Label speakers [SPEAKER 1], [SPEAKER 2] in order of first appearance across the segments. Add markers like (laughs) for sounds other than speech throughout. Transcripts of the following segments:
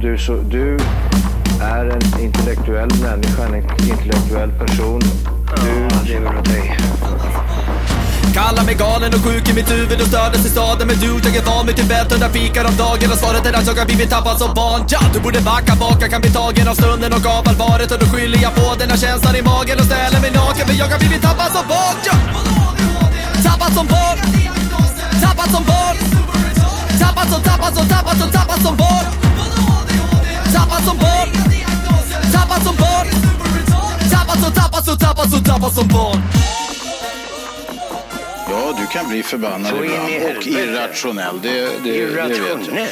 [SPEAKER 1] du, så, du är en intellektuell människa, en intellektuell person. Du lever av dig.
[SPEAKER 2] Kallar mig galen och sjuk i mitt huvud och stördes i staden Men du, jag är van vid Tibet och där fikar om dagen Och svaret är att jag har blivit tappad som barn ja, Du borde backa bak, jag kan bli tagen av stunden och av allvaret Och då skyller jag på den här känslan i magen och ställer mig naken För jag har blivit tappad som barn ja. Tappad som barn Tappad som barn Tappad som, tappad som, tappad som, tappad som barn Tappad som barn Tappad som barn Tappad som, tappad som, tappad som, tappad som barn
[SPEAKER 3] Ja, du kan bli förbannad
[SPEAKER 1] Så in i
[SPEAKER 3] ibland och
[SPEAKER 1] helvete.
[SPEAKER 3] irrationell. Det, det, det vet jag.
[SPEAKER 1] Irrationell.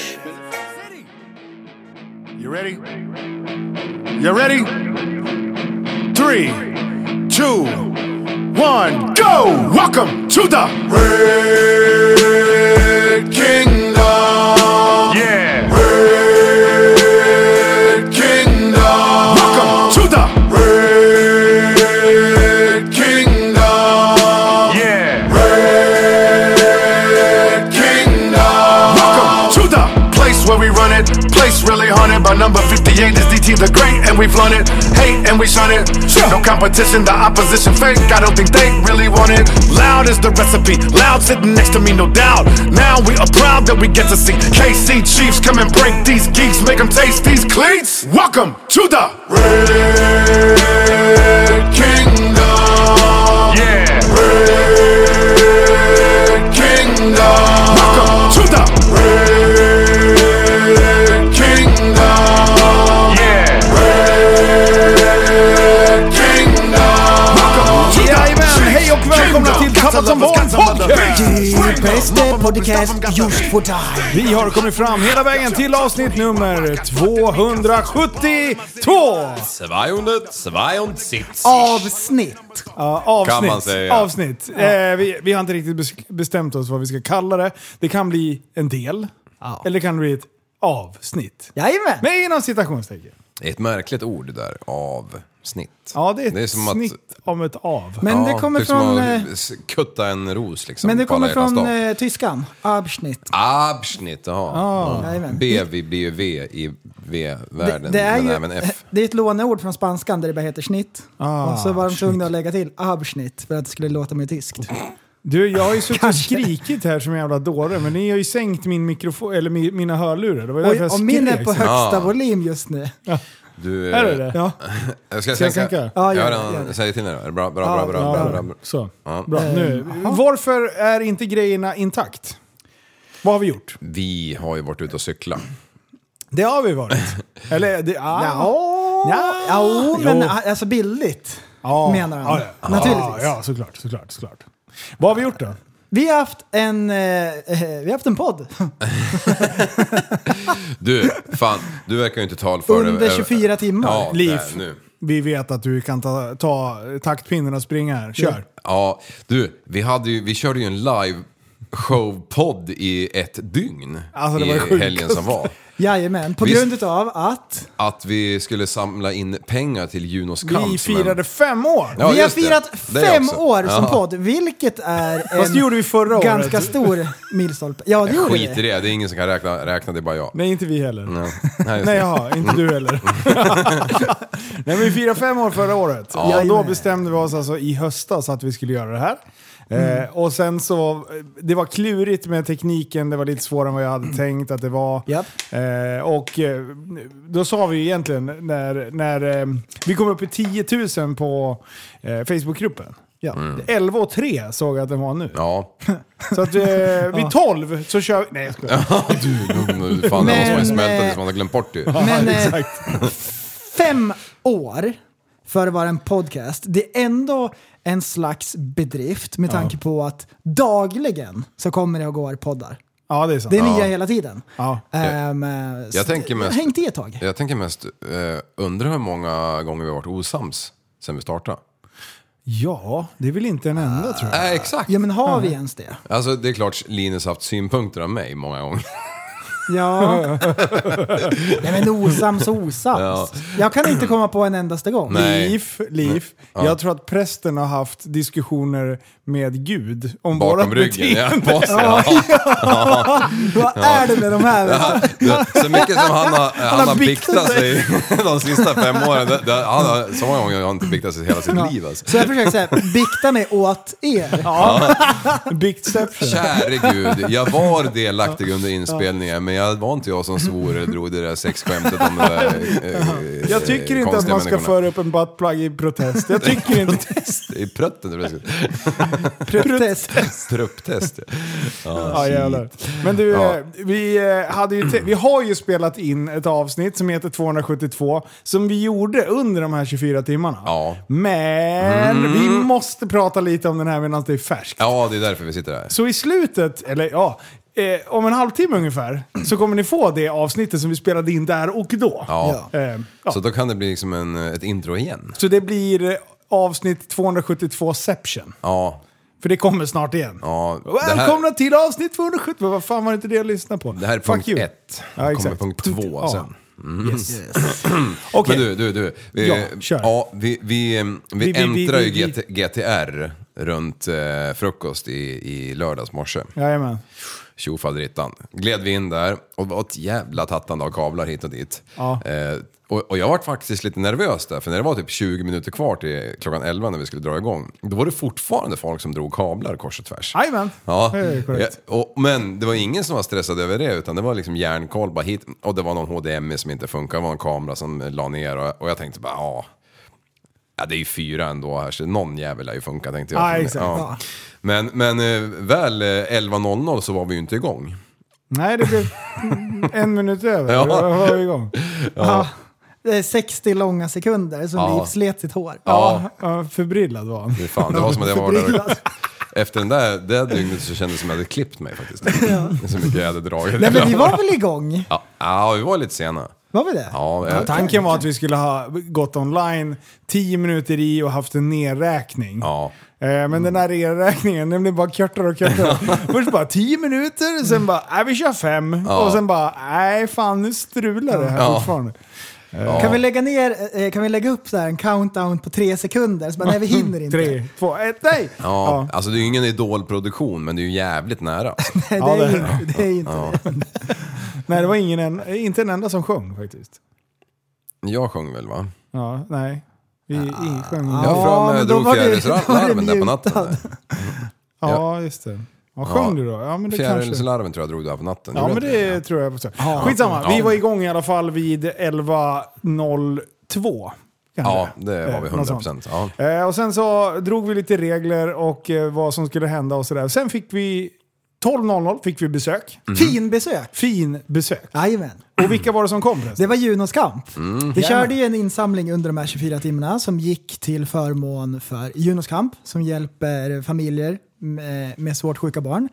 [SPEAKER 4] You ready? You ready? Three, two, one, go! Welcome to the Red Kingdom. Yeah. Red Kingdom. Welcome to the Red Kingdom. Yeah. Red Kingdom. Welcome to the place where we run it. Place really haunted by number 58 is DT the Great, and we flaunt it. Hate and we shun it. No competition, the opposition fake. I don't think they really want it. Loud is the recipe. Loud sitting next to me, no doubt. Now we are proud that we get to see KC Chiefs come and break these geeks, make them taste these cleats. Welcome to the Red Kingdom. Yeah. Red Kingdom. Welcome to the Red Kingdom. Yeah. Red Kingdom. Welcome to
[SPEAKER 5] Jajamän,
[SPEAKER 4] the
[SPEAKER 5] hej och välkomna till
[SPEAKER 4] Kingdom.
[SPEAKER 5] Tappat som barn podcast!
[SPEAKER 4] Podcast.
[SPEAKER 6] Bästa podcast just för dig.
[SPEAKER 5] Vi har kommit fram hela vägen till avsnitt nummer 272!
[SPEAKER 7] 272.
[SPEAKER 6] Avsnitt.
[SPEAKER 5] Ja, avsnitt.
[SPEAKER 7] Kan man säga.
[SPEAKER 5] avsnitt. Eh, vi, vi har inte riktigt bes- bestämt oss vad vi ska kalla det. Det kan bli en del,
[SPEAKER 6] Ja.
[SPEAKER 5] eller det kan bli ett avsnitt.
[SPEAKER 6] Jajamän.
[SPEAKER 5] Men inom citationstecken.
[SPEAKER 7] Det är ett märkligt ord där, avsnitt.
[SPEAKER 5] Ja, det är ett
[SPEAKER 7] som att-
[SPEAKER 5] snitt om ett av.
[SPEAKER 6] Men det
[SPEAKER 7] ja,
[SPEAKER 6] kommer
[SPEAKER 7] typ som
[SPEAKER 6] från,
[SPEAKER 7] att
[SPEAKER 6] eh,
[SPEAKER 7] s- Kutta en ros liksom.
[SPEAKER 6] Men det
[SPEAKER 7] på alla
[SPEAKER 6] kommer
[SPEAKER 7] hjärtans
[SPEAKER 6] från
[SPEAKER 7] dag.
[SPEAKER 6] eh, tyskan. Abschnitt.
[SPEAKER 7] Abschnitt, jaha. Ja.
[SPEAKER 6] jajamän.
[SPEAKER 7] B vi blir ju V i V-världen,
[SPEAKER 6] det, är
[SPEAKER 7] men
[SPEAKER 6] ju, eh,
[SPEAKER 7] även F.
[SPEAKER 6] det är ett låneord från spanskan där det bara heter snitt.
[SPEAKER 5] Ah,
[SPEAKER 6] och så var de tvungna att lägga till abschnitt för att det skulle låta mer tyskt.
[SPEAKER 5] Du, jag har ju suttit och
[SPEAKER 6] Kanske.
[SPEAKER 5] skrikit här som en jävla dåre, men ni har ju sänkt min mikrofon, eller mi, mina hörlurar. Det var ju därför jag
[SPEAKER 6] Och, och min är
[SPEAKER 5] skrek
[SPEAKER 6] på
[SPEAKER 5] så.
[SPEAKER 6] högsta
[SPEAKER 7] Ja.
[SPEAKER 6] volym just nu.
[SPEAKER 7] Du, eh,
[SPEAKER 5] Är det det? Ja.
[SPEAKER 7] Ska jag
[SPEAKER 5] Ska jag
[SPEAKER 7] sänka?
[SPEAKER 5] sänka?
[SPEAKER 6] Ja, gör
[SPEAKER 7] gör
[SPEAKER 6] det, gör det.
[SPEAKER 7] Säg till när det är bra, bra, bra, bra, bra, bra, bra.
[SPEAKER 5] Så.
[SPEAKER 7] Ja.
[SPEAKER 5] Bra. Nu. Eh, Varför är inte grejerna intakt? Vad har vi gjort?
[SPEAKER 7] Vi har ju varit ute och cykla.
[SPEAKER 5] Det har vi
[SPEAKER 7] (laughs)
[SPEAKER 5] varit. Eller? Det, ah.
[SPEAKER 6] Ja,
[SPEAKER 5] Ja. ah,
[SPEAKER 6] ja men
[SPEAKER 5] Jo.
[SPEAKER 6] alltså billigt
[SPEAKER 5] Ja.
[SPEAKER 6] menar han.
[SPEAKER 5] Ja, ja.
[SPEAKER 6] Naturligtvis.
[SPEAKER 5] Ja, ja, såklart, såklart, såklart. Vad har vi gjort då?
[SPEAKER 6] Vi har haft en, eh, eh, vi har haft en podd
[SPEAKER 7] Du, fan, du verkar ju inte tal för det.
[SPEAKER 6] under 24 timmar.
[SPEAKER 7] Ja,
[SPEAKER 5] Liv.
[SPEAKER 7] där, nu.
[SPEAKER 5] Vi vet att du kan ta, ta taktpinnen och springa här. Kör!
[SPEAKER 7] Ja, du, vi, hade ju, vi körde ju en live showpodd i ett dygn
[SPEAKER 5] Alltså, det var
[SPEAKER 7] i
[SPEAKER 5] sjukt.
[SPEAKER 7] helgen
[SPEAKER 5] (laughs)
[SPEAKER 7] som var.
[SPEAKER 6] Jajamän, på
[SPEAKER 7] Visst.
[SPEAKER 6] grund av att
[SPEAKER 7] Att vi skulle samla in pengar till Junos kamp.
[SPEAKER 5] Vi
[SPEAKER 7] som
[SPEAKER 5] firade
[SPEAKER 7] en-
[SPEAKER 5] fem år!
[SPEAKER 7] Ja,
[SPEAKER 6] vi har
[SPEAKER 7] just det.
[SPEAKER 6] firat
[SPEAKER 7] Det är
[SPEAKER 6] fem
[SPEAKER 7] också.
[SPEAKER 6] år som
[SPEAKER 7] Ja.
[SPEAKER 6] podd, vilket är
[SPEAKER 5] Fast det gjorde vi förra året.
[SPEAKER 6] ganska stor milstolpe. Ja, det
[SPEAKER 7] Jag
[SPEAKER 6] gjorde
[SPEAKER 7] skiter i
[SPEAKER 6] vi.
[SPEAKER 7] det, det är ingen som kan räkna, räkna det är bara jag.
[SPEAKER 5] Nej, inte vi heller.
[SPEAKER 7] Ja. Nej, just
[SPEAKER 5] (laughs) Nej,
[SPEAKER 7] det.
[SPEAKER 5] jaha, inte du heller. Nej, men vi firade fem år förra året. Ja. Och då
[SPEAKER 6] Jajamän.
[SPEAKER 5] bestämde vi oss alltså i höstas att vi skulle göra det här.
[SPEAKER 6] Mm.
[SPEAKER 5] Eh, och sen så, det var klurigt med tekniken, det var lite svårare än vad jag hade tänkt att det var.
[SPEAKER 6] Japp.
[SPEAKER 5] Eh, och eh, då sa vi ju egentligen när, när eh, vi kom upp i 10 000 på eh, Facebookgruppen.
[SPEAKER 6] Ja.
[SPEAKER 5] 11 och 3 såg jag att den var nu.
[SPEAKER 7] Ja.
[SPEAKER 5] Så att eh, vid 12 så kör vi... Nej jag skojar.
[SPEAKER 7] Du, du, fan, det
[SPEAKER 6] Men,
[SPEAKER 7] var som en smälta
[SPEAKER 6] eh,
[SPEAKER 7] tills man har glömt bort det.
[SPEAKER 6] Men eh,
[SPEAKER 5] Exakt.
[SPEAKER 6] fem år för att vara en podcast, det är ändå en slags bedrift med tanke på att dagligen så kommer det och går poddar.
[SPEAKER 5] Ja det är sant.
[SPEAKER 6] Det är nya hela tiden.
[SPEAKER 5] Ja.
[SPEAKER 6] Ehm, så
[SPEAKER 7] jag tänker mest-
[SPEAKER 6] Hängt i ett tag.
[SPEAKER 7] Jag tänker mest, eh, undrar hur många gånger vi har varit osams sen vi startade.
[SPEAKER 5] Ja, det är väl inte en enda tror jag.
[SPEAKER 7] Nej, exakt.
[SPEAKER 6] Ja men har vi ens det?
[SPEAKER 7] Alltså det är klart Linus har haft synpunkter av mig många gånger.
[SPEAKER 5] (laughs)
[SPEAKER 6] Ja. Nej men osams och osams. Jag kan inte komma på en endaste gång.
[SPEAKER 7] Nej.
[SPEAKER 5] Liv, liv. Jag tror att prästen har haft diskussioner med Gud om
[SPEAKER 7] Bakom
[SPEAKER 5] vårat
[SPEAKER 7] ryggen,
[SPEAKER 5] beteende.
[SPEAKER 7] ja. (laughs) Boss, ja.
[SPEAKER 6] Vad är det med de här?
[SPEAKER 7] Ja, det- Så mycket som han har, han
[SPEAKER 6] har
[SPEAKER 7] har
[SPEAKER 6] biktat
[SPEAKER 7] biktat sig (laughs) de sista fem åren. Det, det, han har, så många gånger har han inte biktat sig i hela sitt liv alltså.
[SPEAKER 6] Så jag försöker säga, bikta mig åt er.
[SPEAKER 5] Bigception.
[SPEAKER 7] Käre gud, jag var delaktig under inspelningen men jag var inte jag som svor eller drog det där sexskämtet om det där,
[SPEAKER 5] (laughs)
[SPEAKER 7] eh, eh,
[SPEAKER 5] Jag tycker inte att
[SPEAKER 7] konstiga
[SPEAKER 5] man ska
[SPEAKER 7] människorna.
[SPEAKER 5] föra upp en buttplug i protest. Jag tycker inte... (laughs)
[SPEAKER 7] I prutten det blev
[SPEAKER 6] Protest.
[SPEAKER 7] (laughs) Prupptest.
[SPEAKER 5] Ja, jävlar. Men du,
[SPEAKER 7] Ah, Ja.
[SPEAKER 5] eh, vi, eh, hade ju te- vi har ju spelat in ett avsnitt som heter 272 som vi gjorde under de här 24 timmarna.
[SPEAKER 7] Ja. Mm.
[SPEAKER 5] Men vi måste prata lite om den här medan det är färskt.
[SPEAKER 7] Ja, det är därför vi sitter här.
[SPEAKER 5] Så i slutet, eller ja, eh, om en halvtimme ungefär, så kommer ni få det avsnittet som vi spelade in där och då.
[SPEAKER 7] Ja.
[SPEAKER 5] Eh, ja.
[SPEAKER 7] Så då kan det bli liksom en, ett intro igen.
[SPEAKER 5] Så det blir eh, avsnitt 272-ception.
[SPEAKER 7] Ja.
[SPEAKER 5] För det kommer snart igen.
[SPEAKER 7] ja. Det här-
[SPEAKER 5] Välkomna till avsnitt 270! Men Vad fan var det inte det jag lyssnade på?
[SPEAKER 7] Det här är
[SPEAKER 5] Fuck
[SPEAKER 7] punkt
[SPEAKER 5] you.
[SPEAKER 7] ett.
[SPEAKER 5] Ja,
[SPEAKER 7] Då kommer
[SPEAKER 5] exakt.
[SPEAKER 7] punkt två
[SPEAKER 5] Ja.
[SPEAKER 7] sen. Mm.
[SPEAKER 5] Yes. (clears throat) Okej.
[SPEAKER 7] Men du, du, du. Vi,
[SPEAKER 5] Ja, kör.
[SPEAKER 7] Ja, vi, vi, eh, vi,
[SPEAKER 5] Vi- vi- vi-
[SPEAKER 7] äntrar ju
[SPEAKER 5] vi-
[SPEAKER 7] GT, GTR runt eh, frukost i, i lördags morse.
[SPEAKER 5] Jajamän.
[SPEAKER 7] Tjofaderittan. Gled vi in där och var ett jävla tattande av kablar hit och dit.
[SPEAKER 5] Ja.
[SPEAKER 7] Eh, och, och jag var faktiskt lite nervös där, för när det var typ 20 minuter kvar till klockan 11 när vi skulle dra igång, då var det fortfarande folk som drog kablar kors och tvärs.
[SPEAKER 5] Jajamän.
[SPEAKER 7] Ja,
[SPEAKER 5] Det är
[SPEAKER 7] ja,
[SPEAKER 5] korrekt.
[SPEAKER 7] och, men det var ingen som var stressad över det utan det var liksom järnkoll bara hit och det var någon HDMI som inte funkade, det var en kamera som la ner och, och jag tänkte bara ja, ja det är ju fyra ändå här så någon jävel lär ju funka tänkte jag.
[SPEAKER 5] Ja, exakt,
[SPEAKER 6] ja.
[SPEAKER 7] Men, men eh, väl eh, 11.00 så var vi ju inte igång.
[SPEAKER 5] Nej, det
[SPEAKER 7] (laughs)
[SPEAKER 5] blev en minut över.
[SPEAKER 7] Ja.
[SPEAKER 5] Då var vi igång.
[SPEAKER 6] Ja. Det är 60 eh, långa sekunder som
[SPEAKER 7] Ja.
[SPEAKER 6] Liv slet sitt hår.
[SPEAKER 5] Ja. ja, Förbryllad var han.
[SPEAKER 7] Fy Fan, det var som att jag var där. Efter den där, det där dygnet så kändes det som att jag hade klippt mig faktiskt. Så mycket jag hade dragit.
[SPEAKER 6] Nej men vi var väl igång?
[SPEAKER 7] ja, ja, vi var lite sena.
[SPEAKER 6] Var vi det?
[SPEAKER 7] Ja, jag,
[SPEAKER 5] Tanken var att vi skulle ha gått online 10 minuter i och haft en nedräkning.
[SPEAKER 7] ja.
[SPEAKER 5] Eh, Men den här nedräkningen, den blev bara kortare och
[SPEAKER 7] (laughs)
[SPEAKER 5] kortare. Först bara 10 minuter, sen bara nej vi kör 5.
[SPEAKER 7] Ja.
[SPEAKER 5] Och sen bara nej fan nu strular det här
[SPEAKER 7] Ja.
[SPEAKER 5] fortfarande.
[SPEAKER 6] Kan, vi lägga ner, eh, kan vi lägga upp så här en countdown på tre sekunder? Så bara, nej vi hinner
[SPEAKER 5] (laughs)
[SPEAKER 6] inte.
[SPEAKER 5] 3, 2, 1, nej!
[SPEAKER 7] Ja, alltså det är ju ingen idolproduktion men det är ju jävligt nära. Alltså.
[SPEAKER 6] Nej, (laughs) (laughs) det,
[SPEAKER 5] Ja,
[SPEAKER 6] är
[SPEAKER 5] det-
[SPEAKER 6] ju inte, det är ju inte det.
[SPEAKER 5] Nej det var ingen, en- inte en enda som sjöng faktiskt.
[SPEAKER 7] Jag sjöng väl va?
[SPEAKER 5] Ja, nej. Vi ingen sjöng.
[SPEAKER 7] Ah. Jag
[SPEAKER 5] Ja,
[SPEAKER 7] har för mig jag
[SPEAKER 6] men då
[SPEAKER 7] drog
[SPEAKER 6] var det- då var det
[SPEAKER 7] fjärilslarven där på natten.
[SPEAKER 6] mjutad.
[SPEAKER 7] där.
[SPEAKER 5] (laughs) ja, just det. Ja, sjöng
[SPEAKER 7] Ja.
[SPEAKER 5] du då? Ja, men det kanske...
[SPEAKER 7] Fjärilslarven tror jag drog där på natten.
[SPEAKER 5] Ja,
[SPEAKER 7] Gjorde
[SPEAKER 5] men
[SPEAKER 7] jag inte
[SPEAKER 5] det tror jag. Också. Skitsamma, vi
[SPEAKER 7] Ja.
[SPEAKER 5] var igång i alla fall vid 11.02. kanske.
[SPEAKER 7] Ja, det var vi
[SPEAKER 5] Eh, något
[SPEAKER 7] 100
[SPEAKER 5] sånt.
[SPEAKER 7] procent. Ja.
[SPEAKER 5] Eh, och sen så drog vi lite regler och eh, vad som skulle hända och sådär. Sen fick vi 12.00 fick vi besök.
[SPEAKER 7] Mm.
[SPEAKER 6] Fin besök.
[SPEAKER 5] Fin besök.
[SPEAKER 6] Jajamän.
[SPEAKER 5] Och vilka var det som kom förresten?
[SPEAKER 6] Det var Junos kamp.
[SPEAKER 7] Mm.
[SPEAKER 6] Vi körde ju en insamling under de här 24 timmarna som gick till förmån för Junos kamp som hjälper familjer med, med svårt sjuka barn.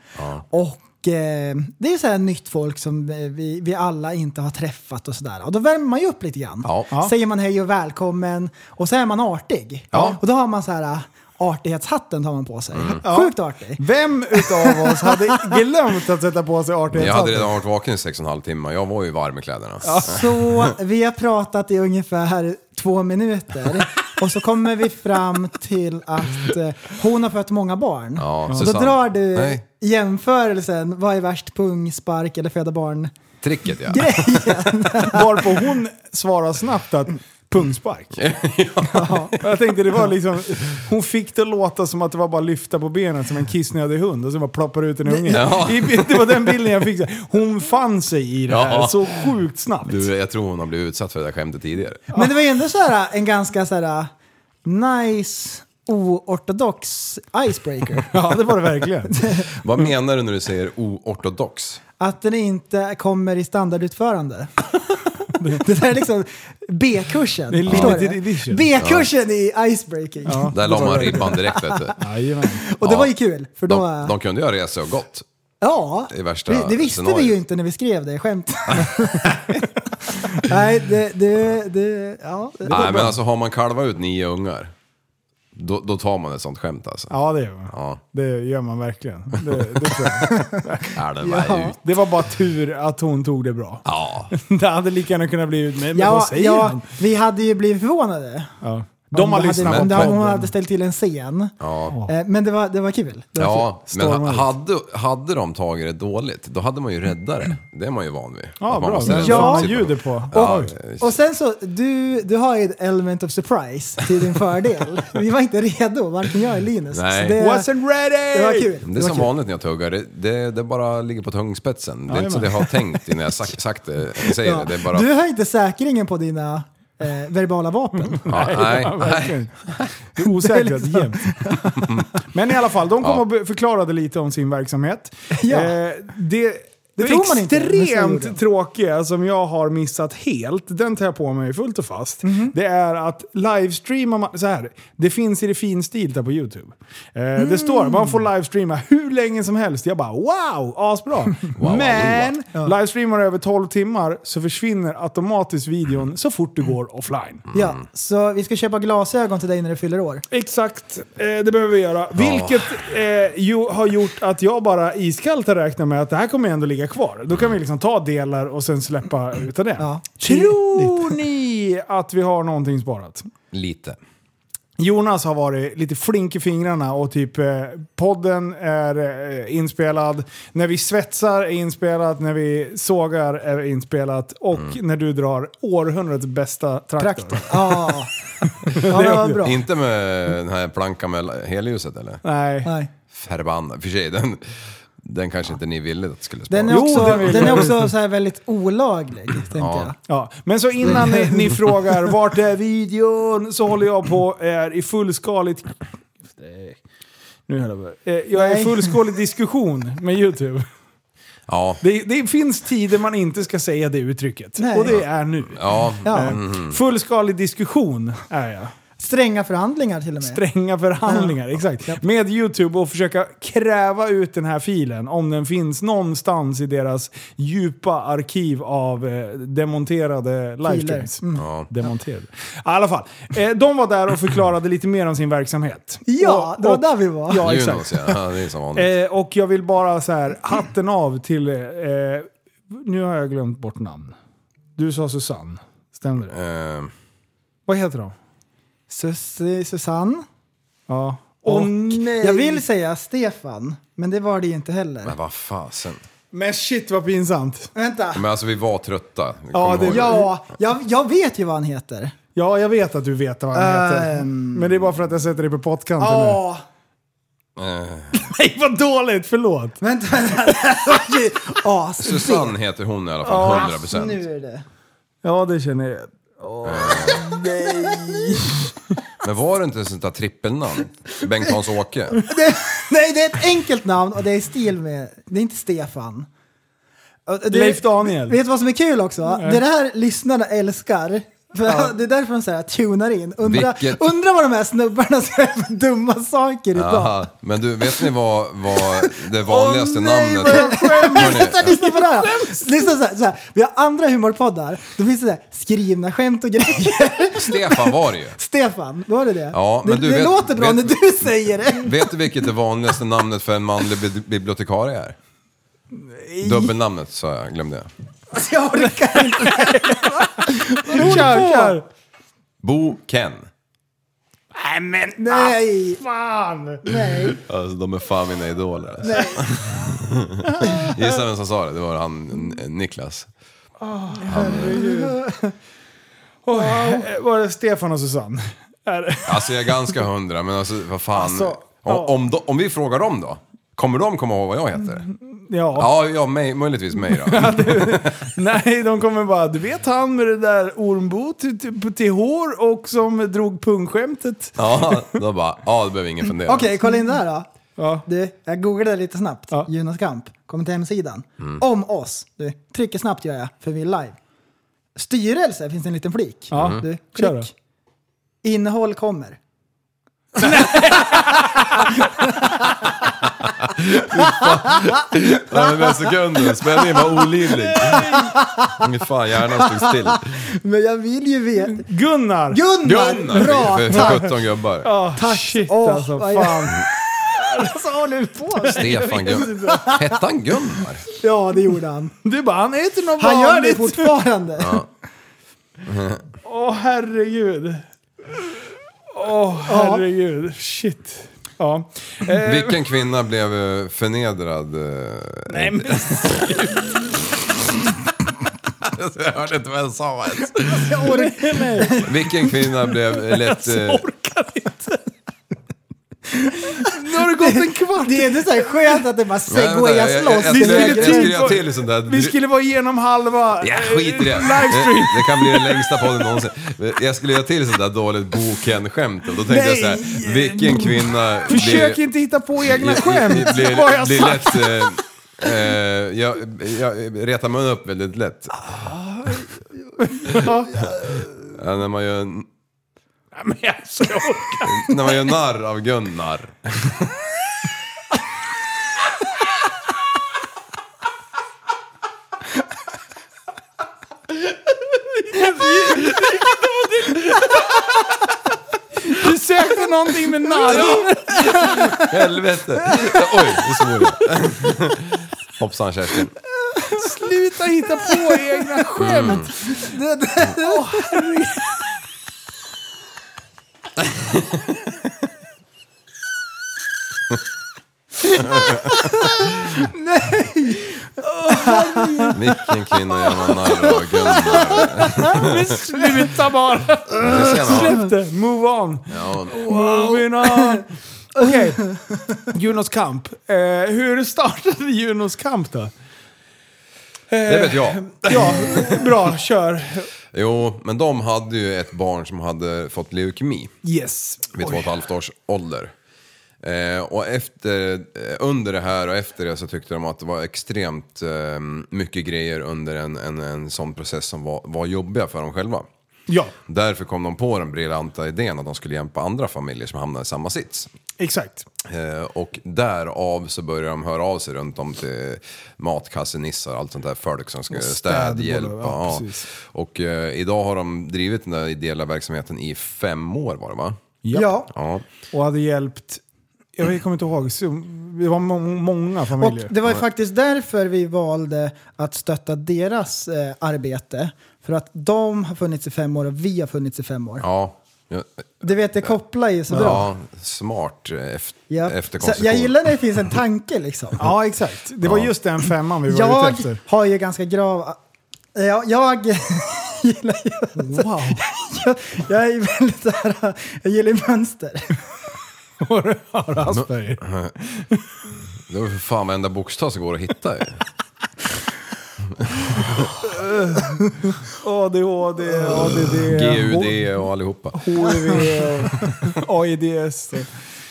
[SPEAKER 6] Och eh, det är så här nytt folk som eh, vi, vi alla inte har träffat och sådär. Och då värmer man ju upp lite grann.
[SPEAKER 7] Ja. Ja.
[SPEAKER 6] Säger man hej och välkommen och så är man artig.
[SPEAKER 7] Ja. Mm.
[SPEAKER 6] Och då har man så här ah, artighetshatten tar man på sig. Sjukt artig.
[SPEAKER 5] Vem utav oss hade glömt att sätta på sig
[SPEAKER 7] Jag hade redan
[SPEAKER 5] artighetshatten?
[SPEAKER 7] varit vaken i sex och en halv timme. Jag var ju varm i kläderna.
[SPEAKER 6] Så vi har pratat i ungefär eh, två minuter och så kommer vi fram till att eh, hon har fött många barn.
[SPEAKER 7] Ja,
[SPEAKER 6] och då
[SPEAKER 7] Susanne.
[SPEAKER 6] drar du
[SPEAKER 7] Nej.
[SPEAKER 6] jämförelsen, vad är värst, pung, spark eller
[SPEAKER 5] (laughs)
[SPEAKER 6] föda barn?
[SPEAKER 7] Tricket ja.
[SPEAKER 6] Grejen!
[SPEAKER 5] Varpå hon svarade snabbt att
[SPEAKER 7] (laughs)
[SPEAKER 5] pungspark. Ja. Jag tänkte det var liksom, hon fick det låta som att det var bara lyfta på benen som en kissnödig hund och så bara ploppar ut en unge.
[SPEAKER 7] Ja.
[SPEAKER 5] I- Det var den bilden jag fick. så här. Hon fann sig i det här
[SPEAKER 7] Ja.
[SPEAKER 5] så sjukt snabbt.
[SPEAKER 7] Du, jag tror hon har blivit utsatt för det där skämtet tidigare.
[SPEAKER 6] Men det var ju ändå så här, en ganska så här nice, oortodox icebreaker.
[SPEAKER 5] (laughs) Ja, det var det verkligen.
[SPEAKER 7] Vad menar du när du säger oortodox?
[SPEAKER 6] Att den inte kommer i standardutförande. (laughs) Det där är liksom B-kursen.
[SPEAKER 5] Det är
[SPEAKER 6] förstår
[SPEAKER 5] limited
[SPEAKER 6] du?
[SPEAKER 5] edition.
[SPEAKER 6] B-kursen i icebreaking.
[SPEAKER 7] Där la man ribban direkt vet du.
[SPEAKER 5] Jajamän.
[SPEAKER 6] Och det
[SPEAKER 7] Ja.
[SPEAKER 6] var ju kul, för då...
[SPEAKER 7] De, de kunde ju ha rest sig och gått.
[SPEAKER 6] ja,
[SPEAKER 7] i värsta
[SPEAKER 6] det, det visste vi ju
[SPEAKER 7] scenariot.
[SPEAKER 6] inte när vi skrev det skämt. (laughs) Nej, det... det, det ja, det
[SPEAKER 7] Nej men alltså har man kalvat ut nio ungar Då, då tar man ett sånt skämt alltså.
[SPEAKER 5] Ja, det gör man.
[SPEAKER 7] Ja.
[SPEAKER 5] Det gör man verkligen. Det, det, tror jag.
[SPEAKER 7] Är det bara ut?
[SPEAKER 5] det var bara tur att hon tog det bra.
[SPEAKER 7] Ja.
[SPEAKER 5] (laughs) Det hade lika gärna kunnat bli ut med, men vad
[SPEAKER 6] Ja,
[SPEAKER 5] säger
[SPEAKER 6] ja,
[SPEAKER 5] han?
[SPEAKER 6] vi hade ju blivit förvånade.
[SPEAKER 5] Ja.
[SPEAKER 6] Om
[SPEAKER 5] De har
[SPEAKER 6] hade-
[SPEAKER 5] lyssnat
[SPEAKER 6] om
[SPEAKER 5] på
[SPEAKER 6] det- om Hon hade
[SPEAKER 5] podden.
[SPEAKER 6] ställt till en scen.
[SPEAKER 7] Ja.
[SPEAKER 6] Eh, Men det var, det var kul. Det var
[SPEAKER 7] Ja, men
[SPEAKER 5] Stormar
[SPEAKER 7] ha-
[SPEAKER 5] ut.
[SPEAKER 7] hade, hade de tagit det dåligt, då hade man ju räddat det. Det är man ju van vid.
[SPEAKER 5] Ja,
[SPEAKER 7] Att man
[SPEAKER 5] bra.
[SPEAKER 7] måste
[SPEAKER 5] Det
[SPEAKER 7] rädda
[SPEAKER 6] Ja.
[SPEAKER 5] ja.
[SPEAKER 7] sitt-
[SPEAKER 5] ljudet på.
[SPEAKER 7] Ja, liksom,
[SPEAKER 6] kul. Och sen så, du, du har ju ett element of surprise till din
[SPEAKER 5] (laughs)
[SPEAKER 6] fördel. Vi var inte redo, varken jag eller Linus.
[SPEAKER 7] Nej.
[SPEAKER 6] Så det,
[SPEAKER 5] Wasn't ready!
[SPEAKER 6] det var kul.
[SPEAKER 7] Det är
[SPEAKER 6] var
[SPEAKER 7] som
[SPEAKER 6] kul.
[SPEAKER 7] vanligt när jag tuggar, det, det, det bara ligger på tungspetsen. Det är inte så att jag
[SPEAKER 5] Jajamän.
[SPEAKER 7] har tänkt innan jag sagt, sagt det, säger
[SPEAKER 6] Ja.
[SPEAKER 7] det. Det är bara...
[SPEAKER 6] Du har inte säkringen på dina eh, verbala
[SPEAKER 5] Mm.
[SPEAKER 6] vapen.
[SPEAKER 7] ja, nej,
[SPEAKER 5] Ja,
[SPEAKER 7] nej.
[SPEAKER 5] verkligen. Det är
[SPEAKER 6] (laughs)
[SPEAKER 5] osäkert jämt.
[SPEAKER 6] liksom-
[SPEAKER 5] Men i alla fall, de kom och be- förklarade lite om sin verksamhet.
[SPEAKER 6] Ja.
[SPEAKER 5] Eh, det det
[SPEAKER 6] tror man inte, men så gjorde de.
[SPEAKER 5] extremt tråkiga som jag har missat helt, den tar jag på mig fullt och fast.
[SPEAKER 6] Mhm.
[SPEAKER 5] Det är att livestreama, man- så här, det finns i det finstilta på YouTube. Eh, Det står man får
[SPEAKER 6] Mm.
[SPEAKER 5] livestreama hur länge som helst. Jag bara wow,
[SPEAKER 6] (laughs)
[SPEAKER 5] asbra.
[SPEAKER 7] wow,
[SPEAKER 5] Men livestreamar över 12 timmar så försvinner automatiskt videon så fort
[SPEAKER 6] Mm.
[SPEAKER 5] du går offline.
[SPEAKER 6] Ja, så vi ska köpa glasögon till dig när du
[SPEAKER 5] (laughs)
[SPEAKER 6] fyller år.
[SPEAKER 5] Exakt, eh, det behöver vi göra. Vilket eh, ju, har gjort att jag bara iskallt har räknat med att det här kommer ändå ligga kvar. Då kan vi liksom ta delar och sen släppa utav det.
[SPEAKER 6] Ja.
[SPEAKER 5] Tror ni att vi har någonting sparat?
[SPEAKER 7] Lite.
[SPEAKER 5] Jonas har varit lite flink i fingrarna och typ eh, podden är eh, inspelad, när vi svetsar är inspelat, när vi sågar är inspelat och när du drar århundradets bästa traktor.
[SPEAKER 6] Traktor. Ja, ja det var bra.
[SPEAKER 7] Inte med den här plankan med helljuset eller?
[SPEAKER 5] Nej.
[SPEAKER 6] Nej.
[SPEAKER 7] Förbannad. För sig, den, den kanske inte ni ville att skulle spara.
[SPEAKER 6] Den är
[SPEAKER 5] Jo,
[SPEAKER 6] också,
[SPEAKER 5] den vill
[SPEAKER 6] den är
[SPEAKER 5] jag.
[SPEAKER 6] också så här väldigt olaglig, tänkte jag.
[SPEAKER 5] Ja, men så innan ni,
[SPEAKER 6] (laughs)
[SPEAKER 5] ni frågar vart är videon så håller jag på är i fullskaligt... Nu höll jag på. Eh, Jag är i
[SPEAKER 6] Nej.
[SPEAKER 5] fullskalig diskussion med YouTube.
[SPEAKER 7] Ja.
[SPEAKER 5] Det, det finns tider man inte ska säga det uttrycket.
[SPEAKER 6] Nej.
[SPEAKER 5] Och det är nu.
[SPEAKER 7] Ja.
[SPEAKER 6] Ja. Mm.
[SPEAKER 5] Eh, Fullskalig diskussion är jag.
[SPEAKER 6] Stränga förhandlingar till och med.
[SPEAKER 5] Stränga förhandlingar, exakt. Med YouTube och försöka kräva ut den här filen om den finns någonstans i deras djupa arkiv av eh, demonterade livestreams.
[SPEAKER 6] Mm.
[SPEAKER 7] Ja.
[SPEAKER 5] Demonterade. I alla fall, eh, de var där och förklarade lite mer om sin verksamhet.
[SPEAKER 6] Ja,
[SPEAKER 5] Och-
[SPEAKER 6] det var
[SPEAKER 5] och-
[SPEAKER 6] där vi var.
[SPEAKER 5] Ja, exakt.
[SPEAKER 7] Junos, ja. ja. Det är som vanligt.
[SPEAKER 5] Eh, och jag vill bara så här, hatten av till... Eh, nu har jag glömt bort namn. Du sa Susanne, stämmer det?
[SPEAKER 7] Eh,
[SPEAKER 5] Vad heter de?
[SPEAKER 6] Sussi, Susanne.
[SPEAKER 5] Ja. Och, nej!
[SPEAKER 6] Jag vill säga Stefan, men det var det ju inte heller.
[SPEAKER 7] men vad fasen.
[SPEAKER 5] Men shit vad pinsamt.
[SPEAKER 6] Vänta.
[SPEAKER 7] Men alltså vi var trötta. Kom
[SPEAKER 5] Ja, det-
[SPEAKER 7] ihåg
[SPEAKER 6] Ja, jag, jag vet ju vad han heter.
[SPEAKER 5] Ja, jag vet att du vet vad han heter.
[SPEAKER 6] Ehm.
[SPEAKER 5] Men det är bara för att jag sätter dig på pottkanten nu.
[SPEAKER 6] Ja,
[SPEAKER 7] Eh,
[SPEAKER 5] (laughs) Nej, vad dåligt! Förlåt!
[SPEAKER 6] vänta, vänta. Okej, as-
[SPEAKER 7] Susanne heter hon i alla fall, 100 procent.
[SPEAKER 6] Nu är det.
[SPEAKER 5] Ja, det känner jag.
[SPEAKER 7] Men var det inte ett sånt där trippelnamn? Bengt
[SPEAKER 6] (laughs)
[SPEAKER 7] Hans-Åke?
[SPEAKER 6] Nej, det är ett enkelt namn och det är i stil med... Det är inte Stefan. Och det-
[SPEAKER 5] Leif Daniel.
[SPEAKER 6] Vet du vad som är kul också? Det är det här lyssnarna älskar. För (laughs) Det är därför de så här tunar in. Undra,
[SPEAKER 7] Vilket-
[SPEAKER 6] undra vad de här snubbarna säger för dumma saker idag.
[SPEAKER 7] Aha. Men du, vet ni vad, vad det vanligaste
[SPEAKER 6] Åh, nej,
[SPEAKER 7] namnet...
[SPEAKER 6] vad jag
[SPEAKER 7] Hörrni,
[SPEAKER 6] Vänta, lyssna på det här. Lyssna så här, så här. Vi har andra humorpoddar. Då finns det så här, skrivna skämt och grejer.
[SPEAKER 7] Stefan var det ju.
[SPEAKER 6] Stefan, var det det?
[SPEAKER 7] Ja, men
[SPEAKER 6] det
[SPEAKER 7] du
[SPEAKER 6] det
[SPEAKER 7] vet-
[SPEAKER 6] låter bra
[SPEAKER 7] vet-
[SPEAKER 6] när du
[SPEAKER 7] (laughs)
[SPEAKER 6] säger det.
[SPEAKER 7] Vet du vilket det vanligaste namnet för en manlig bi- bibliotekarie är? Dubbelnamnet sa jag, glömde Alltså, jag.
[SPEAKER 6] Jag orkar (laughs) inte.
[SPEAKER 5] Kör, kör!
[SPEAKER 7] Bo Ken.
[SPEAKER 6] Nej.
[SPEAKER 5] Fan!
[SPEAKER 6] Nej.
[SPEAKER 7] Alltså de är fan mina idoler. Alltså. (laughs) Gissa vem som sa det? Det var han N- Niklas.
[SPEAKER 5] Oj, eh, Var det Stefan och Susanne? (laughs) Är det?
[SPEAKER 7] Alltså jag är ganska hundra, men alltså vad fan.
[SPEAKER 5] Alltså,
[SPEAKER 7] om,
[SPEAKER 5] ja.
[SPEAKER 7] om, de, om vi frågar dem då? Kommer de komma ihåg vad jag heter?
[SPEAKER 5] Ja.
[SPEAKER 7] Ja, ja mig, möjligtvis mig
[SPEAKER 5] (laughs)
[SPEAKER 7] då.
[SPEAKER 5] Nej, de kommer bara, du vet han med det där ormbot till, till, till hår och som drog pungskämtet.
[SPEAKER 7] Ja, då bara, ja det behöver ingen fundera.
[SPEAKER 6] Okej, kolla in det här då.
[SPEAKER 5] Ja.
[SPEAKER 6] Du, jag googlade lite snabbt.
[SPEAKER 5] Ja.
[SPEAKER 6] Jonas Kamp. Kommer till hemsidan.
[SPEAKER 7] Mm.
[SPEAKER 6] Om oss. Du, trycker snabbt gör jag, för vi är live. Styrelse finns en liten flik.
[SPEAKER 5] Ja.
[SPEAKER 6] Du,
[SPEAKER 5] Kör då.
[SPEAKER 6] Mm. klick. Innehåll kommer.
[SPEAKER 7] Ja, men med sekunden, spänningen var olidlig. Fy Fan, hjärnan stod still.
[SPEAKER 6] Men jag vill ju veta.
[SPEAKER 5] Gunnar!
[SPEAKER 6] Gunnar!
[SPEAKER 7] Gunnar!
[SPEAKER 6] Bra!
[SPEAKER 7] För, för 17 gubbar.
[SPEAKER 5] Åh,
[SPEAKER 6] Tack.
[SPEAKER 5] Shit
[SPEAKER 6] Åh,
[SPEAKER 5] alltså,
[SPEAKER 6] vad jag-
[SPEAKER 5] fan.
[SPEAKER 6] (laughs) Alltså, vad håller du på med?
[SPEAKER 7] Stefan Gunnar. Hette han Gunnar?
[SPEAKER 6] Ja, det gjorde han.
[SPEAKER 5] Du bara, han äter något
[SPEAKER 6] Han gör det
[SPEAKER 5] vanligt.
[SPEAKER 6] fortfarande.
[SPEAKER 5] Åh herregud. Åh herregud. Shit. Ja. Eh,
[SPEAKER 7] Vilken kvinna blev eh, förnedrad? eh,
[SPEAKER 5] Nej, men,
[SPEAKER 7] (laughs) Jag hörde inte vad jag sa ens.
[SPEAKER 6] Jag orkar inte.
[SPEAKER 7] Vilken kvinna blev eh, lätt... eh,
[SPEAKER 5] nu har det gått en kvart.
[SPEAKER 6] Det är inte så här skönt att det bara
[SPEAKER 7] Nej, vänta, jag-
[SPEAKER 6] segwayas
[SPEAKER 7] jag-
[SPEAKER 6] loss.
[SPEAKER 7] Jag
[SPEAKER 5] Vi
[SPEAKER 7] skulle-
[SPEAKER 5] skulle
[SPEAKER 7] jag
[SPEAKER 5] typ-
[SPEAKER 7] skulle göra till i sånt där.
[SPEAKER 5] Vi skulle vara igenom halva...
[SPEAKER 7] Ja, skit i det.
[SPEAKER 5] Livestream.
[SPEAKER 7] Det kan bli den längsta podden någonsin. Jag skulle göra till sånt där dåligt boken-skämt och då tänkte jag så här, vilken kvinna
[SPEAKER 5] Försök
[SPEAKER 7] blir,
[SPEAKER 5] inte hitta på egna
[SPEAKER 7] blir-
[SPEAKER 5] skämt.
[SPEAKER 7] Blir,
[SPEAKER 5] Vad har jag
[SPEAKER 7] blir
[SPEAKER 5] sagt?
[SPEAKER 7] lätt, eh, eh, jag, jag retar man upp väldigt lätt.
[SPEAKER 5] Ja.
[SPEAKER 7] Ja, när, man gör, en-
[SPEAKER 5] Nej, men alltså, jag orkar.
[SPEAKER 7] när man gör narr av Gunnar.
[SPEAKER 5] Du sökte någonting med narr.
[SPEAKER 7] Helvete! Oj, nu svor jag. Hoppsan Kerstin.
[SPEAKER 5] Sluta hitta på egna skämt.
[SPEAKER 6] Det- det-
[SPEAKER 7] Vilken kvinna gör man narr av Gunnar?
[SPEAKER 5] Men sluta bara.
[SPEAKER 7] Det ska han ha.
[SPEAKER 5] Släpp det. Move on.
[SPEAKER 7] Ja.
[SPEAKER 5] Moving on. Okej. Junos kamp. Eh, hur startade (laughs) Junos kamp då?
[SPEAKER 7] Det vet jag.
[SPEAKER 5] Ja, bra. Kör.
[SPEAKER 7] Jo, men de hade ju ett barn som hade fått leukemi
[SPEAKER 5] Yes.
[SPEAKER 7] vid två och ett halvt års ålder. Eh, och efter, eh, under det här och efter det så tyckte de att det var extremt eh, mycket grejer under en, en, en sån process som var, var jobbiga för dem själva.
[SPEAKER 5] Ja,
[SPEAKER 7] Därför kom de på den briljanta idén att de skulle hjälpa andra familjer som hamnade i samma sits.
[SPEAKER 5] exakt.
[SPEAKER 7] Eh, och därav så börjar de höra av sig runt om till matkassenissar och allt sånt där folk som ska städhjälp.
[SPEAKER 5] ja,
[SPEAKER 7] Ja,
[SPEAKER 5] precis.
[SPEAKER 7] och eh, idag har de drivit den där ideella verksamheten i fem år var det va?
[SPEAKER 6] Ja,
[SPEAKER 7] Ja.
[SPEAKER 5] Och hade hjälpt, jag kommer inte ihåg, så det var må många
[SPEAKER 6] och
[SPEAKER 5] familjer.
[SPEAKER 6] det var ju faktiskt därför vi valde att stötta deras eh, arbete. För att de har funnits i fem år och vi har funnits i fem år.
[SPEAKER 7] Ja. Ja,
[SPEAKER 6] Du vet, det kopplar ju så bra.
[SPEAKER 7] ja, smart eh, eft-
[SPEAKER 6] Ja. Så
[SPEAKER 7] efterkonstruktion.
[SPEAKER 6] jag gillar när det finns en tanke liksom.
[SPEAKER 5] Ja, exakt. Det var just den femman vi var
[SPEAKER 6] Jag
[SPEAKER 5] ute efter.
[SPEAKER 6] har ju ganska grav... Jag, jag (laughs) gillar ju...
[SPEAKER 5] Wow.
[SPEAKER 6] (laughs) Jag, jag är ju väldigt så här, Jag gillar ju
[SPEAKER 7] (laughs)
[SPEAKER 6] mönster.
[SPEAKER 5] Har du Asperger?
[SPEAKER 7] Det var för fan varenda bokstav som går att hitta ju.
[SPEAKER 5] ADHD, ADD,
[SPEAKER 7] GUD och allihopa.
[SPEAKER 5] (laughs) HIV, AIDS.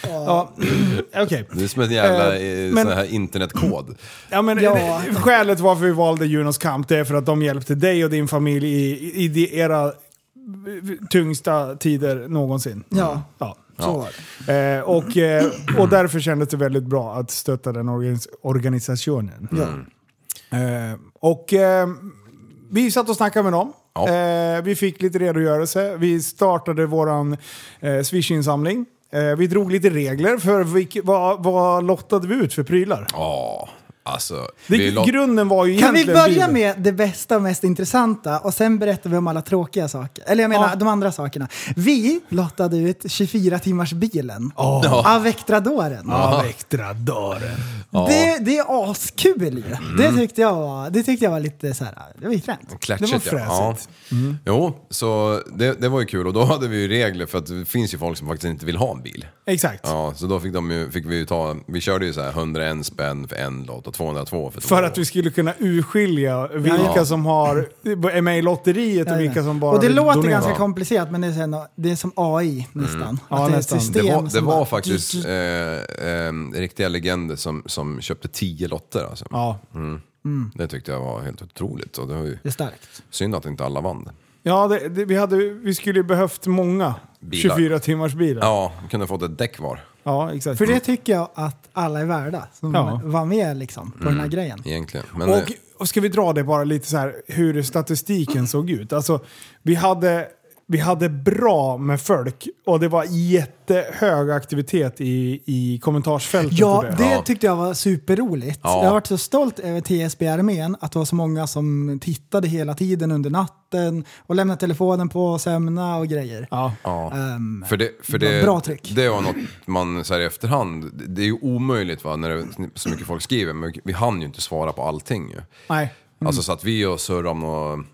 [SPEAKER 5] Ja, (clears throat) okej.
[SPEAKER 7] Det är som en jävla
[SPEAKER 5] Eh,
[SPEAKER 7] eh,
[SPEAKER 5] men-
[SPEAKER 7] sån här internetkod.
[SPEAKER 5] Ja, men
[SPEAKER 6] Ja.
[SPEAKER 5] eh, Skälet varför vi valde Junos kamp det är för att de hjälpte dig och din familj i, i de- era tyngsta tider någonsin.
[SPEAKER 6] Ja,
[SPEAKER 5] Ja.
[SPEAKER 6] så var det.
[SPEAKER 5] Eh, och, eh, och därför kändes det väldigt bra att stötta den organis- organisationen.
[SPEAKER 7] Mm.
[SPEAKER 5] Eh, och eh, vi satt och snackade med dem.
[SPEAKER 7] Ja.
[SPEAKER 5] Eh, vi fick lite redogörelse. Vi startade vår eh, Swish-insamling. Eh, vi drog lite regler för vilk, vad, vad lottade vi ut för prylar.
[SPEAKER 7] Ja, alltså.
[SPEAKER 5] Det,
[SPEAKER 7] vi la-
[SPEAKER 5] grunden var ju
[SPEAKER 6] Kan vi
[SPEAKER 5] egentligen
[SPEAKER 6] börja
[SPEAKER 5] bilen.
[SPEAKER 6] med det bästa och mest intressanta och sen berättar vi om alla tråkiga saker? Eller jag menar
[SPEAKER 5] Ja.
[SPEAKER 6] de andra sakerna. Vi lottade ut 24 timmars bilen av Vectradoren.
[SPEAKER 5] Avektradoren.
[SPEAKER 6] Det, det är askul ju.
[SPEAKER 5] Mm.
[SPEAKER 6] Det, tyckte jag var, det tyckte jag var lite så här, det var ju fränt.
[SPEAKER 7] Klatschigt,
[SPEAKER 5] Det var
[SPEAKER 7] ja.
[SPEAKER 5] fräsigt.
[SPEAKER 7] ja. Jo, så det, det var ju kul och då hade vi ju regler för att det finns ju folk som faktiskt inte vill ha en bil.
[SPEAKER 5] Exakt.
[SPEAKER 7] Ja, så då fick, de ju, fick vi ju ta, vi körde ju så här 101 spänn för en lott och 202 för två.
[SPEAKER 5] För att vi skulle kunna urskilja vilka
[SPEAKER 7] Ja.
[SPEAKER 5] som har, är med i lotteriet och vilka som bara
[SPEAKER 6] och det
[SPEAKER 5] vill
[SPEAKER 6] låter
[SPEAKER 5] donera.
[SPEAKER 6] ganska komplicerat men det är, sen, det är som AI nästan.
[SPEAKER 5] Mm.
[SPEAKER 6] Att
[SPEAKER 5] Ja,
[SPEAKER 6] det är ett
[SPEAKER 5] nästan. Det
[SPEAKER 7] det
[SPEAKER 6] system
[SPEAKER 7] var, det
[SPEAKER 6] som
[SPEAKER 7] var
[SPEAKER 6] bara-
[SPEAKER 7] faktiskt eh, eh, riktiga legender som, som köpte 10 lotter alltså.
[SPEAKER 5] Ja.
[SPEAKER 7] Det tyckte jag var helt otroligt och det var ju
[SPEAKER 6] Det är starkt.
[SPEAKER 7] synd att inte alla vann.
[SPEAKER 5] Ja, det, det, vi, hade, vi skulle ju behövt många
[SPEAKER 7] Bilar.
[SPEAKER 5] 24 timmars bilar. Ja.
[SPEAKER 7] Ja, kunde fått ett däck var
[SPEAKER 5] exakt.
[SPEAKER 6] För det tycker jag att alla är värda som
[SPEAKER 5] Ja. Mm.
[SPEAKER 6] var med liksom, på den här grejen.
[SPEAKER 7] egentligen. Men eh,
[SPEAKER 5] och, och ska vi dra det bara lite så här hur statistiken såg ut. Alltså, vi hade, vi hade bra med folk och det var jättehög aktivitet i, i kommentarsfältet.
[SPEAKER 6] Ja,
[SPEAKER 5] och
[SPEAKER 6] det tyckte jag var superroligt.
[SPEAKER 7] Ja.
[SPEAKER 6] Jag har varit så stolt över TSB-armén, att det var så många som tittade hela tiden under natten och lämnade telefonen på att sömna och grejer.
[SPEAKER 5] Ja.
[SPEAKER 6] Ehm,
[SPEAKER 7] För det, för
[SPEAKER 6] Bra-
[SPEAKER 7] det,
[SPEAKER 6] bra trick.
[SPEAKER 7] det var något man så här i efterhand, det- det är ju omöjligt va, när det är så mycket folk skriver, men vi hann ju inte svara på allting ju.
[SPEAKER 5] Nej.
[SPEAKER 7] Alltså satt vi och surrade om något mm,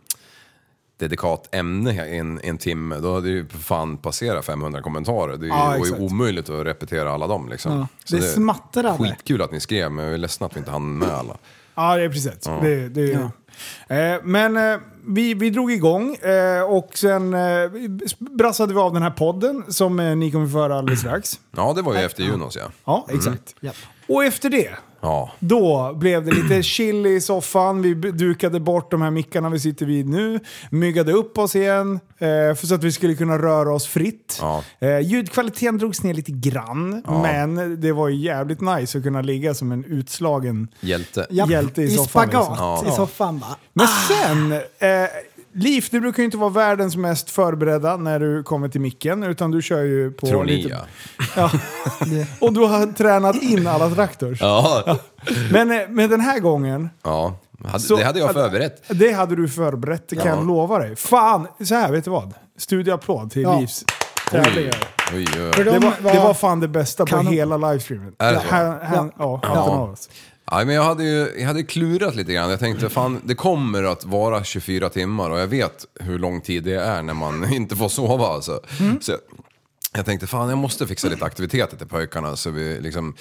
[SPEAKER 7] dedikat ämne här i en, en timme, då hade det ju för fan passerat 500 kommentarer. Det är ju
[SPEAKER 5] Ja,
[SPEAKER 7] det var ju
[SPEAKER 5] exakt.
[SPEAKER 7] omöjligt att repetera alla dem liksom.
[SPEAKER 6] Ja.
[SPEAKER 7] Så
[SPEAKER 6] Det smattrade.
[SPEAKER 7] Skitkul att ni skrev, men jag är ledsen att vi inte hann med alla.
[SPEAKER 5] Ja, det är precis. Det, det, Eh, men eh, vi, vi drog igång eh, och sen eh, brassade vi av den här podden som eh, ni kommer få höra alldeles strax.
[SPEAKER 7] Ja, det var ju efter Junos ja.
[SPEAKER 5] Ja, exakt.
[SPEAKER 6] Japp.
[SPEAKER 5] Och efter det,
[SPEAKER 7] Ja,
[SPEAKER 5] då blev det lite chill i soffan. Vi b- dukade bort de här mickarna vi sitter vid nu. Myggade upp oss igen eh, för så att vi skulle kunna röra oss fritt.
[SPEAKER 7] Ja.
[SPEAKER 5] Eh, ljudkvaliteten drogs ner lite grann, men det var ju jävligt nice att kunna ligga som en utslagen
[SPEAKER 7] hjälte.
[SPEAKER 6] japp.
[SPEAKER 5] Hjälte i
[SPEAKER 6] i
[SPEAKER 5] soffan,
[SPEAKER 6] spagat
[SPEAKER 5] liksom.
[SPEAKER 7] Ja.
[SPEAKER 6] i soffan bara.
[SPEAKER 5] Men
[SPEAKER 7] Ah.
[SPEAKER 5] sen, eh, Liv, du brukar ju inte vara världens mest förberedda när du kommer till micken, utan du kör ju på...
[SPEAKER 7] Tror ni
[SPEAKER 5] lite-
[SPEAKER 7] ja.
[SPEAKER 5] (laughs) ja. Och du har tränat in alla traktors.
[SPEAKER 7] Ja,
[SPEAKER 5] Men, eh, men den här gången,
[SPEAKER 7] ja. Hade,
[SPEAKER 5] Så-
[SPEAKER 7] det hade jag förberett.
[SPEAKER 5] det hade du förberett, det kan jag lova dig. Fan, så här, vet du vad? Studioapplåd till
[SPEAKER 6] Ja.
[SPEAKER 5] Livs
[SPEAKER 7] Oj,
[SPEAKER 5] tävlingar.
[SPEAKER 7] oj, oj.
[SPEAKER 6] För de
[SPEAKER 5] Det var,
[SPEAKER 6] var,
[SPEAKER 5] det var fan det bästa på
[SPEAKER 6] Kanon.
[SPEAKER 5] hela livestreamen.
[SPEAKER 7] Är det så?
[SPEAKER 5] Han, han, ja, hatten av oss.
[SPEAKER 7] Ja, men jag, hade ju, jag hade klurat lite grann. Jag tänkte fan, det kommer att vara 24 timmar och jag vet hur lång tid det är när man (laughs) inte får sova. Alltså.
[SPEAKER 6] Mm.
[SPEAKER 7] Så jag, jag tänkte fan, jag måste fixa lite aktiviteter till pojkarna. Så vi, liksom,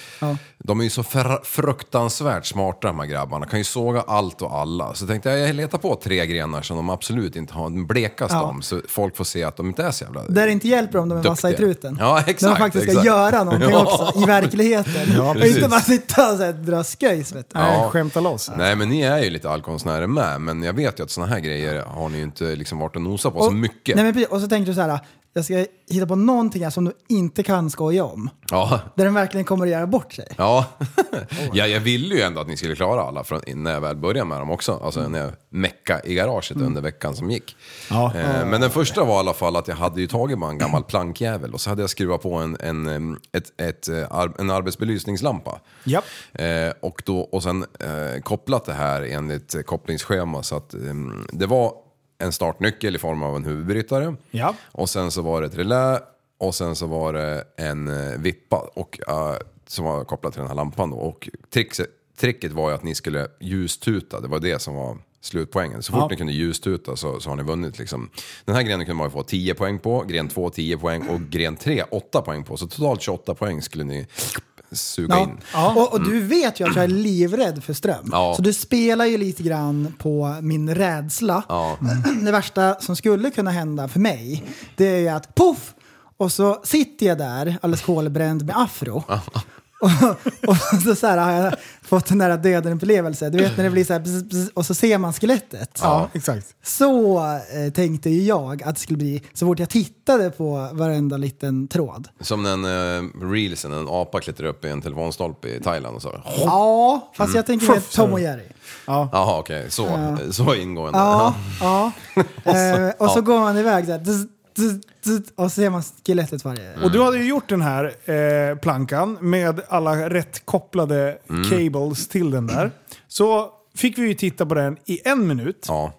[SPEAKER 7] De är ju så fr- fruktansvärt smarta de här grabbarna. Kan ju såga allt och alla. Så jag tänkte jag, jag letar på tre grenar som de absolut inte har den blekaste
[SPEAKER 6] Ja.
[SPEAKER 7] om. Så folk får se att de inte är så jävla...
[SPEAKER 6] där det inte hjälper om de är vassa i
[SPEAKER 7] Duktiga.
[SPEAKER 6] truten.
[SPEAKER 7] Ja, exakt,
[SPEAKER 6] När de faktiskt ska
[SPEAKER 7] exakt.
[SPEAKER 6] göra någonting
[SPEAKER 7] Ja.
[SPEAKER 6] också, i verkligheten. och
[SPEAKER 7] precis.
[SPEAKER 6] inte bara sitta och så här, dra skojs. Vet du.
[SPEAKER 5] Nej, skämta loss.
[SPEAKER 7] Nej men ni är ju lite allkonstnärer med, men jag vet ju att såna här grejer har ni ju inte liksom varit och nosat på så mycket.
[SPEAKER 6] Nej, men, precis. och så tänkte du så här, jag ska hitta på någonting här som du inte kan skoja om.
[SPEAKER 7] Ja,
[SPEAKER 6] Där den verkligen kommer att göra bort sig.
[SPEAKER 7] Ja. (laughs) ja, jag ville ju ändå att ni skulle klara alla från, när jag väl började med dem också. Alltså när jag meckade i garaget under veckan som gick.
[SPEAKER 5] Ja.
[SPEAKER 7] Eh, men den första var i alla fall att jag hade ju tagit bara en gammal plankjävel och så hade jag skruvat på en, en, em, ett, ett, eh, ar- en arbetsbelysningslampa.
[SPEAKER 5] Japp.
[SPEAKER 7] Eh, och, då, och sen eh, kopplat det här enligt eh, kopplingsschema så att em, det var en startnyckel i form av en huvudbrytare.
[SPEAKER 5] Ja.
[SPEAKER 7] Och sen så var det ett relä och sen så var det en eh, vippa och, eh, som var kopplad till den här lampan. Då. Och trickset, tricket var ju att ni skulle ljustuta, det var det som var slutpoängen. Så fort ni kunde ljustuta så, så har ni vunnit. Liksom. Den här grenen kunde man ju få 10 poäng på, gren 2 10 poäng och gren 3 8 poäng på. Så totalt 28 poäng skulle ni suga
[SPEAKER 6] Ja.
[SPEAKER 7] in. Mm.
[SPEAKER 6] Och, och du vet ju att jag är livrädd för ström.
[SPEAKER 7] Ja.
[SPEAKER 6] Så du spelar ju lite grann på min rädsla. Mm.
[SPEAKER 7] Ja.
[SPEAKER 6] Det värsta som skulle kunna hända för mig, det är ju att poff! Och så sitter jag där alldeles kolbränd med afro. Och, och så, så här har jag fått en nära döden-upplevelse. Du vet när det blir så här bzz, bzz, och så ser man skelettet.
[SPEAKER 5] Ja, exakt.
[SPEAKER 6] Så eh, tänkte ju jag att det skulle bli så fort jag tittade på varenda liten tråd.
[SPEAKER 7] Som den eh, reelsen, en apa klättrar upp i en telefonstolpe i Thailand och
[SPEAKER 6] (laughs)
[SPEAKER 7] så.
[SPEAKER 6] Ja, fast jag tänker mer Tom och Jerry.
[SPEAKER 7] Jaha okej, så, så ingående.
[SPEAKER 6] Ja, ja. Eh,
[SPEAKER 5] Alltså,
[SPEAKER 6] och så går man iväg där. Dzz, dzz, dzz, Och så ser man skelettet varje...
[SPEAKER 7] Mm.
[SPEAKER 5] Och du hade ju gjort den här eh, plankan med alla rätt kopplade
[SPEAKER 7] Mm.
[SPEAKER 5] cables till den där. Så fick vi ju titta på den i en minut.
[SPEAKER 7] Ja.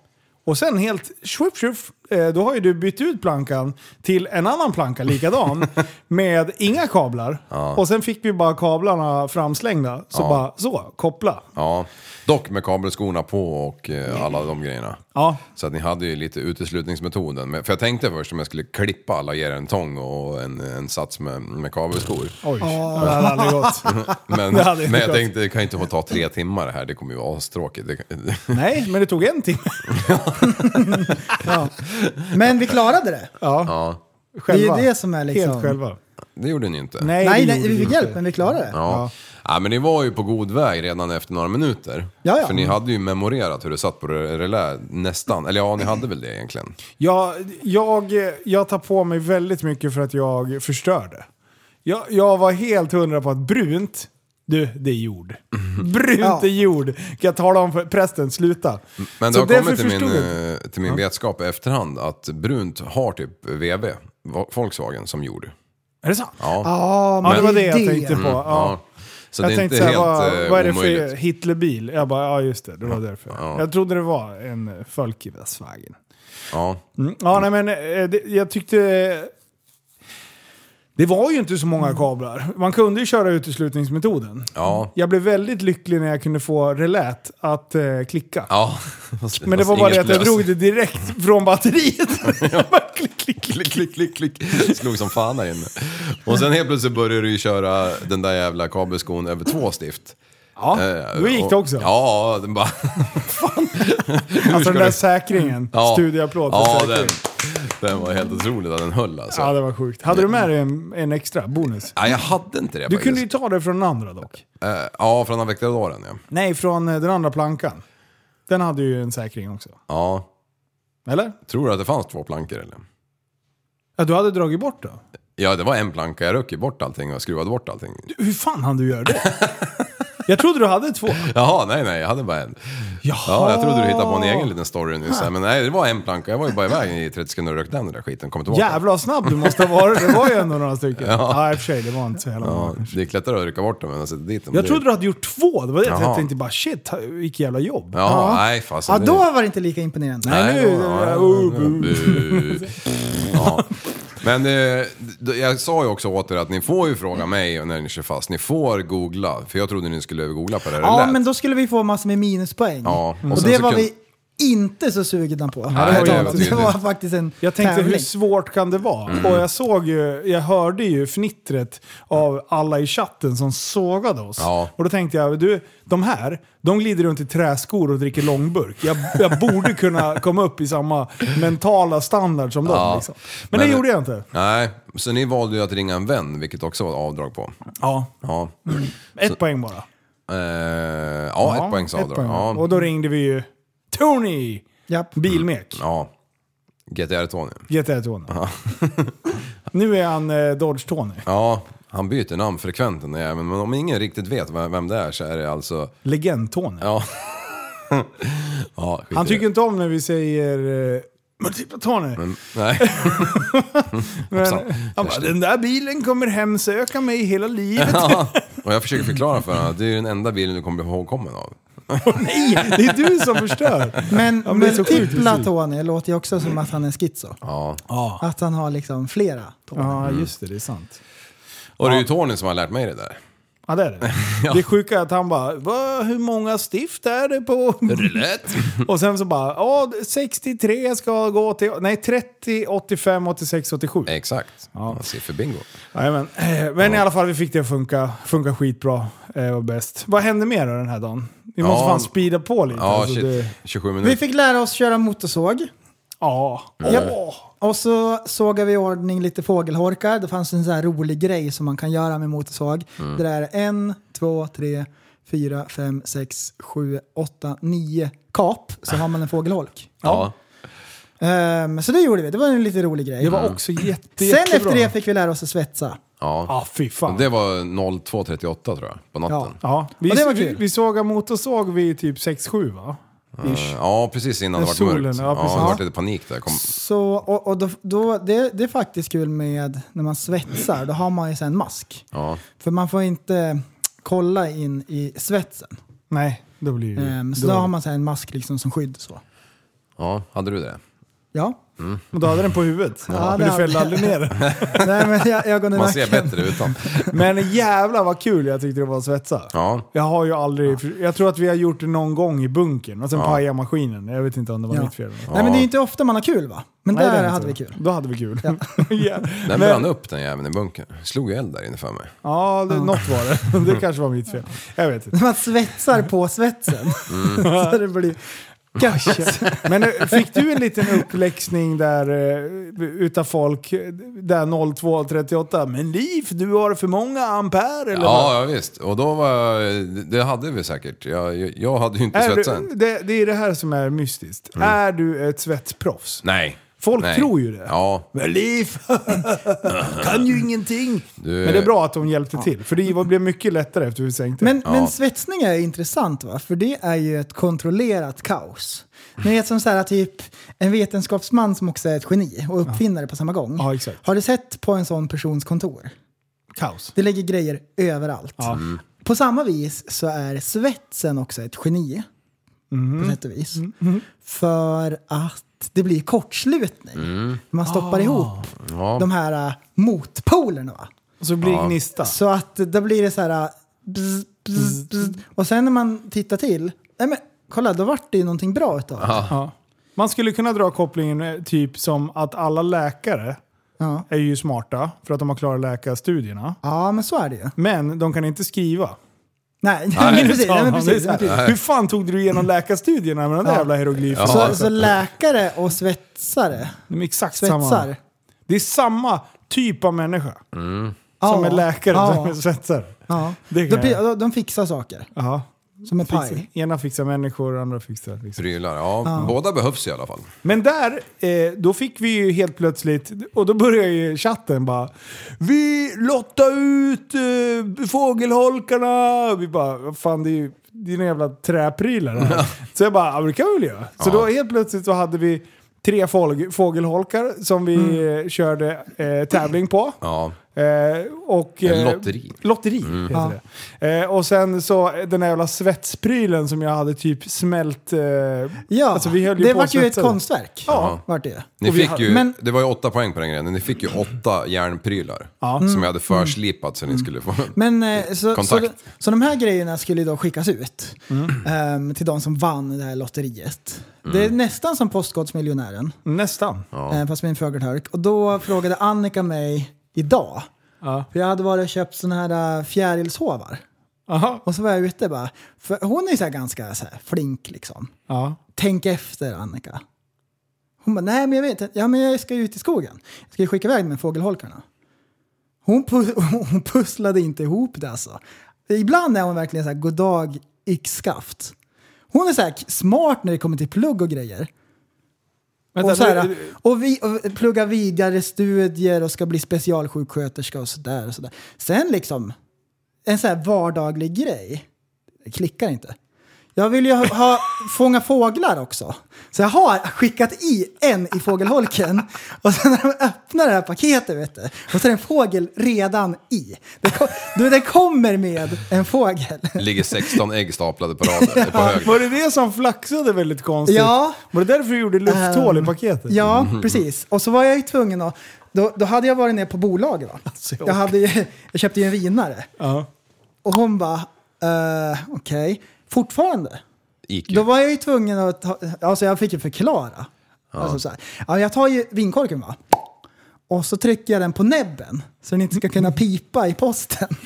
[SPEAKER 5] Och sen helt swiff, swiff, eh, då har ju du bytt ut plankan till en annan planka
[SPEAKER 6] (laughs)
[SPEAKER 5] likadan med inga kablar. Och sen fick vi bara kablarna framslängda. Så bara så, koppla.
[SPEAKER 7] Ja, dock med kabelskorna på och eh, alla de grejerna.
[SPEAKER 5] Ja.
[SPEAKER 7] Så att ni hade ju lite uteslutningsmetoden. Men- För jag tänkte först om jag skulle klippa alla och ge er en tång och en, en sats med, med kabelskor.
[SPEAKER 5] Oj, det hade aldrig
[SPEAKER 6] (laughs)
[SPEAKER 5] gått.
[SPEAKER 7] Men,
[SPEAKER 5] Det hade inte
[SPEAKER 7] men jag
[SPEAKER 5] gått.
[SPEAKER 7] tänkte det kan ju inte ta tre timmar det här, det kommer ju vara astråkigt. Det kan- (laughs)
[SPEAKER 5] Nej, men det tog en timme.
[SPEAKER 6] Men vi klarade det.
[SPEAKER 5] Ja,
[SPEAKER 7] Ja.
[SPEAKER 6] Det är
[SPEAKER 5] själva.
[SPEAKER 6] ju det som är liksom...
[SPEAKER 5] Helt själva.
[SPEAKER 7] Det gjorde ni inte.
[SPEAKER 5] Nej,
[SPEAKER 6] Nej,
[SPEAKER 5] det
[SPEAKER 6] nej,
[SPEAKER 5] gjorde
[SPEAKER 6] vi
[SPEAKER 5] vi
[SPEAKER 6] fick
[SPEAKER 5] inte.
[SPEAKER 6] hjälp, men vi klarade det.
[SPEAKER 7] Ja. ja, men ni var ju på god väg redan efter några minuter.
[SPEAKER 6] Ja, ja.
[SPEAKER 7] För ni hade ju memorerat hur det satt på re- relä nästan. Eller ja, ni hade väl det egentligen.
[SPEAKER 5] Jag, jag, jag tar på mig väldigt mycket för att jag förstörde. Jag, jag var helt hundra på att brunt, du, det är jord. Brunt
[SPEAKER 6] Ja.
[SPEAKER 5] är jord. Kan jag tala om för prästen, sluta.
[SPEAKER 7] Men det
[SPEAKER 5] Så
[SPEAKER 7] har
[SPEAKER 5] därför
[SPEAKER 7] kommit till min,
[SPEAKER 5] förstod jag.
[SPEAKER 7] eh, till min vetskap i efterhand att brunt har typ VW, Va- Volkswagen, som jord.
[SPEAKER 5] Är det sant?
[SPEAKER 7] Ja.
[SPEAKER 6] Ja,
[SPEAKER 5] Ja,
[SPEAKER 6] men
[SPEAKER 5] det var det jag tänkte på.
[SPEAKER 6] Mm.
[SPEAKER 5] Ja. Ah.
[SPEAKER 7] Så
[SPEAKER 5] Jag
[SPEAKER 7] det är
[SPEAKER 5] tänkte
[SPEAKER 7] inte
[SPEAKER 5] såhär,
[SPEAKER 7] helt
[SPEAKER 5] vad,
[SPEAKER 7] vad,
[SPEAKER 5] vad är det för
[SPEAKER 7] omöjligt.
[SPEAKER 5] Hitlerbil? Jag bara, ja just det, det var därför.
[SPEAKER 7] Ja.
[SPEAKER 5] Jag trodde det var en eh, Volkswagen.
[SPEAKER 7] Ja.
[SPEAKER 5] Mm. Ja, nej men eh, det, jag tyckte... Det var ju inte så många kablar. Man kunde ju köra uteslutningsmetoden.
[SPEAKER 7] Ja.
[SPEAKER 5] Jag blev väldigt lycklig när jag kunde få relät att eh, klicka.
[SPEAKER 7] ja.
[SPEAKER 5] (laughs) Men det var bara det att jag drog
[SPEAKER 7] det.
[SPEAKER 5] det direkt från batteriet. (laughs) Bara klick, klick, klick.
[SPEAKER 7] (laughs) Klick, klick, klick, klick. Slog som fan där inne. Och sen helt plötsligt började du ju köra den där jävla kabelskon över två stift.
[SPEAKER 5] Ja,
[SPEAKER 7] Eh,
[SPEAKER 5] då gick det
[SPEAKER 7] och-
[SPEAKER 5] också.
[SPEAKER 7] Ja,
[SPEAKER 5] (laughs)
[SPEAKER 7] den bara...
[SPEAKER 5] alltså
[SPEAKER 7] ska
[SPEAKER 5] den där
[SPEAKER 7] du-
[SPEAKER 5] säkringen.
[SPEAKER 7] Ja.
[SPEAKER 5] Studieapplåd för
[SPEAKER 7] Ja,
[SPEAKER 5] säkring.
[SPEAKER 7] den, den var helt otrolig att den höll alltså.
[SPEAKER 5] Ja, det var sjukt. Hade du med dig en, en extra bonus?
[SPEAKER 7] Nej, jag hade inte det
[SPEAKER 5] Du
[SPEAKER 7] faktiskt.
[SPEAKER 5] kunde ju ta det från den andra dock.
[SPEAKER 7] Eh, Ja, från avvecklaren ja.
[SPEAKER 5] Nej, från eh, den andra plankan. Den hade ju en säkring också.
[SPEAKER 7] Ja.
[SPEAKER 5] Eller?
[SPEAKER 7] Tror du att det fanns två plankor eller?
[SPEAKER 5] Ja, du hade dragit bort då?
[SPEAKER 7] Ja, det var en planka. Jag röck ju bort allting och skruvade bort allting.
[SPEAKER 5] Hur fan hann du göra det? Jag trodde du hade två.
[SPEAKER 7] Jaha, nej, nej, jag hade bara en. Ja, jag trodde du hittade på en egen liten story nyss. här, Men nej, det var en planka. Jag var ju bara iväg i 30 sekunder och rökte den där skiten. Kom tillbaka.
[SPEAKER 5] Jävlar vad snabb du måste ha varit. Det var ju ändå några
[SPEAKER 7] (laughs)
[SPEAKER 5] stycken. Ja, i och för sig. Det var inte så jävla
[SPEAKER 7] Ja,
[SPEAKER 5] många.
[SPEAKER 7] det gick lättare att rycka bort dem än att sätta dit dem.
[SPEAKER 5] Jag
[SPEAKER 7] Det-
[SPEAKER 5] trodde du hade gjort två. Det var det jag
[SPEAKER 7] Jaha.
[SPEAKER 5] tänkte. Bara shit, vilket jävla jobb.
[SPEAKER 7] Jaha, nej fasen.
[SPEAKER 6] ja,
[SPEAKER 7] det-
[SPEAKER 6] då var det inte lika imponerande.
[SPEAKER 7] Nej,
[SPEAKER 5] nu-
[SPEAKER 7] det var-
[SPEAKER 5] ja,
[SPEAKER 7] ja, ja. Men eh, d- jag sa ju också åt er att ni får ju fråga mig när ni kör fast. Ni får googla, för jag trodde ni skulle googla på det.
[SPEAKER 6] Ja, men då skulle vi få massor med minuspoäng.
[SPEAKER 7] Ja, och
[SPEAKER 6] och
[SPEAKER 7] sen
[SPEAKER 6] det
[SPEAKER 7] så
[SPEAKER 6] var
[SPEAKER 7] kunde-
[SPEAKER 6] vi inte så sugna på.
[SPEAKER 7] det var jävligt
[SPEAKER 6] det var
[SPEAKER 7] tydligt.
[SPEAKER 6] faktiskt en
[SPEAKER 5] Jag tänkte hur
[SPEAKER 6] tävling.
[SPEAKER 5] svårt kan det vara?
[SPEAKER 7] Mm.
[SPEAKER 5] Och jag såg ju, jag hörde ju fnittret av alla i chatten som sågade oss.
[SPEAKER 7] Ja.
[SPEAKER 5] Och då tänkte jag, du, de här, de glider runt i träskor och dricker långburk. Jag, jag borde kunna komma upp i samma mentala standard som
[SPEAKER 7] Ja.
[SPEAKER 5] dem. Liksom. Men, det
[SPEAKER 7] Men-
[SPEAKER 5] gjorde jag inte.
[SPEAKER 7] Nej, så ni valde ju att ringa en vän, vilket också var ett avdrag på.
[SPEAKER 5] Ja.
[SPEAKER 7] Ja,
[SPEAKER 5] Ett poäng bara.
[SPEAKER 7] eh, ja ett poängs avdrag.
[SPEAKER 5] Och
[SPEAKER 7] Ja.
[SPEAKER 5] då ringde vi ju Tony!
[SPEAKER 6] Japp.
[SPEAKER 5] Bilmek.
[SPEAKER 7] ja. GTR Tony.
[SPEAKER 5] GTR Tony. (laughs)
[SPEAKER 7] (laughs)
[SPEAKER 5] nu är han eh, Dodge Tony.
[SPEAKER 7] Ja, han byter namn frekvent den där jäveln, men om ingen riktigt vet vem vem det är så är det alltså...
[SPEAKER 5] Legend Tony.
[SPEAKER 7] Ja. ja skit i
[SPEAKER 5] Han
[SPEAKER 7] det.
[SPEAKER 5] tycker inte om när vi säger eh, multipla Tony.
[SPEAKER 7] Nej.
[SPEAKER 5] Men,
[SPEAKER 7] hoppsan.
[SPEAKER 5] han bara, den där bilen kommer hemsöka mig hela livet.
[SPEAKER 7] Ja. Och jag försöker förklara för honom att det är den enda bilen du kommer bli ihågkommen av. (laughs)
[SPEAKER 5] Nej, det är du som förstör.
[SPEAKER 6] Men
[SPEAKER 5] Ja, men det är så sjukt
[SPEAKER 6] multipla
[SPEAKER 5] precis.
[SPEAKER 6] Tony låter ju också som att han är schizo.
[SPEAKER 7] Ja.
[SPEAKER 6] Att han har liksom flera Tony.
[SPEAKER 5] Ja,
[SPEAKER 7] Mm.
[SPEAKER 5] just det. Det är sant.
[SPEAKER 7] Och det är ju Tony som har lärt mig det där.
[SPEAKER 5] Ja, det är
[SPEAKER 7] (laughs)
[SPEAKER 5] det. Det sjuka är att han bara, "Va, hur många stift är det på?
[SPEAKER 7] Lätt.
[SPEAKER 5] Och sen så bara, ja, 63 ska gå till... Nej, 30, 85, 86, 87.
[SPEAKER 7] Exakt. Ja. Sifferbingo.
[SPEAKER 5] Jajamän. Eh, Men i alla fall, vi fick det att funka. Funka skitbra. Eh, var bäst. Vad hände mer då den här dagen? Vi måste
[SPEAKER 7] Ja.
[SPEAKER 5] fan speeda på lite.
[SPEAKER 7] Ja,
[SPEAKER 5] alltså,
[SPEAKER 7] shit.
[SPEAKER 5] det-
[SPEAKER 7] 27
[SPEAKER 6] Vi
[SPEAKER 7] minuter.
[SPEAKER 6] fick lära oss köra motorsåg.
[SPEAKER 5] Ja.
[SPEAKER 6] Japp. Och så sågade vi i ordning lite fågelholkar. Det fanns en sån här rolig grej som man kan göra med motorsåg. Det där är en, två, tre, fyra, fem, sex, sju, åtta, nio kap så har man en fågelholk.
[SPEAKER 7] Ja.
[SPEAKER 6] Ehm, så det gjorde vi. Det var en lite rolig grej.
[SPEAKER 5] Mm. Det var också jätte,
[SPEAKER 6] Mm. Sen
[SPEAKER 5] jättebra.
[SPEAKER 6] efter det fick vi lära oss att svetsa.
[SPEAKER 7] ja.
[SPEAKER 5] Ja, fy fan.
[SPEAKER 7] Det var 02.38 tror jag, på natten. Ja,
[SPEAKER 5] Ja, vi,
[SPEAKER 6] Ja, det var
[SPEAKER 5] vi,
[SPEAKER 6] kul.
[SPEAKER 5] vi såg motorsåg vid typ 6-7 va? Ish.
[SPEAKER 7] precis innan det
[SPEAKER 5] När
[SPEAKER 7] vart mörkt.
[SPEAKER 5] solen-
[SPEAKER 7] Ja,
[SPEAKER 5] ja, precis.
[SPEAKER 7] det vart lite panik där. Kom...
[SPEAKER 6] Så, och, och då, då, det, det är faktiskt kul med när man svetsar. Då har man ju sen en mask.
[SPEAKER 7] Ja.
[SPEAKER 6] För man får inte kolla in i svetsen.
[SPEAKER 5] Nej, då blir det
[SPEAKER 6] Ehm, så
[SPEAKER 5] Mm. då,
[SPEAKER 6] då har man så här en mask liksom som skydd. Så.
[SPEAKER 7] ja, hade du det?
[SPEAKER 6] Ja.
[SPEAKER 5] Men då hade den på huvudet.
[SPEAKER 6] Ja,
[SPEAKER 5] Men du
[SPEAKER 6] det
[SPEAKER 5] fällde
[SPEAKER 6] hade-
[SPEAKER 5] aldrig ner
[SPEAKER 6] (laughs)
[SPEAKER 5] den.
[SPEAKER 6] Nej, men jag, jag går
[SPEAKER 7] Man ser bättre utan.
[SPEAKER 5] Men jävlar vad kul jag tyckte det var att svetsa.
[SPEAKER 7] Ja.
[SPEAKER 5] Jag har ju aldrig... Jag tror att vi har gjort det någon gång i bunkern och sen pajade maskinen. Jag vet inte om det var
[SPEAKER 6] Ja.
[SPEAKER 5] mitt fel. eller något.
[SPEAKER 6] Nej, men det är ju inte ofta man har kul va? Men
[SPEAKER 5] Nej, det är
[SPEAKER 6] där
[SPEAKER 5] det
[SPEAKER 6] hade vi
[SPEAKER 5] inte.
[SPEAKER 6] kul. (laughs)
[SPEAKER 5] Då hade vi kul. (laughs) Ja.
[SPEAKER 7] Den
[SPEAKER 5] Men-
[SPEAKER 7] brann upp den jäveln i bunkern. Slog ju eld där inne för mig.
[SPEAKER 5] Ja, det, (laughs) något var det. Det kanske var mitt fel. Jag vet inte. Mm.
[SPEAKER 6] Man svetsar på svetsen. (laughs) så det blir...
[SPEAKER 5] Gosh. (laughs) Men eh, fick du en liten uppläxning där eh, utav folk, eh, där 0238 Men Liv, du har för många ampere eller vad?
[SPEAKER 7] Ja, ja visst. Och då var jag, det hade vi säkert. Jag, jag- jag hade ju inte
[SPEAKER 5] Är
[SPEAKER 7] svetsen.
[SPEAKER 5] du, det, det är det här som är mystiskt. Är du ett svetsproffs?
[SPEAKER 7] Nej.
[SPEAKER 5] Folk
[SPEAKER 7] Nej.
[SPEAKER 5] tror ju det.
[SPEAKER 7] Ja.
[SPEAKER 5] Men
[SPEAKER 6] (laughs)
[SPEAKER 5] Liv, kan ju ingenting.
[SPEAKER 7] Du-
[SPEAKER 5] Men det är bra att de hjälpte till, för det var- blev mycket lättare efter vi sänkte.
[SPEAKER 6] Men,
[SPEAKER 7] Ja.
[SPEAKER 6] men svetsning är intressant va? För det är ju ett kontrollerat kaos. Ni vet som så här typ en vetenskapsman som också är ett geni och uppfinnare på samma gång.
[SPEAKER 5] Ja, exakt.
[SPEAKER 6] Har du sett på en sån persons kontor?
[SPEAKER 5] kaos.
[SPEAKER 6] Det ligger grejer överallt. På samma vis så är svetsen också ett geni.
[SPEAKER 5] Mm.
[SPEAKER 6] På sätt och vis. För att det blir kortslutning. Man
[SPEAKER 5] Ah.
[SPEAKER 6] stoppar ihop de här äh, motpolerna. Va?
[SPEAKER 5] Och så blir det gnista.
[SPEAKER 6] Så att då blir det så här... äh, Bzz,
[SPEAKER 5] Mm.
[SPEAKER 6] bzz, bzz. Och sen när man tittar till, nej men kolla då vart det ju någonting bra utav det.
[SPEAKER 5] Ja. Man skulle kunna dra kopplingen eh, typ som att alla läkare
[SPEAKER 6] Ja.
[SPEAKER 5] är ju smarta för att de har klarat läkarstudierna.
[SPEAKER 6] ja, men så är det ju.
[SPEAKER 5] Men de kan inte skriva.
[SPEAKER 6] Nej, (laughs) nej, men precis. Nej, men precis,
[SPEAKER 5] Det (laughs) är
[SPEAKER 6] men
[SPEAKER 5] så
[SPEAKER 6] precis.
[SPEAKER 5] här, Hur fan tog du igenom läkarstudierna med den där
[SPEAKER 6] Ja.
[SPEAKER 5] jävla hieroglyfen?
[SPEAKER 6] Så, så läkare och svetsare,
[SPEAKER 5] De är exakt samma.
[SPEAKER 6] svetsar,
[SPEAKER 5] Det är samma typ av människa. Som
[SPEAKER 6] Ja.
[SPEAKER 5] är läkare
[SPEAKER 6] Ja.
[SPEAKER 5] och som är svetsare.
[SPEAKER 6] Ja.
[SPEAKER 5] Det
[SPEAKER 6] De,
[SPEAKER 5] kan jag.
[SPEAKER 6] de, de fixar saker.
[SPEAKER 5] Ja.
[SPEAKER 6] Som en
[SPEAKER 5] Fixar.
[SPEAKER 6] paj.
[SPEAKER 5] Ena fixar människor och andra fixar... Liksom.
[SPEAKER 7] Prylar. Ja, båda behövs i alla fall.
[SPEAKER 5] Men där, eh, då fick vi ju helt plötsligt, och då började ju chatten bara Vi lottar ut eh, fågelholkarna! Vi bara, vad fan det är ju dina jävla träprylar här. Så jag bara, ja men det kan vi väl göra. Så då helt plötsligt så hade vi tre fåg- fågelholkar som vi eh, körde eh, tävling på.
[SPEAKER 7] Ja.
[SPEAKER 5] Eh, och,
[SPEAKER 7] En
[SPEAKER 5] eh,
[SPEAKER 7] lotteri.
[SPEAKER 5] Lotteri
[SPEAKER 7] Mm.
[SPEAKER 5] heter det. Eh, och sen så den här jävla svetsprylen som jag hade typ smält... Eh,
[SPEAKER 6] Ja,
[SPEAKER 5] alltså, vi höll
[SPEAKER 6] det
[SPEAKER 5] på och
[SPEAKER 6] vart ju ett
[SPEAKER 5] svetsade.
[SPEAKER 6] konstverk.
[SPEAKER 5] Ja.
[SPEAKER 6] Vart det.
[SPEAKER 7] Ni
[SPEAKER 5] Och vi
[SPEAKER 7] fick
[SPEAKER 5] har-
[SPEAKER 7] ju,
[SPEAKER 6] men-
[SPEAKER 7] Det var ju åtta poäng på den grejen. Ni fick ju åtta järnprylar.
[SPEAKER 5] Ja. Mm.
[SPEAKER 7] Som jag hade förslipat så ni skulle få.
[SPEAKER 6] Men, eh, så, så,
[SPEAKER 7] Kontakt.
[SPEAKER 6] så de här grejerna skulle ju då skickas ut
[SPEAKER 5] Mm.
[SPEAKER 6] ehm, till de som vann det här lotteriet. Det är nästan som Postkodmiljonären,
[SPEAKER 5] Nästan.
[SPEAKER 6] eh, fast med en fågelholk. Och då frågade Annika mig idag,
[SPEAKER 5] Ja.
[SPEAKER 6] för jag hade varit och köpt såna här eh, fjärilshovar.
[SPEAKER 5] Aha.
[SPEAKER 6] Och så var jag ute bara, för hon är ju så här ganska så här flink liksom.
[SPEAKER 5] Ja.
[SPEAKER 6] Tänk efter Annika. Hon bara, nej men jag vet inte. Ja men jag ska ju ut i skogen. Jag ska ju skicka iväg med fågelholkarna. Hon, pu- (laughs) hon pusslade inte ihop det alltså. Ibland är hon verkligen så här, goddag yxskaft. Hon är så här k- smart när det kommer till plugg och grejer.
[SPEAKER 5] Vänta,
[SPEAKER 6] och, så
[SPEAKER 5] nu-
[SPEAKER 6] här, och, vi, och pluggar vidare studier och ska bli specialsjuksköterska och sådär. Och så där. Sen liksom, en så här vardaglig grej. Det klickar inte. Jag vill ju ha, ha, fånga fåglar också. Så jag har skickat i en i fågelholken. Och sen när de öppnar det här paketet, vet du. Och så är det en fågel redan i. Det, kom, du, det kommer med en fågel.
[SPEAKER 7] Ligger 16 ägg staplade på
[SPEAKER 5] (laughs)
[SPEAKER 7] raden. På hög.
[SPEAKER 5] Var det det som flaxade väldigt konstigt?
[SPEAKER 6] Ja.
[SPEAKER 5] Var det därför du gjorde lufthål
[SPEAKER 6] Ehm,
[SPEAKER 5] i paketet? Mm.
[SPEAKER 6] Ja, precis. Och så var jag ju tvungen att... Då, då hade jag varit nere på bolaget.
[SPEAKER 5] (laughs)
[SPEAKER 6] Va?
[SPEAKER 5] Alltså, jag
[SPEAKER 6] jag, hade, ju- jag köpte ju en vinare.
[SPEAKER 5] Ja.
[SPEAKER 6] Och hon bara, eh, okej, fortfarande?
[SPEAKER 7] IQ.
[SPEAKER 6] Då var jag ju tvungen att ta, alltså jag fick ju förklara. Alltså så här, ja, jag tar ju vinkorken va? Och så trycker jag den på näbben så den inte ska kunna pipa i posten. (laughs)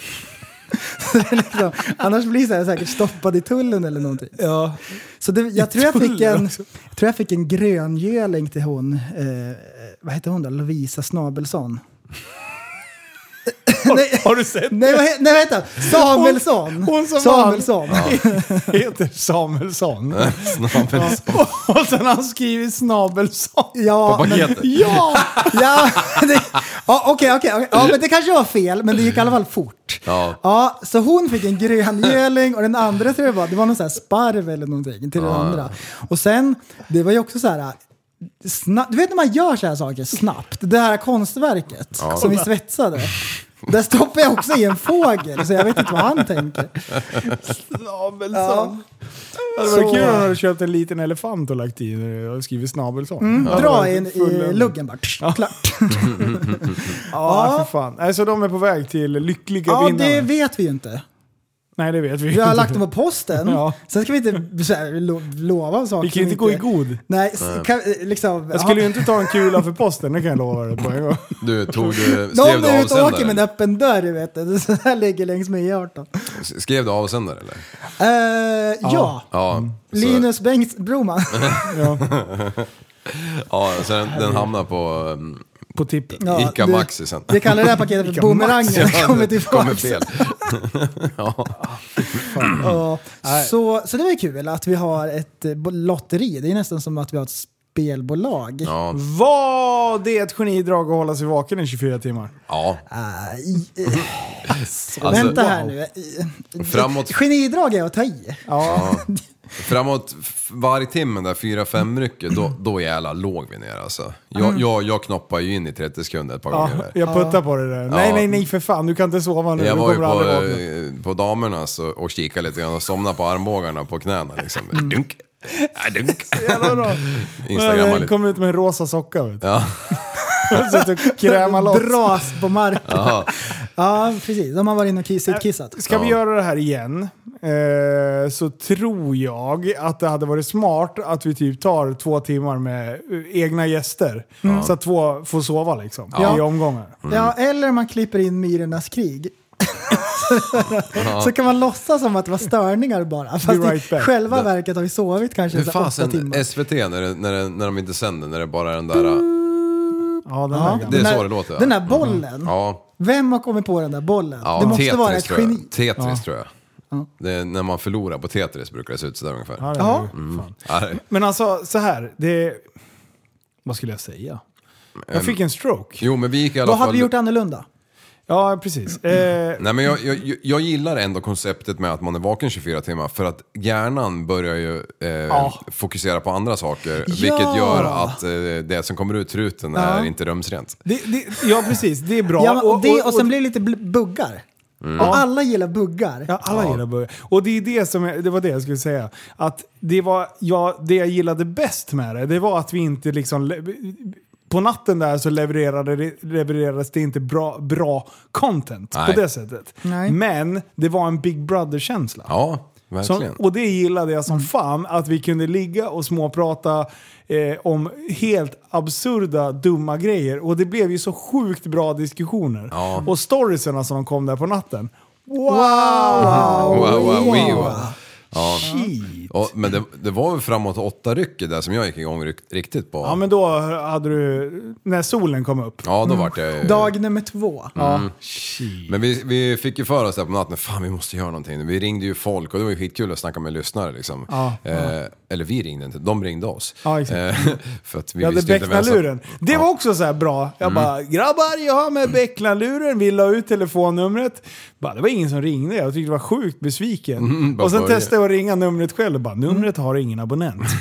[SPEAKER 6] Så det är liksom, annars blir jag säkert stoppad i tullen eller någonting.
[SPEAKER 5] Ja.
[SPEAKER 6] Så det, jag, tror jag,
[SPEAKER 5] tullen
[SPEAKER 6] fick en,
[SPEAKER 5] också.
[SPEAKER 6] jag tror jag fick en gröngöling till hon, eh, vad heter hon då, Lovisa Snabelsson.
[SPEAKER 5] Har, har du sett?
[SPEAKER 6] Nej, vad, he- nej vänta, Samuelsson!
[SPEAKER 5] Hon- hon som
[SPEAKER 6] Samuelsson.
[SPEAKER 5] Heter
[SPEAKER 7] (laughs)
[SPEAKER 5] Samuelsson.
[SPEAKER 7] Snabelsson.
[SPEAKER 5] Och sen har han skrivit Snabelsson.
[SPEAKER 6] Ja,
[SPEAKER 7] På
[SPEAKER 5] (laughs)
[SPEAKER 6] men-
[SPEAKER 7] paketet.
[SPEAKER 6] (laughs) Ja! ja det- ja, Okej, okej. okej. Ja, men det kanske var fel, men det gick i alla fall fort.
[SPEAKER 7] Ja.
[SPEAKER 6] så hon fick en gröngöling och den andra tror jag var, det var någon sån här sparv eller någonting till den andra. Och sen, det var ju också så här... Snabbt, du vet när man gör så här saker snabbt, det här konstverket som vi svetsade. Där stoppar jag också i en fågel, så jag vet inte vad han tänker.
[SPEAKER 5] Snabelsson. Det hade varit
[SPEAKER 6] Så-
[SPEAKER 5] kul om du hade köpt en liten elefant och lagt i när du har skrivit Snabelsson. Ja, det
[SPEAKER 6] Mm, Dra
[SPEAKER 5] var
[SPEAKER 6] i,
[SPEAKER 5] en full-
[SPEAKER 6] i luggen bara, tsch, klart.
[SPEAKER 5] Ja, för fan. Nej, Så Alltså, de är på väg till lyckliga
[SPEAKER 6] Ja,
[SPEAKER 5] vinnare.
[SPEAKER 6] det vet vi ju inte.
[SPEAKER 5] Nej, det vet vi
[SPEAKER 6] Vi har
[SPEAKER 5] inte. (laughs)
[SPEAKER 6] lagt dem på posten.
[SPEAKER 5] Ja.
[SPEAKER 6] Sen ska vi inte så här, lo, lova saker.
[SPEAKER 5] Vi kan ju inte
[SPEAKER 6] som
[SPEAKER 5] gå i god.
[SPEAKER 6] Nej, s- kan, eh, liksom...
[SPEAKER 5] Jag skulle
[SPEAKER 6] ja.
[SPEAKER 5] ju inte ta en kula för posten, det kan jag lova dig på en gång.
[SPEAKER 7] Du, tog du, skrev
[SPEAKER 6] Någon
[SPEAKER 7] du
[SPEAKER 6] är ute och åker med
[SPEAKER 7] avsändare?
[SPEAKER 6] en öppen dörr, vet (laughs) du. Så här ligger längs med E18.
[SPEAKER 7] Skrev du avsändare eller?
[SPEAKER 6] Eh, ja.
[SPEAKER 7] Ja. så-
[SPEAKER 6] Linus
[SPEAKER 7] (laughs)
[SPEAKER 6] Bengt Broman.
[SPEAKER 7] Ja, så den, den hamnar på
[SPEAKER 6] (laughs)
[SPEAKER 7] um,
[SPEAKER 5] På tippen.
[SPEAKER 6] Ja,
[SPEAKER 7] Ica
[SPEAKER 6] du-
[SPEAKER 7] Maxi sen.
[SPEAKER 6] Vi kallar
[SPEAKER 5] (laughs)
[SPEAKER 6] det här paketet för bumerangen. Det
[SPEAKER 7] (laughs)
[SPEAKER 6] kommer tillbaka.
[SPEAKER 7] Kommer fel.
[SPEAKER 5] Mm.
[SPEAKER 6] Ja. Så, så det var ju kul att vi har ett eh, bo- lotteri. Det är nästan som att vi har ett spelbolag.
[SPEAKER 7] Ja.
[SPEAKER 5] Vad det är ett genidrag att hålla sig vaken i 24 timmar.
[SPEAKER 7] ja.
[SPEAKER 6] Ah,
[SPEAKER 5] (laughs)
[SPEAKER 6] i- eh,
[SPEAKER 7] Alltså-
[SPEAKER 6] Vänta här
[SPEAKER 5] Wow.
[SPEAKER 6] nu. Eh,
[SPEAKER 7] Framåt-
[SPEAKER 6] Genidrag är att ta i.
[SPEAKER 5] Ja.
[SPEAKER 7] Framåt f- varje timme där, fyra, fem rycket, då, då jävlar låg vi ner alltså.
[SPEAKER 6] Mm.
[SPEAKER 7] Jag, jag, jag knoppade ju in i 30 sekunder ett par
[SPEAKER 5] ja,
[SPEAKER 7] gånger. Där.
[SPEAKER 5] jag puttar på det där. Nej,
[SPEAKER 7] Ja.
[SPEAKER 5] nej, nej för fan. Du kan inte sova nu.
[SPEAKER 7] Jag
[SPEAKER 5] du
[SPEAKER 7] var ju
[SPEAKER 5] kommer aldrig
[SPEAKER 7] på,
[SPEAKER 5] vakna.
[SPEAKER 7] eh, på damernas och, och kikade lite grann och somnade på armbågarna på knäna liksom.
[SPEAKER 6] Mm.
[SPEAKER 7] Dunk, ah, dunk.
[SPEAKER 5] Jävla bra.
[SPEAKER 7] Instagrammar
[SPEAKER 5] Den
[SPEAKER 7] lite.
[SPEAKER 5] kom ut med en rosa socka. Vet du. (laughs)
[SPEAKER 7] Ja.
[SPEAKER 5] Suttit och krämat loss.
[SPEAKER 6] Dras på marken.
[SPEAKER 7] Ja. Mm.
[SPEAKER 6] Ja, precis. De har varit inne och kiss- utkissat.
[SPEAKER 5] Ska vi
[SPEAKER 7] Ja.
[SPEAKER 5] göra det här igen eh, så tror jag att det hade varit smart att vi typ tar två timmar med eh, egna gäster. Så att två får sova liksom
[SPEAKER 6] Ja.
[SPEAKER 5] i omgångar.
[SPEAKER 6] Ja, eller man klipper in
[SPEAKER 7] (laughs)
[SPEAKER 6] Myrornas krig. så kan man låtsas som att det var störningar bara. Fast
[SPEAKER 5] right
[SPEAKER 6] i
[SPEAKER 5] back.
[SPEAKER 6] själva verket har vi sovit kanske
[SPEAKER 7] Hur
[SPEAKER 6] så här åtta timmar.
[SPEAKER 7] fasen, SVT när, det, när, det, när de inte sänder, när det bara är den där... ah,
[SPEAKER 5] Ja, den
[SPEAKER 6] Ja.
[SPEAKER 5] här
[SPEAKER 7] Det
[SPEAKER 5] gamla.
[SPEAKER 7] är
[SPEAKER 6] Den
[SPEAKER 7] så
[SPEAKER 6] här-
[SPEAKER 7] det låter. ja. Mm.
[SPEAKER 6] Den där bollen.
[SPEAKER 7] Ja.
[SPEAKER 6] Vem har kommit på den där bollen?
[SPEAKER 7] ja
[SPEAKER 6] det måste
[SPEAKER 7] Tetris,
[SPEAKER 6] vara ett
[SPEAKER 7] tror jag.
[SPEAKER 6] geni.
[SPEAKER 7] Tetris tror jag. Det är när man förlorar på Tetris brukar det se ut sådär ungefär.
[SPEAKER 5] Ja, den
[SPEAKER 6] Ja.
[SPEAKER 5] är
[SPEAKER 7] Mm.
[SPEAKER 5] ju- fan.
[SPEAKER 7] Ja, det-
[SPEAKER 5] Men alltså så här, det... Vad skulle jag säga? Jag fick en stroke.
[SPEAKER 7] Jo, men vi gick i alla
[SPEAKER 6] Vad
[SPEAKER 7] fall...
[SPEAKER 6] hade vi gjort annorlunda?
[SPEAKER 5] Ja,
[SPEAKER 6] (clears throat)
[SPEAKER 5] precis. Eh,
[SPEAKER 7] Nej, men jag, jag, jag gillar ändå konceptet med att man är vaken 24 timmar för att hjärnan börjar ju eh, fokusera på andra saker. Vilket gör att eh, det som kommer ut truten är inte rumsrent.
[SPEAKER 5] det, det, ja, precis. Det är bra.
[SPEAKER 6] Ja, men- och, det, och sen blir det lite bl- buggar.
[SPEAKER 7] Mm.
[SPEAKER 6] Och alla gillar buggar.
[SPEAKER 5] Ja, alla gillar början. Och det, är det, som jag, det var det jag skulle säga. Att det, var, ja, det jag gillade bäst med det, det var att vi inte liksom... le- På natten där så levererade, det- levererades det inte bra, bra content
[SPEAKER 7] Nej.
[SPEAKER 5] på det sättet.
[SPEAKER 6] Nej.
[SPEAKER 5] Men det var en Big Brother-känsla.
[SPEAKER 7] Ja,
[SPEAKER 5] Som,
[SPEAKER 7] verkligen.
[SPEAKER 5] och det gillade jag som fan, att vi kunde ligga och småprata eh, om helt absurda, dumma grejer. Och det blev ju så sjukt bra diskussioner.
[SPEAKER 7] Ja.
[SPEAKER 5] Och storiesen som kom där på natten. Wow!
[SPEAKER 6] Ah.
[SPEAKER 7] Wow, wow, wow.
[SPEAKER 5] Ja.
[SPEAKER 7] Ja, men det, det var väl framåt åtta rycket där som jag gick igång ryck, riktigt på.
[SPEAKER 5] ja, men då hade du... När solen kom upp.
[SPEAKER 7] Ja, Mm, då vart jag ju...
[SPEAKER 6] Mm. Dag nummer två.
[SPEAKER 7] Men vi, vi fick ju för oss där på natten, fan vi måste göra någonting. Vi ringde ju folk och det var ju skitkul att snacka med lyssnare liksom.
[SPEAKER 5] Ja,
[SPEAKER 7] eh, Eller vi ringde inte, de ringde oss.
[SPEAKER 5] Ja, exakt.
[SPEAKER 7] Eh, (laughs) för att vi
[SPEAKER 5] Jag hade
[SPEAKER 7] visste ju inte vem som- Mm.
[SPEAKER 5] Becknaluren. Det var också så här bra. Jag bara, grabbar jag har med Becknaluren. Vi la ut telefonnumret. Bara, det var ingen som ringde. Jag tyckte det var sjukt besviken.
[SPEAKER 7] Mm, bara
[SPEAKER 5] och sen
[SPEAKER 7] börja.
[SPEAKER 5] testade jag att ringa numret själv och bara, numret har ingen abonnent. (laughs)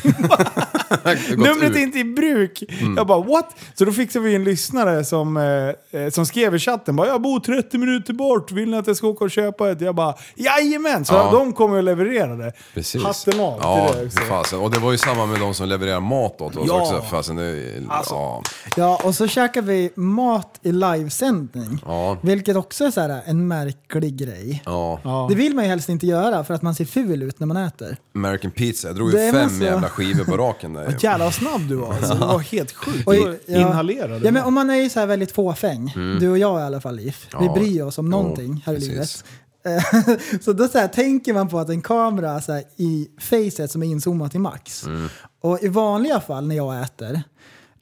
[SPEAKER 7] gått Mm.
[SPEAKER 5] numret
[SPEAKER 7] ut.
[SPEAKER 5] är inte i bruk. Jag bara, what? Så då fixade vi en lyssnare som, eh, eh, som skrev i chatten, bara, jag bor 30 minuter bort. Vill ni att jag ska åka och köpa ett? Jag bara, jajamän! Så
[SPEAKER 7] Ja.
[SPEAKER 5] de kommer att leverera det.
[SPEAKER 7] Precis.
[SPEAKER 5] Hatten av
[SPEAKER 7] ja,
[SPEAKER 5] till det också.
[SPEAKER 7] Fasen. Och det var ju samma med de som levererar mat åt oss
[SPEAKER 5] Ja. Alltså.
[SPEAKER 7] också. Fasen, det, ja.
[SPEAKER 6] Ja, och så käkar vi mat i livesändning.
[SPEAKER 7] Ja.
[SPEAKER 6] Vilket också är så här, en märklig grej.
[SPEAKER 7] Ja.
[SPEAKER 6] Det vill man ju helst inte göra för att man ser ful ut när man äter.
[SPEAKER 7] American pizza, jag drog
[SPEAKER 6] Det
[SPEAKER 7] ju
[SPEAKER 6] är
[SPEAKER 7] fem
[SPEAKER 6] väl så.
[SPEAKER 7] jävla skivor på
[SPEAKER 5] (laughs)
[SPEAKER 7] raken där. ju.
[SPEAKER 5] Jävlar vad snabb du var alltså. Det var helt sjukt.
[SPEAKER 6] Och-
[SPEAKER 5] Du inhalerade.
[SPEAKER 6] Ja, men om man är ju så här väldigt fåfäng, du och jag i alla fall Liv, vi
[SPEAKER 7] Ja.
[SPEAKER 6] bryr oss om
[SPEAKER 7] Jo,
[SPEAKER 6] någonting här i
[SPEAKER 7] precis.
[SPEAKER 6] livet. Eh, (laughs) så då så här, tänker man på att en kamera så här, i facet som är inzoomat till max.
[SPEAKER 7] Mm.
[SPEAKER 6] Och i vanliga fall när jag äter,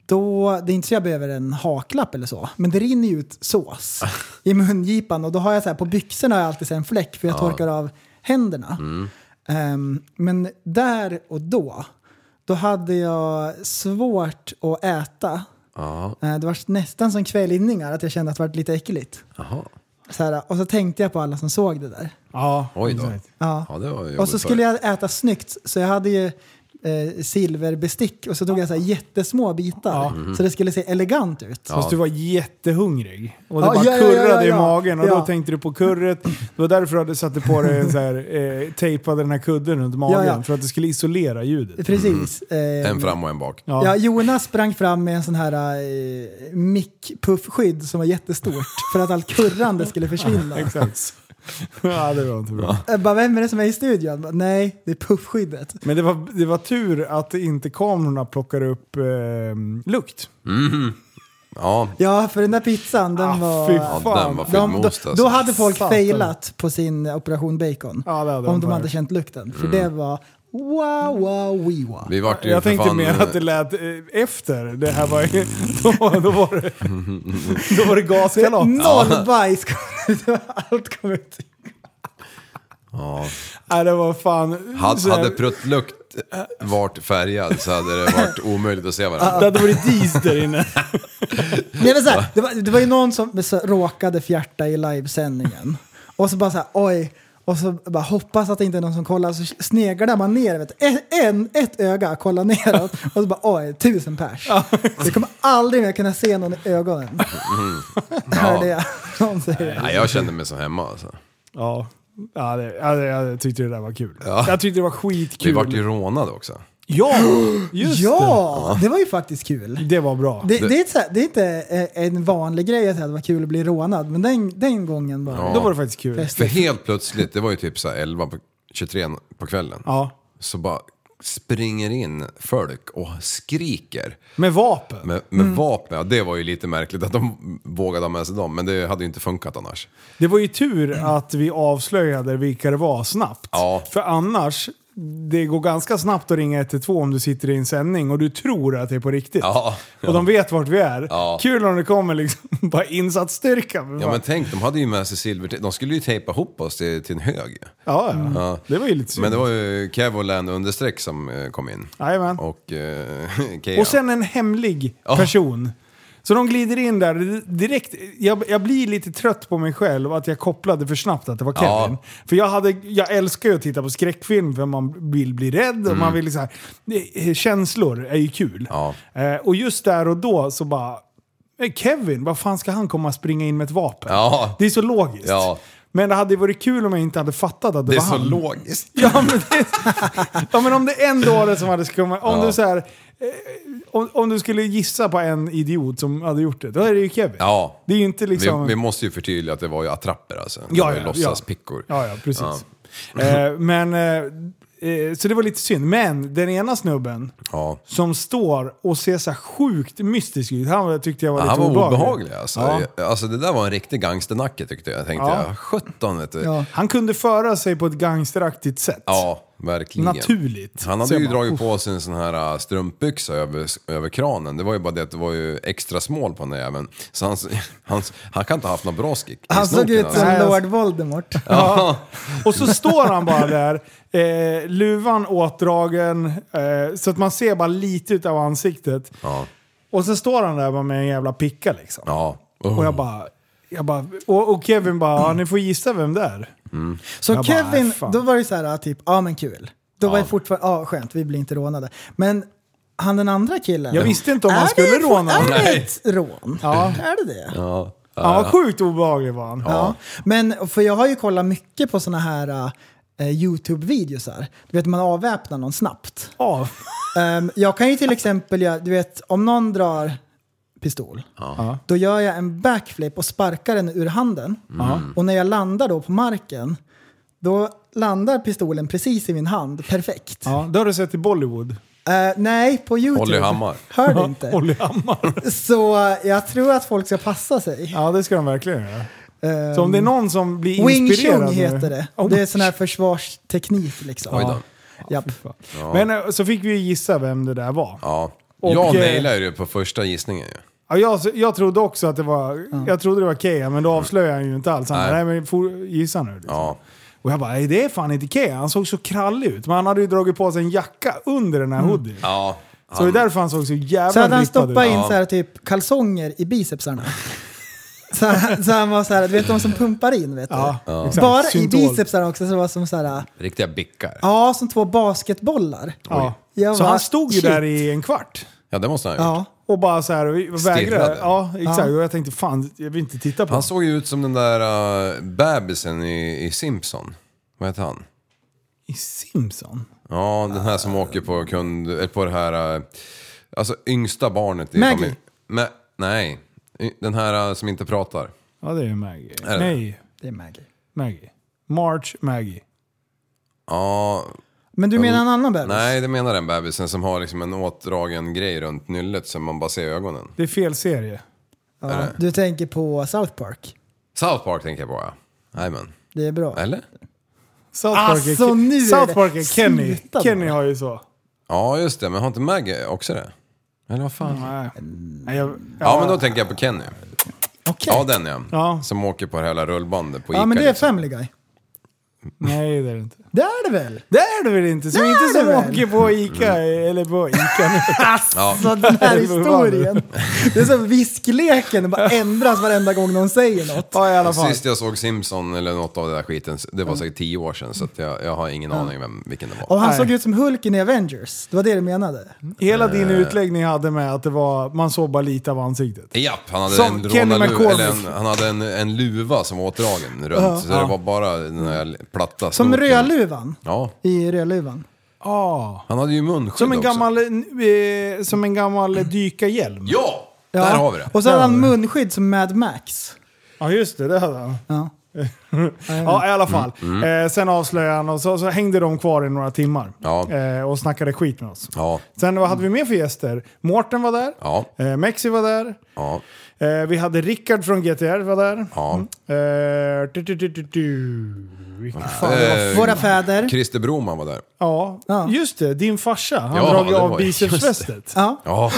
[SPEAKER 6] då, det är inte så jag behöver en haklapp eller så, men det rinner ju ut
[SPEAKER 7] (laughs)
[SPEAKER 6] sås i mungipan och då har jag så här, på byxorna har jag alltid så här en fläck för jag torkar av händerna.
[SPEAKER 7] Mm.
[SPEAKER 6] Ehm, men där och då, då hade jag svårt att äta. Eh, Det var nästan som kvällningar, att jag kände att det var lite äckligt.
[SPEAKER 7] Jaha.
[SPEAKER 6] Så här, och så tänkte jag på alla som såg det där.
[SPEAKER 5] Ja,
[SPEAKER 7] Oj då.
[SPEAKER 5] exakt.
[SPEAKER 6] Ja.
[SPEAKER 7] Ja, det var ju
[SPEAKER 6] och så
[SPEAKER 7] jobbigt
[SPEAKER 6] skulle
[SPEAKER 7] för-
[SPEAKER 6] jag äta snyggt, så jag hade ju eh, silverbestick och så tog jag så här jättesmå bitar.
[SPEAKER 7] Mhm.
[SPEAKER 6] Så det skulle se elegant ut.
[SPEAKER 5] Fast du var jättehungrig. Och det
[SPEAKER 6] Ja,
[SPEAKER 5] bara
[SPEAKER 6] ja, ja,
[SPEAKER 5] kurrade
[SPEAKER 6] ja, ja.
[SPEAKER 5] i magen och
[SPEAKER 6] Ja.
[SPEAKER 5] då tänkte du på kurret. Det var därför du hade satte på dig en så här, eh, tejpade den här kudden runt magen.
[SPEAKER 6] Ja, ja.
[SPEAKER 5] För att det skulle isolera ljudet.
[SPEAKER 6] Precis. Eh,
[SPEAKER 7] Mhm. En fram och en bak.
[SPEAKER 5] Ja.
[SPEAKER 6] Ja, Jonas sprang fram med en sån här eh, mickpuffskydd som var jättestort för att allt kurrande skulle
[SPEAKER 5] (laughs)
[SPEAKER 6] försvinna.
[SPEAKER 5] Exakt. ja, det var inte bra.
[SPEAKER 6] Jag bara, vem är det som är i studion? Jag Bara, Nej, det är puffskyddet.
[SPEAKER 5] Men det var, det var tur att inte kamerorna plockar upp eh, lukt.
[SPEAKER 7] Ja,
[SPEAKER 6] Ja, för den där pizzan, den
[SPEAKER 5] Ah,
[SPEAKER 6] var...
[SPEAKER 5] fy
[SPEAKER 7] ja
[SPEAKER 5] fan.
[SPEAKER 7] den var
[SPEAKER 6] De, då,
[SPEAKER 7] fullmost alltså.
[SPEAKER 6] då hade folk
[SPEAKER 5] Satan.
[SPEAKER 6] failat på sin operation bacon.
[SPEAKER 5] Ja, det hade de
[SPEAKER 6] om de
[SPEAKER 5] varit.
[SPEAKER 6] hade känt lukten.
[SPEAKER 7] Mm.
[SPEAKER 6] För det var wow, wow, we wow.
[SPEAKER 7] Vi vart ju
[SPEAKER 5] Jag
[SPEAKER 7] för
[SPEAKER 5] tänkte
[SPEAKER 7] fan,
[SPEAKER 5] mer att det lät eh, efter. Det här var, (laughs) då, då var det, då var det gaskalas.
[SPEAKER 6] Noll bajs kom (laughs) ut. Allt kom ut.
[SPEAKER 5] Nej, det var fan...
[SPEAKER 7] Hade,
[SPEAKER 5] så här-
[SPEAKER 7] hade pruttlukt varit färgad så hade det varit omöjligt att se varandra.
[SPEAKER 5] det hade varit dis där inne. (laughs)
[SPEAKER 6] Nej, men så här, det, var, det var ju någon som så, råkade fjärta i livesändningen. Och så bara så här, oj. Och så bara hoppas att det inte är någon som kollar. Så sneglar man ner. Vet, du. Ett- en, ett öga kollar neråt. Och så bara oj, tusen pers. Du kommer aldrig mer kunna se någon i ögonen. Mm. Hörde jag någon säga.
[SPEAKER 7] Nej, jag kände mig så hemma alltså.
[SPEAKER 5] Ja. Ja, det, ja, det, jag tyckte det där var kul. Jag tyckte det var
[SPEAKER 7] Vi
[SPEAKER 5] skitkul.
[SPEAKER 7] vart ju rånade också.
[SPEAKER 5] Ja, just
[SPEAKER 6] (gasps) Ja, det var ju faktiskt kul.
[SPEAKER 5] det. Det var bra.
[SPEAKER 6] Det, det, är, så här, det är inte eh, en vanlig grej att säga att det var kul att bli rånad, men den, den gången var det.
[SPEAKER 5] Då var det faktiskt kul.
[SPEAKER 6] Fest.
[SPEAKER 7] För helt plötsligt, det var ju typ så här 11 på, 23 på kvällen.
[SPEAKER 5] Ja.
[SPEAKER 7] Så bara springer in folk och skriker.
[SPEAKER 5] Med vapen.
[SPEAKER 7] Med, med vapen, ja, det var ju lite märkligt att de vågade ha med sig dem. Men det hade ju inte funkat annars.
[SPEAKER 5] Det var ju tur att vi avslöjade vilka det var snabbt.
[SPEAKER 7] Ja.
[SPEAKER 5] För annars, det går ganska snabbt att ringa 112 om du sitter i en sändning och du tror att det är på riktigt.
[SPEAKER 7] Ja.
[SPEAKER 5] Och de vet vart vi är.
[SPEAKER 7] Ja.
[SPEAKER 5] Kul om det kommer liksom (laughs) bara insatsstyrka.
[SPEAKER 7] Ja men tänk, de hade ju med sig silvertejp. De skulle ju tejpa ihop oss till, till en hög.
[SPEAKER 5] ja,
[SPEAKER 7] Mm.
[SPEAKER 5] ja. Det var ju lite synd.
[SPEAKER 7] Men det var ju Kev och Land understreck som eh, kom in.
[SPEAKER 5] Jajamän.
[SPEAKER 7] Och eh, (laughs) Kea.
[SPEAKER 5] Och sen en hemlig person. Så de glider in där direkt. Jag, jag blir lite trött på mig själv att jag kopplade för snabbt att det var Kevin.
[SPEAKER 7] Ja.
[SPEAKER 5] För jag, hade, jag älskar ju att titta på skräckfilm för man vill bli rädd och man vill så här, eh, Känslor är ju kul.
[SPEAKER 7] Mm. Ja.
[SPEAKER 5] Eh, och just där och då så bara... eh, Kevin, vad fan ska han komma och springa in med ett vapen?
[SPEAKER 7] Ja.
[SPEAKER 5] Det är så logiskt.
[SPEAKER 7] Ja.
[SPEAKER 5] Men det hade varit kul om jag inte hade fattat att det,
[SPEAKER 7] Det är
[SPEAKER 5] var
[SPEAKER 7] så
[SPEAKER 5] han.
[SPEAKER 7] logiskt.
[SPEAKER 5] Ja men, det, ja men om det är en dåre som hade skummat... Om, du så här, eh, om, om du skulle gissa på en idiot som hade gjort det, då är det ju Kevin.
[SPEAKER 7] Ja.
[SPEAKER 5] Det är ju inte liksom...
[SPEAKER 7] Vi, vi måste ju förtydliga att det var ju attrapper alltså. Det
[SPEAKER 5] Ja,
[SPEAKER 7] var ju
[SPEAKER 5] ja,
[SPEAKER 7] låtsas
[SPEAKER 5] ja.
[SPEAKER 7] pickor.
[SPEAKER 5] ja, ja, precis. Eh, men... Eh, eh, så det var lite synd. Men den ena snubben
[SPEAKER 7] Ja.
[SPEAKER 5] som står och ser så här sjukt mystisk ut, han tyckte jag var
[SPEAKER 7] Ja,
[SPEAKER 5] lite
[SPEAKER 7] han var obehaglig,
[SPEAKER 5] obehaglig.
[SPEAKER 7] alltså.
[SPEAKER 5] Ja.
[SPEAKER 7] alltså. Det där var en riktig gangsternacke tyckte jag. Tänkte
[SPEAKER 5] Ja.
[SPEAKER 7] jag. 17 vet du. Ja,
[SPEAKER 6] Ja.
[SPEAKER 5] Han kunde föra sig på ett gangsteraktigt sätt.
[SPEAKER 7] verkligen.
[SPEAKER 5] Naturligt.
[SPEAKER 7] Han
[SPEAKER 5] Så
[SPEAKER 7] hade
[SPEAKER 5] jag
[SPEAKER 7] ju
[SPEAKER 5] bara,
[SPEAKER 7] dragit på sig en sån här äh, strumpbyxa över, över kranen. Det var ju bara det att det var ju extra smål på den där jäveln. Så han, (laughs) han, han kan inte ha haft någon bra skick i
[SPEAKER 6] Han såg
[SPEAKER 7] snoken,
[SPEAKER 6] ut som
[SPEAKER 5] alltså.
[SPEAKER 6] Lord Voldemort.
[SPEAKER 5] Och så står han bara där, eh, luvan åtdragen, eh, så att man ser bara lite utav ansiktet.
[SPEAKER 7] Ja.
[SPEAKER 5] Och sen står han där bara med en jävla picka liksom.
[SPEAKER 7] Ja. Oh.
[SPEAKER 5] Och jag bara... Jag bara och, och Kevin bara, ja, ni får gissa vem det är.
[SPEAKER 6] Så
[SPEAKER 5] Jag bara,
[SPEAKER 6] Kevin,
[SPEAKER 5] "Äh, fan."
[SPEAKER 6] då var det så här, ja, typ, ja men kul. Då var det fortfarande, ja skönt, vi blir inte rånade. Men han den andra killen.
[SPEAKER 5] Jag visste inte om
[SPEAKER 6] är
[SPEAKER 5] han skulle
[SPEAKER 6] det,
[SPEAKER 5] råna.
[SPEAKER 6] Är det
[SPEAKER 7] Nej.
[SPEAKER 6] ett rån?
[SPEAKER 5] Ja.
[SPEAKER 6] Är det det? Ja.
[SPEAKER 5] Han var sjukt obehaglig var han.
[SPEAKER 6] Men, för jag har ju kollat mycket på såna här eh, YouTube-videosar. Du vet, man avväpnar någon snabbt.
[SPEAKER 5] Ja.
[SPEAKER 6] Ehm, jag kan ju till exempel, göra- du vet, om någon drar pistol, då gör jag en backflip och sparkar den ur handen. Och när jag landar då på marken, då landar pistolen precis i min hand, perfekt.
[SPEAKER 5] Ja, det har du sett i Bollywood.
[SPEAKER 6] Eh, nej, på YouTube.
[SPEAKER 7] Olli Hammar.
[SPEAKER 6] Hör du inte?
[SPEAKER 5] Olli Hammar.
[SPEAKER 6] Så eh, jag tror att folk ska passa sig.
[SPEAKER 5] Ja, det ska de verkligen göra.
[SPEAKER 6] Ehm,
[SPEAKER 5] Så om det är någon som blir
[SPEAKER 6] Wing
[SPEAKER 5] inspirerad
[SPEAKER 6] Chun
[SPEAKER 5] nu-
[SPEAKER 6] heter det.
[SPEAKER 5] Oh,
[SPEAKER 6] Det är sån här försvarsteknik liksom.
[SPEAKER 7] Oj då.
[SPEAKER 6] Japp.
[SPEAKER 5] Men eh, så fick vi ju gissa vem det där var.
[SPEAKER 7] Ja.
[SPEAKER 5] Och,
[SPEAKER 7] jag
[SPEAKER 5] eh,
[SPEAKER 7] nailade ju det på första gissningen ju.
[SPEAKER 5] Ja, jag, jag trodde också att det var, jag trodde det var Kea, men då avslöjade han ju inte alls. Han bara, nej
[SPEAKER 7] Mm. Nej.
[SPEAKER 5] men for, gissa nu. Liksom.
[SPEAKER 7] Ja.
[SPEAKER 5] Och jag bara, nej det är fan inte Kea. Han såg så krallig ut. Men han hade ju dragit på sig en jacka under den här hoodien.
[SPEAKER 7] Ja.
[SPEAKER 5] Så det är därför han såg så jävla
[SPEAKER 6] Mm. Så hade han
[SPEAKER 5] rippad ut.
[SPEAKER 6] stoppat in så här typ kalsonger i bicepsarna. (laughs) Så, han- så han var så här, du vet de som pumpar in vet du?
[SPEAKER 5] Ja, exakt.
[SPEAKER 6] Bara
[SPEAKER 5] Syntol.
[SPEAKER 6] i bicepsarna också så det var som så här,
[SPEAKER 7] Riktiga bickar. Ja.
[SPEAKER 6] ja som två basketbollar.
[SPEAKER 5] Ja.
[SPEAKER 6] Jag
[SPEAKER 5] Så
[SPEAKER 6] bara,
[SPEAKER 5] han stod ju
[SPEAKER 6] shit.
[SPEAKER 5] där i en kvart.
[SPEAKER 7] det måste han ha gjort.
[SPEAKER 6] Ja.
[SPEAKER 5] Och bara så här, och vi- och vägrade.
[SPEAKER 7] Stirrade.
[SPEAKER 5] Ja, exakt. Och jag tänkte fan, jag vill inte titta på
[SPEAKER 7] Han
[SPEAKER 5] honom.
[SPEAKER 7] såg ju ut som den där äh, bebisen i, i Simpson. Vad heter han?
[SPEAKER 5] I Simpson?
[SPEAKER 7] Ja, den här som åker på kund... Eller på det här... eh, Alltså yngsta barnet i
[SPEAKER 6] Maggie.
[SPEAKER 7] familjen. Ma- nej, Y- den här eh, som inte pratar.
[SPEAKER 5] Ja, det är ju Maggie.
[SPEAKER 7] det?
[SPEAKER 5] Nej,
[SPEAKER 6] Det är Maggie.
[SPEAKER 5] Maggie. March Maggie.
[SPEAKER 7] Ja,
[SPEAKER 6] Men du menar en annan bebis?
[SPEAKER 7] nej det menar den bebisen som har liksom en åtdragen grej runt nyllet som man bara ser i ögonen.
[SPEAKER 5] Det är fel serie.
[SPEAKER 6] Ja, du tänker på South Park.
[SPEAKER 7] South Park tänker jag på ja. Jajamän.
[SPEAKER 6] Det är bra.
[SPEAKER 7] Eller?
[SPEAKER 5] South Park,
[SPEAKER 6] Alltså,
[SPEAKER 5] är,
[SPEAKER 6] nu är
[SPEAKER 5] South
[SPEAKER 6] det-
[SPEAKER 5] Park är Kenny.
[SPEAKER 6] Sluta
[SPEAKER 5] Kenny
[SPEAKER 6] bara.
[SPEAKER 5] har ju så.
[SPEAKER 7] Ja just det, men har inte Maggie också det? Eller vad fan?
[SPEAKER 5] Nej. Nej, jag,
[SPEAKER 7] Ja men då tänker jag på Kenny.
[SPEAKER 6] Okej.
[SPEAKER 7] Ja den ja.
[SPEAKER 5] Ja.
[SPEAKER 7] Som åker på det hela rullbandet på Ica.
[SPEAKER 6] Ja, men det är
[SPEAKER 7] liksom.
[SPEAKER 6] Family Guy.
[SPEAKER 5] Nej, det är det inte.
[SPEAKER 6] Det är det väl?
[SPEAKER 5] Det är det väl inte? Som
[SPEAKER 6] Det är
[SPEAKER 5] inte
[SPEAKER 6] det
[SPEAKER 5] som
[SPEAKER 6] väl?
[SPEAKER 5] åker på Ica, eller på Ica nu.
[SPEAKER 6] Så den
[SPEAKER 5] (laughs)
[SPEAKER 6] här
[SPEAKER 5] Det är
[SPEAKER 6] historien. Det är som viskleken, det bara ändras varenda gång någon säger något.
[SPEAKER 5] (laughs) Ja, i alla fall.
[SPEAKER 7] Sist jag såg Simpson eller något av den där skiten, det var säkert tio år sedan så att jag, jag har ingen aning vem, vilken det var.
[SPEAKER 6] Och han
[SPEAKER 5] Nej.
[SPEAKER 6] såg ut som Hulken i Avengers. Det var det du menade?
[SPEAKER 5] Hela
[SPEAKER 7] Eh.
[SPEAKER 5] din utläggning hade med att det var, man såg bara lite av ansiktet.
[SPEAKER 7] Japp, han hade,
[SPEAKER 5] Som
[SPEAKER 7] en,
[SPEAKER 5] Kenny
[SPEAKER 7] rånarlu-
[SPEAKER 5] McCormick.
[SPEAKER 7] eller en, han hade en, en luva som var åtdragen runt, så det var bara den där platta
[SPEAKER 6] Som
[SPEAKER 7] snoken.
[SPEAKER 6] Rödluvan.
[SPEAKER 7] Ja,
[SPEAKER 6] I Rödluvan.
[SPEAKER 5] Ja.
[SPEAKER 7] han hade ju munskydd
[SPEAKER 5] Som en
[SPEAKER 7] också.
[SPEAKER 5] gammal, eh, som en gammal dykarhjälm.
[SPEAKER 7] Ja!
[SPEAKER 6] Ja.
[SPEAKER 7] Där har vi det.
[SPEAKER 6] Och så hade han munskydd som Mad Max.
[SPEAKER 5] Ja just det, det hade han.
[SPEAKER 6] Ja.
[SPEAKER 5] Ja i alla fall.
[SPEAKER 7] Mm,
[SPEAKER 5] Eh, sen avslöjade han och så, så hängde de kvar i några timmar.
[SPEAKER 7] Ja.
[SPEAKER 5] Eh, och snackade skit med oss.
[SPEAKER 7] Ja,
[SPEAKER 5] Sen vad hade vi mer för gäster? Mårten var där.
[SPEAKER 7] ja,
[SPEAKER 5] Eh, Mexi var där.
[SPEAKER 7] ja,
[SPEAKER 5] Eh, vi hade Rickard från GTR var där.
[SPEAKER 7] ja.
[SPEAKER 5] Eh, du, du, du, du, du. Vilken fan.
[SPEAKER 7] Eh,
[SPEAKER 6] Våra fäder.
[SPEAKER 7] Christer Broman var där.
[SPEAKER 5] Ja,
[SPEAKER 6] Ja.
[SPEAKER 5] just det. Din farsa. Han
[SPEAKER 7] Ja,
[SPEAKER 5] drog ju
[SPEAKER 7] det
[SPEAKER 5] av
[SPEAKER 7] var ju-
[SPEAKER 5] bicepsfästet.
[SPEAKER 6] Ja.
[SPEAKER 7] Ja,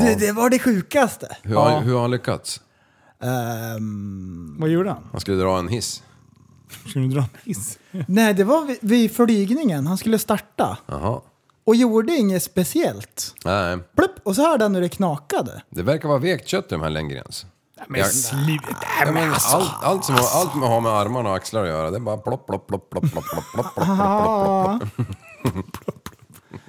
[SPEAKER 6] Det, det var det sjukaste.
[SPEAKER 7] hur, har, hur har han lyckats?
[SPEAKER 6] Ehm,
[SPEAKER 5] Vad gjorde han?
[SPEAKER 7] Han skulle dra en hiss.
[SPEAKER 5] Ska du dra en hiss?
[SPEAKER 6] nej, det var vid, vid flygningen. Han skulle starta.
[SPEAKER 7] Jaha.
[SPEAKER 6] Och gjorde inget speciellt.
[SPEAKER 7] Nej,
[SPEAKER 6] Plupp, och så hörde han hur det knakade.
[SPEAKER 7] det verkar vara vekt kött i de här längdgrens.
[SPEAKER 5] Men
[SPEAKER 7] Jag-
[SPEAKER 5] sluta.
[SPEAKER 7] Ja, men allt, allt, som, har- allt med har med armarna och axlar att göra, det är bara plopp, plopp, plopp, plopp, plopp, plopp, plopp, plopp, plopp, plopp.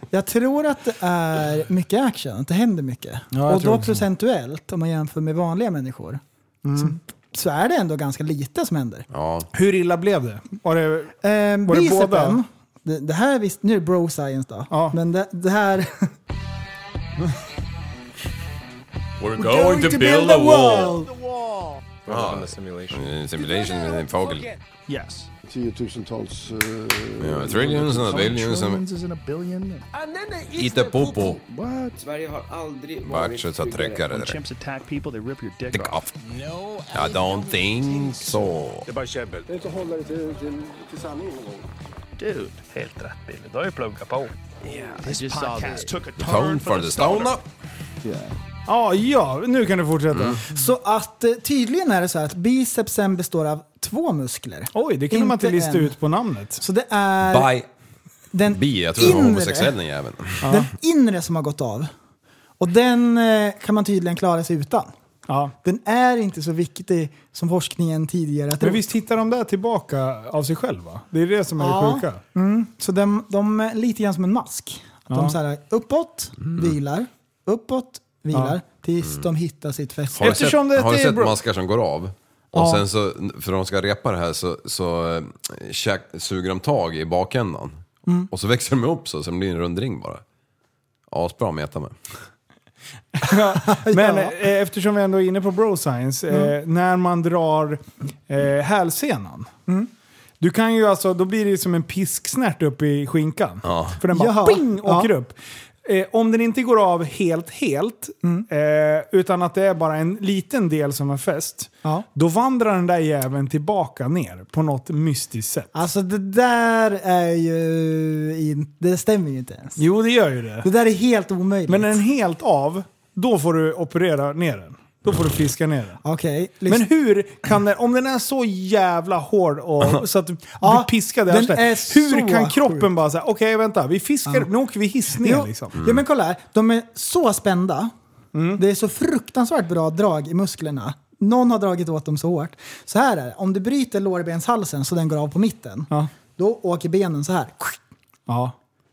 [SPEAKER 6] Jag tror att det är mycket action, att det händer mycket.
[SPEAKER 5] jag
[SPEAKER 6] och
[SPEAKER 5] tror
[SPEAKER 6] då
[SPEAKER 5] också. Mm.
[SPEAKER 6] procentuellt, om man jämför med vanliga människor, så, så är det ändå ganska lite som händer.
[SPEAKER 7] Ja,
[SPEAKER 5] Hur illa blev det? Var det...
[SPEAKER 6] Ehm,
[SPEAKER 5] Var det
[SPEAKER 6] bicepen,
[SPEAKER 5] båda?
[SPEAKER 6] Det, det här visst, nu är det bro science då.
[SPEAKER 5] Ja.
[SPEAKER 6] Men det, det här...
[SPEAKER 8] We're going to
[SPEAKER 6] (laughs)
[SPEAKER 8] build a wall.
[SPEAKER 7] eh, simulation med en fågel.
[SPEAKER 5] Yes.
[SPEAKER 9] tiotusentals... Uh,
[SPEAKER 7] Ja, Trillions and billions and... Hitta popo.
[SPEAKER 10] Sverige har aldrig
[SPEAKER 7] Vart så så trycker det där.
[SPEAKER 11] Chimps attack people, they rip your dick
[SPEAKER 7] Tick
[SPEAKER 11] off.
[SPEAKER 7] off. I don't think so.
[SPEAKER 9] det är inte att hålla det till, till, till sanningen någon gång.
[SPEAKER 11] Dude, helt rätt Billy. Du har ju pluggat på. Yeah, this podcast took a
[SPEAKER 7] Tone for the stone up.
[SPEAKER 5] Ja, ja, nu kan du fortsätta.
[SPEAKER 7] Mm.
[SPEAKER 6] Så att eh, tydligen är det så här att bicepsen består av två muskler.
[SPEAKER 5] Oj, det kunde man inte
[SPEAKER 6] Inte
[SPEAKER 5] lista
[SPEAKER 6] en.
[SPEAKER 5] ut på namnet.
[SPEAKER 6] Så det är
[SPEAKER 7] Bye.
[SPEAKER 6] den,
[SPEAKER 7] Bi, jag tror det var
[SPEAKER 6] Inre.
[SPEAKER 7] homosexuell den jäveln.
[SPEAKER 6] den inre som har gått av. Och den eh, kan man tydligen klara sig utan.
[SPEAKER 5] Ja.
[SPEAKER 6] Den är inte så viktig som forskningen tidigare
[SPEAKER 5] Men
[SPEAKER 6] trodde.
[SPEAKER 5] visst hittar de där tillbaka av sig själva? Det är det som är det
[SPEAKER 6] Ja.
[SPEAKER 5] sjuka.
[SPEAKER 6] Så de, de är lite grann som en mask. Att De så här, uppåt,
[SPEAKER 7] Mm.
[SPEAKER 6] vilar, uppåt, vilar, tills de hittar sitt
[SPEAKER 7] Har
[SPEAKER 6] fäste.
[SPEAKER 7] du sett,
[SPEAKER 5] Eftersom det
[SPEAKER 7] har du
[SPEAKER 5] är
[SPEAKER 7] sett
[SPEAKER 5] bra-
[SPEAKER 7] maskar som går av? Och sen så, för de ska repa det här så, så eh, käk, suger de tag i bakändan.
[SPEAKER 5] Mm.
[SPEAKER 7] Och så växer de upp så, så det blir en rund ring bara. Asbra att meta med.
[SPEAKER 5] Men
[SPEAKER 6] (laughs) Ja. Mm.
[SPEAKER 5] eh, eftersom vi ändå är inne på bro science, eh, när man drar eh, hälsenan.
[SPEAKER 6] Mm.
[SPEAKER 5] Du kan ju alltså, då blir det ju som en pisksnärt upp i skinkan. För den bara
[SPEAKER 6] Ja.
[SPEAKER 5] ping
[SPEAKER 6] Ja.
[SPEAKER 5] åker upp. Eh, om den inte går av helt, helt,
[SPEAKER 6] Mm.
[SPEAKER 5] eh, utan att det är bara en liten del som är fäst,
[SPEAKER 6] Ja.
[SPEAKER 5] då vandrar den där jäveln tillbaka ner på något mystiskt sätt.
[SPEAKER 6] Alltså det där är ju in, Det stämmer ju inte ens.
[SPEAKER 5] Jo, det gör ju det.
[SPEAKER 6] Det där är helt omöjligt.
[SPEAKER 5] Men när den är helt av, då får du operera ner den. Då får du fiska ner den.
[SPEAKER 6] Okej, lyssna.
[SPEAKER 5] Men hur kan den, om den är så jävla hård och så att du blir
[SPEAKER 6] Ja,
[SPEAKER 5] piskad i
[SPEAKER 6] den
[SPEAKER 5] arslet,
[SPEAKER 6] är
[SPEAKER 5] Hur
[SPEAKER 6] så
[SPEAKER 5] kan kroppen
[SPEAKER 6] sjuk.
[SPEAKER 5] bara säga okej vänta, vi fiskar, nu åker vi hiss ner
[SPEAKER 6] Jo,
[SPEAKER 5] liksom.
[SPEAKER 7] Mm.
[SPEAKER 5] Mm.
[SPEAKER 6] ja, men kolla här. De är så spända. Det är så fruktansvärt bra drag i musklerna. Någon har dragit åt dem så hårt. Så här är det. Om du bryter lårbenshalsen så den går av på mitten,
[SPEAKER 5] Ja.
[SPEAKER 6] då åker benen så här.
[SPEAKER 5] Ja.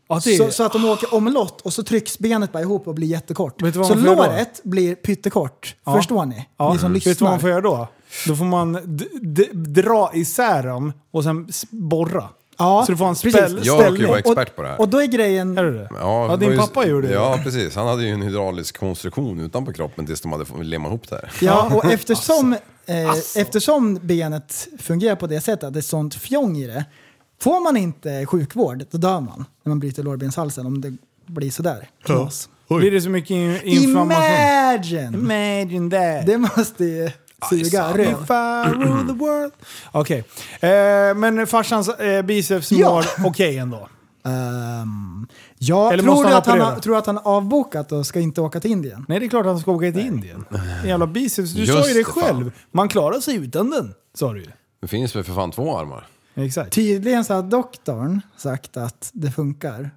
[SPEAKER 5] ja det är,
[SPEAKER 6] Så, så att de åker omlott och så trycks benet bara ihop och blir jättekort.
[SPEAKER 5] Vet du vad
[SPEAKER 6] Så
[SPEAKER 5] man får göra då?
[SPEAKER 6] låret blir pyttekort.
[SPEAKER 5] Ja.
[SPEAKER 6] Förstår ni?
[SPEAKER 5] ja. Mm.
[SPEAKER 6] Ni som
[SPEAKER 5] Vet du vad man får
[SPEAKER 6] lyssnar.
[SPEAKER 5] göra då? Då får man d- d- dra isär dem och sen s- borra.
[SPEAKER 6] Ja,
[SPEAKER 5] så du får en
[SPEAKER 6] precis.
[SPEAKER 5] spel,
[SPEAKER 7] Jag råkar ju
[SPEAKER 5] ställning.
[SPEAKER 7] vara expert på det här.
[SPEAKER 6] Och då är grejen...
[SPEAKER 5] Är du det?
[SPEAKER 7] Ja,
[SPEAKER 5] Ja,
[SPEAKER 7] det
[SPEAKER 5] din
[SPEAKER 7] var ju-
[SPEAKER 5] pappa gjorde ju
[SPEAKER 7] Ja,
[SPEAKER 5] det.
[SPEAKER 7] precis. Han hade ju en hydraulisk konstruktion utanpå kroppen tills de hade fått lemma ihop det här.
[SPEAKER 6] Ja, och eftersom, eh,
[SPEAKER 7] Alltså.
[SPEAKER 6] eftersom benet fungerar på det sättet, att det är sånt fjong i det. Får man inte sjukvård, då dör man när man bryter lårbenshalsen om det blir sådär. Knas.
[SPEAKER 5] Blir det så mycket in- inflammation?
[SPEAKER 6] Imagine!
[SPEAKER 5] Imagine that!
[SPEAKER 6] Det måste ju suga
[SPEAKER 5] If I
[SPEAKER 6] röv.
[SPEAKER 5] rule the world. Okej. Eh, men farsans eh, biceps
[SPEAKER 6] Ja.
[SPEAKER 5] mår okej ändå?
[SPEAKER 6] Ehm, ja,
[SPEAKER 5] Eller
[SPEAKER 6] tror,
[SPEAKER 5] måste
[SPEAKER 6] du
[SPEAKER 5] han
[SPEAKER 6] att han,
[SPEAKER 5] operera?
[SPEAKER 6] har- tror du att han har avbokat och ska inte åka till Indien?
[SPEAKER 5] Nej, det är klart att han ska åka till Indien. Jävla biceps. Du
[SPEAKER 7] Just
[SPEAKER 5] sa ju det
[SPEAKER 7] det, fan.
[SPEAKER 5] själv. Man klarar sig utan den, sa du ju.
[SPEAKER 7] Det finns väl för fan två armar?
[SPEAKER 5] Exakt.
[SPEAKER 6] Tydligen så har doktorn sagt att det funkar.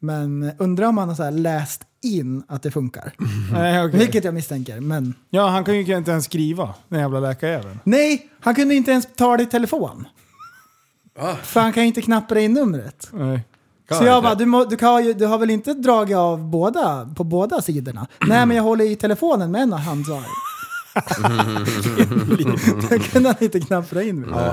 [SPEAKER 6] Men undrar om han har så här läst in att det funkar.
[SPEAKER 5] Nej, okej.
[SPEAKER 6] Vilket jag misstänker, men...
[SPEAKER 5] Ja, han kan ju inte ens skriva, den jävla läkarjäveln.
[SPEAKER 6] Nej, han kunde inte ens ta det i telefon. För han kan ju inte knappa det i numret.
[SPEAKER 5] Nej.
[SPEAKER 6] Så jag
[SPEAKER 7] han
[SPEAKER 6] bara, du, må, du, kan ju, du har väl inte dragit av båda, på båda sidorna? Nej, men jag håller i telefonen med ena handen. Då kunde han inte knappa in mig.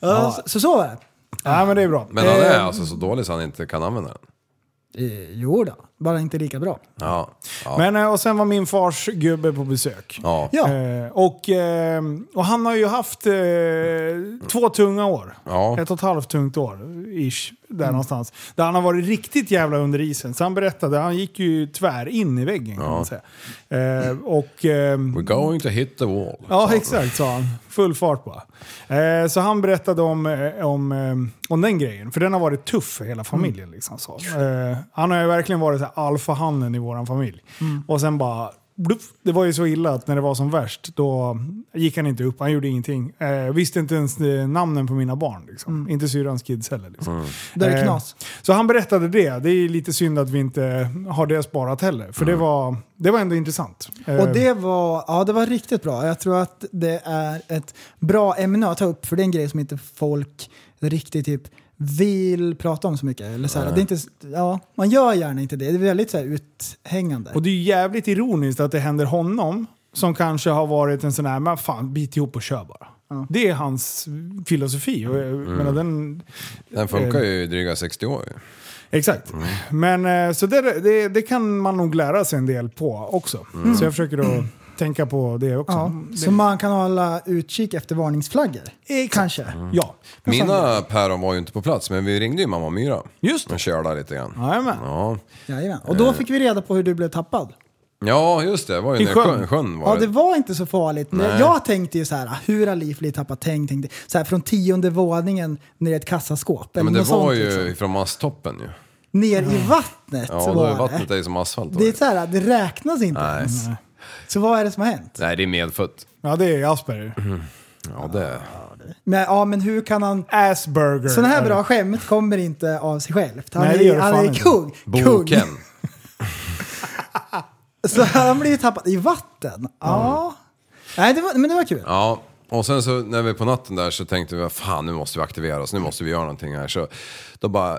[SPEAKER 6] Ja. så, så så var det.
[SPEAKER 5] Nej, men det är bra.
[SPEAKER 7] Men han är
[SPEAKER 5] Eh,
[SPEAKER 7] alltså så dålig så han inte kan använda den.
[SPEAKER 6] Eh, Jo då, bara inte lika bra.
[SPEAKER 7] Ja. Ja.
[SPEAKER 5] men, eh, och sen var min fars gubbe på besök.
[SPEAKER 7] ja.
[SPEAKER 6] Ja,
[SPEAKER 5] Eh, och, eh, och han har ju haft eh, två tunga år.
[SPEAKER 7] Ja.
[SPEAKER 5] Ett och ett halvt tungt år, ish. Där någonstans. Där han har varit riktigt jävla under isen. Så han berättade, han gick ju tvär in i väggen kan man säga. Eh, och... ehm,
[SPEAKER 7] We're going to hit the wall.
[SPEAKER 5] Ja, exakt sa han. (laughs) Full fart bara. Eh, så han berättade om, eh, om, eh, om den grejen, för den har varit tuff för hela familjen.
[SPEAKER 6] Mm.
[SPEAKER 5] Liksom, så. Eh, han har ju verkligen varit så här alfahannen i vår familj.
[SPEAKER 6] Mm.
[SPEAKER 5] Och sen bara... bluff. Det var ju så illa att när det var som värst då gick han inte upp, han gjorde ingenting. Eh, visste inte ens eh, namnen på mina barn. Liksom. Inte syrrans kids heller. Liksom.
[SPEAKER 6] Mm. det är
[SPEAKER 5] Eh,
[SPEAKER 6] knas.
[SPEAKER 5] Så han berättade det. Det är lite synd att vi inte har det sparat heller. För det, var, det var ändå intressant. Eh,
[SPEAKER 6] Mm. Och
[SPEAKER 7] Ehm.
[SPEAKER 6] det var, ja, det var riktigt bra. Jag tror att det är ett bra ämne att ta upp för det är en grej som inte folk riktigt typ vill prata om så mycket. Eller så här, det är inte, ja, man gör gärna inte det. Det är väldigt så här, uthängande.
[SPEAKER 5] Och det är ju jävligt ironiskt att det händer honom som kanske har varit en sån här, men fan bit ihop och kör bara. Det är hans filosofi. Och, jag
[SPEAKER 7] Mm.
[SPEAKER 5] menar, den,
[SPEAKER 7] Den funkar ju i dryga 60 år. ju.
[SPEAKER 5] exakt. Men eh, så det, det, det kan man nog lära sig en del på också.
[SPEAKER 7] Mm.
[SPEAKER 5] Så jag försöker då tänka på det också.
[SPEAKER 6] ja, så man kan hålla utkik efter varningsflaggor. Kanske.
[SPEAKER 7] Mm.
[SPEAKER 5] Ja.
[SPEAKER 7] Mina päron var ju inte på plats, men vi ringde ju mamma Myra.
[SPEAKER 5] Just det.
[SPEAKER 7] Och körde lite grann.
[SPEAKER 5] Jajamän.
[SPEAKER 7] Ja.
[SPEAKER 6] Jajamän. Och
[SPEAKER 7] Ehm.
[SPEAKER 6] då fick vi reda på hur du blev tappad.
[SPEAKER 7] ja, just det. Det var ju
[SPEAKER 5] I
[SPEAKER 7] när
[SPEAKER 5] sjön.
[SPEAKER 7] sjön, sjön var
[SPEAKER 6] Ja, det var inte så farligt. Men Jag tänkte ju så här, hur har Liv blivit tappad? Tänk, tänkte, så här, från tionde våningen ner i ett kassaskåp.
[SPEAKER 7] Ja,
[SPEAKER 6] eller
[SPEAKER 7] men det
[SPEAKER 6] något
[SPEAKER 7] var
[SPEAKER 6] sånt,
[SPEAKER 7] ju
[SPEAKER 6] liksom.
[SPEAKER 7] från masttoppen ju.
[SPEAKER 6] Ner i vattnet
[SPEAKER 7] Ja, då
[SPEAKER 6] var
[SPEAKER 7] är vattnet är
[SPEAKER 6] det.
[SPEAKER 7] ju som asfalt. då.
[SPEAKER 6] Det, är så här, det räknas inte
[SPEAKER 7] Nej.
[SPEAKER 6] ens. Så vad är det som har hänt?
[SPEAKER 7] Nej, det är medfött.
[SPEAKER 5] ja, det är Asperger.
[SPEAKER 7] Mm. Ja, det...
[SPEAKER 6] Men, ja, men hur kan han...
[SPEAKER 5] Asperger.
[SPEAKER 6] Sådana här
[SPEAKER 5] är det.
[SPEAKER 6] bra skämt kommer inte av sig självt. Han
[SPEAKER 5] Nej, det
[SPEAKER 6] är,
[SPEAKER 5] gör det
[SPEAKER 6] han
[SPEAKER 5] fan
[SPEAKER 6] är
[SPEAKER 5] inte.
[SPEAKER 6] kung.
[SPEAKER 7] Boken.
[SPEAKER 6] kung. (laughs) Så han blir ju tappad i vatten. Ja. Nej, det var, men det var kul.
[SPEAKER 7] Ja, och sen så när vi på natten där så tänkte vi fan nu måste vi aktivera oss, nu måste vi göra någonting här. Så då bara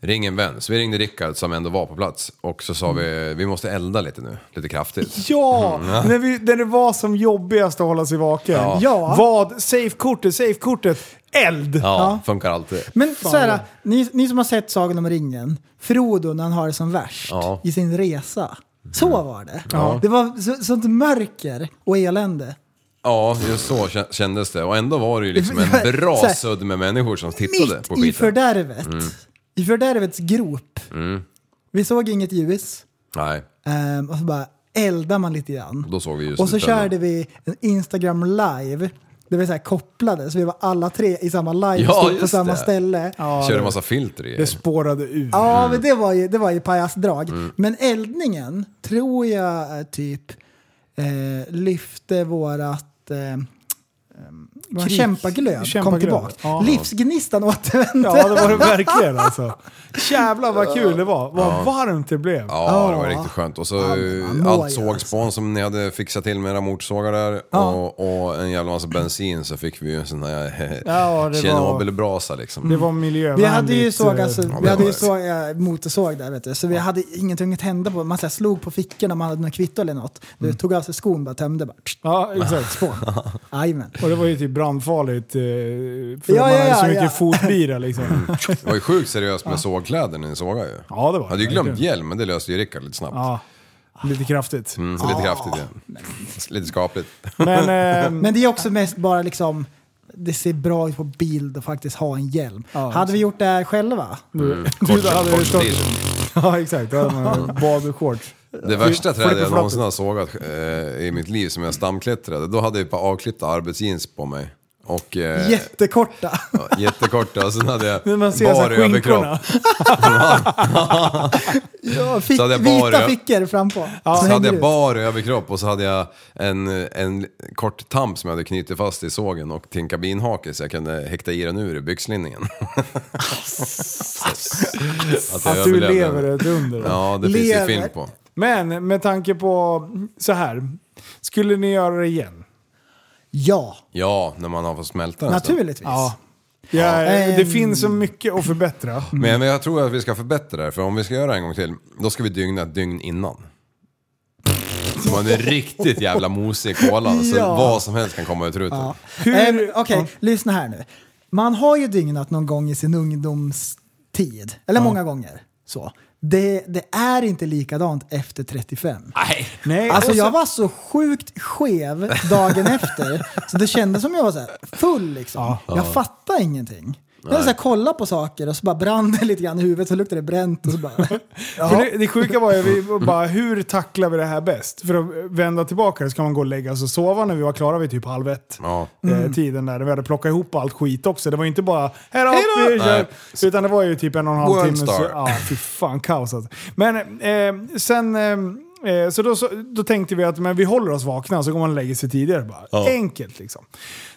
[SPEAKER 7] ring en vän. Så vi ringde Rickard som ändå var på plats och så sa
[SPEAKER 6] Mm.
[SPEAKER 7] vi vi måste elda lite nu, lite kraftigt.
[SPEAKER 5] Ja! När, vi, när det var som jobbigast att hålla sig vaken.
[SPEAKER 7] Mm, Ja.
[SPEAKER 6] Ja.
[SPEAKER 5] Vad? Safekortet, safekortet. Eld!
[SPEAKER 7] Ja, funkar alltid.
[SPEAKER 6] Men så här, ni, ni som har sett Sagan om ringen, Frodo när han har det som värst
[SPEAKER 7] Ja. Mm.
[SPEAKER 6] i sin resa. Så var det. Det var så, sånt mörker och elände.
[SPEAKER 7] Ja, just så kä- kändes det. Och ändå var det ju liksom en bra
[SPEAKER 6] Så här,
[SPEAKER 7] sudd med människor som tittade på
[SPEAKER 6] Mitt i
[SPEAKER 7] skiten. Mm.
[SPEAKER 6] fördärvet. I fördärvets grop. Vi såg inget ljus
[SPEAKER 7] Nej,
[SPEAKER 6] ehm, och så bara eldade man lite grann.
[SPEAKER 7] då såg vi ju
[SPEAKER 6] Och så
[SPEAKER 7] slutändan.
[SPEAKER 6] körde vi en Instagram live. Det var så här kopplade, så vi var alla tre i samma live
[SPEAKER 7] Ja,
[SPEAKER 6] stod på
[SPEAKER 7] just
[SPEAKER 6] samma
[SPEAKER 7] det.
[SPEAKER 6] ställe.
[SPEAKER 7] Körde massa filter i.
[SPEAKER 5] Det spårade ur.
[SPEAKER 7] Mm.
[SPEAKER 6] Ja, men det var ju, det var ju pajasdrag. Men eldningen tror jag eh, typ eh, lyfte vårat... Eh, eh, vår
[SPEAKER 5] Krig.
[SPEAKER 6] kämpaglöd kom
[SPEAKER 5] Kämpaglöd.
[SPEAKER 6] tillbaka.
[SPEAKER 5] Ja.
[SPEAKER 6] Livsgnistan återvände. (laughs)
[SPEAKER 5] Ja, det var det verkligen alltså. Jävlar vad kul det var. Vad varmt det blev.
[SPEAKER 7] Ja, det var riktigt skönt. Och så
[SPEAKER 6] man mår
[SPEAKER 7] allt
[SPEAKER 6] ju
[SPEAKER 5] alltså-
[SPEAKER 7] sågspån som ni hade fixat till med era motorsågar där och, och en jävla massa bensin så fick vi ju en sån här
[SPEAKER 5] Ja, det
[SPEAKER 7] (laughs)
[SPEAKER 5] var-
[SPEAKER 7] Tjernobylbrasa liksom.
[SPEAKER 5] Det var miljövänligt.
[SPEAKER 6] Mm. Vi hade ju såg, alltså,
[SPEAKER 5] eh,
[SPEAKER 6] vi
[SPEAKER 7] det
[SPEAKER 6] hade
[SPEAKER 7] var
[SPEAKER 6] ju
[SPEAKER 7] det.
[SPEAKER 6] såg, eh, motorsåg där vet du, så vi hade ingenting att tända på. Man så här, slog på fickorna, man hade
[SPEAKER 7] Mm.
[SPEAKER 6] något kvitto eller något. Du tog av sig skon, bara tömde bara.
[SPEAKER 5] Ja, exakt.
[SPEAKER 6] Spån. Jajamän.
[SPEAKER 5] Och det var ju typ brandfarligt eh, för
[SPEAKER 6] Ja,
[SPEAKER 5] man
[SPEAKER 6] ja,
[SPEAKER 5] har
[SPEAKER 6] ja,
[SPEAKER 5] så
[SPEAKER 6] ja. Mm.
[SPEAKER 5] mycket
[SPEAKER 6] (laughs)
[SPEAKER 5] fotbira liksom.
[SPEAKER 7] Det var ju sjukt seriöst med sågkläder när ni sågade ju.
[SPEAKER 5] Ja, det var
[SPEAKER 7] Hade ju
[SPEAKER 5] det,
[SPEAKER 7] glömt
[SPEAKER 5] verkligen.
[SPEAKER 7] hjälm, men det löste ju Rickard lite snabbt.
[SPEAKER 5] Ja, lite kraftigt.
[SPEAKER 7] Mm, så lite kraftigt igen. (laughs) Lite skapligt. Mm.
[SPEAKER 6] Men det är också mest bara liksom, det ser bra ut på bild att faktiskt ha en hjälm. hade vi gjort det här själva?
[SPEAKER 5] Mm.
[SPEAKER 7] Kort-
[SPEAKER 5] där hade
[SPEAKER 7] kort
[SPEAKER 5] du stått-
[SPEAKER 7] t-shirt.
[SPEAKER 5] Ja, exakt. Då hade man
[SPEAKER 6] (laughs)
[SPEAKER 5] badshorts.
[SPEAKER 6] Eh,
[SPEAKER 7] Det värsta
[SPEAKER 5] Flipp-
[SPEAKER 7] trädet jag
[SPEAKER 5] flipperflappor.
[SPEAKER 7] någonsin har sågat eh, i mitt liv som jag stamklättrade, då hade jag ett par avklippta arbetsjeans på mig. Och eh,
[SPEAKER 6] Jättekorta.
[SPEAKER 7] ja, jättekorta och sen hade
[SPEAKER 6] (laughs)
[SPEAKER 7] jag
[SPEAKER 6] När man ser så här
[SPEAKER 7] bar
[SPEAKER 6] skinkorna.
[SPEAKER 7] överkropp.
[SPEAKER 6] Ja, fick,
[SPEAKER 7] Så hade jag bara-
[SPEAKER 6] vita fickor framför.
[SPEAKER 7] så hade jag
[SPEAKER 6] ut.
[SPEAKER 7] bar överkropp och så hade jag en, en kort tamp som jag hade knutit fast i sågen och till en kabinhake så jag kunde häkta i den ur i
[SPEAKER 6] (laughs)
[SPEAKER 7] byxlinningen. (laughs)
[SPEAKER 5] Att,
[SPEAKER 7] jag
[SPEAKER 5] du
[SPEAKER 7] överlevde.
[SPEAKER 5] lever ett under.
[SPEAKER 7] Ja, det finns ju film på.
[SPEAKER 5] Men med tanke på så här. Skulle ni göra det igen?
[SPEAKER 6] Ja.
[SPEAKER 7] Ja, när man har fått smälta den.
[SPEAKER 6] Naturligtvis.
[SPEAKER 5] Ja. Ja,
[SPEAKER 6] Ja.
[SPEAKER 5] Det
[SPEAKER 6] Ehm.
[SPEAKER 5] finns så mycket att förbättra.
[SPEAKER 7] Men,
[SPEAKER 6] Mm.
[SPEAKER 7] men jag tror att vi ska förbättra det här, för om vi ska göra det en gång till, då ska vi dygna ett dygn innan. Så man är riktigt jävla mosig i kolan, så
[SPEAKER 6] Ja.
[SPEAKER 7] vad som helst kan komma ut rutan.
[SPEAKER 6] Ja. Ehm, Okej, lyssna här nu. Man har ju dygnat någon gång i sin ungdomstid, eller många gånger. Så. Det, det är inte likadant efter 35.
[SPEAKER 5] Nej,
[SPEAKER 6] Alltså
[SPEAKER 5] och så-
[SPEAKER 6] jag var så sjukt skev
[SPEAKER 5] (laughs)
[SPEAKER 6] dagen efter, så det kändes som jag var så här full liksom. Jag fattade ingenting. Jag hade så här, kollat på saker och så bara brann det lite grann i huvudet, så luktade det bränt och så bara...
[SPEAKER 5] För det, det sjuka var ju vi var bara, hur tacklar vi det här bäst? För att vända tillbaka så kan man gå och lägga sig och sova när vi var klara vid typ halv ett.
[SPEAKER 7] Ja.
[SPEAKER 5] Eh, tiden där, när vi hade plockat ihop allt skit också. Det var ju inte bara här har
[SPEAKER 7] Hej då!"
[SPEAKER 5] vi kör. Utan det var ju typ en och en halv
[SPEAKER 7] World
[SPEAKER 5] timme. Så,
[SPEAKER 7] star.
[SPEAKER 5] ja, fy fan kaos alltså. Men eh, sen... eh, Eh, så då, så då tänkte vi att men vi håller oss vakna så går man och lägger sig tidigare. Bara. Enkelt liksom.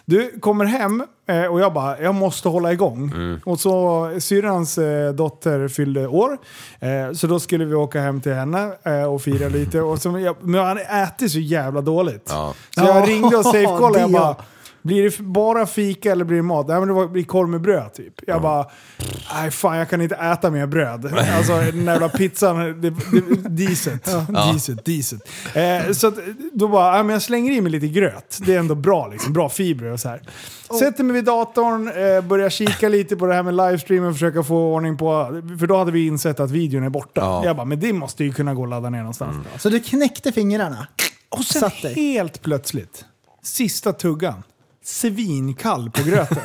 [SPEAKER 5] Du kommer hem eh, och jag bara, jag måste hålla igång.
[SPEAKER 7] Mm.
[SPEAKER 5] Och så syrrans eh, dotter fyllde år. Eh, så då skulle vi åka hem till henne eh, och fira lite. Och så, jag, men han äter så jävla dåligt.
[SPEAKER 7] Ja.
[SPEAKER 5] Så jag
[SPEAKER 6] Ja,
[SPEAKER 5] ringde
[SPEAKER 6] (laughs)
[SPEAKER 5] och safecollade. Jag
[SPEAKER 6] det
[SPEAKER 5] bara,
[SPEAKER 6] ja.
[SPEAKER 5] blir det bara fika eller blir det mat? Nej men det var- blir korv med bröd typ. Jag bara, nej fan jag kan inte äta mer bröd. Alltså den där jävla pizzan, det, det, diset. Diset, diset. Eh, så att, då bara, nej, men jag slänger i mig lite gröt. Det är ändå bra liksom, bra fibrer och så här. Sätter mig vid datorn, eh, börjar kika lite på det här med livestreamen, försöka få ordning på, för då hade vi insett att videon är borta.
[SPEAKER 7] Ja.
[SPEAKER 5] Jag bara, men det måste ju kunna gå att ladda ner någonstans.
[SPEAKER 6] Så du knäckte fingrarna?
[SPEAKER 5] Och sen
[SPEAKER 6] Satt dig.
[SPEAKER 5] helt plötsligt, sista tuggan, svinkall på
[SPEAKER 6] (laughs)
[SPEAKER 5] gröten.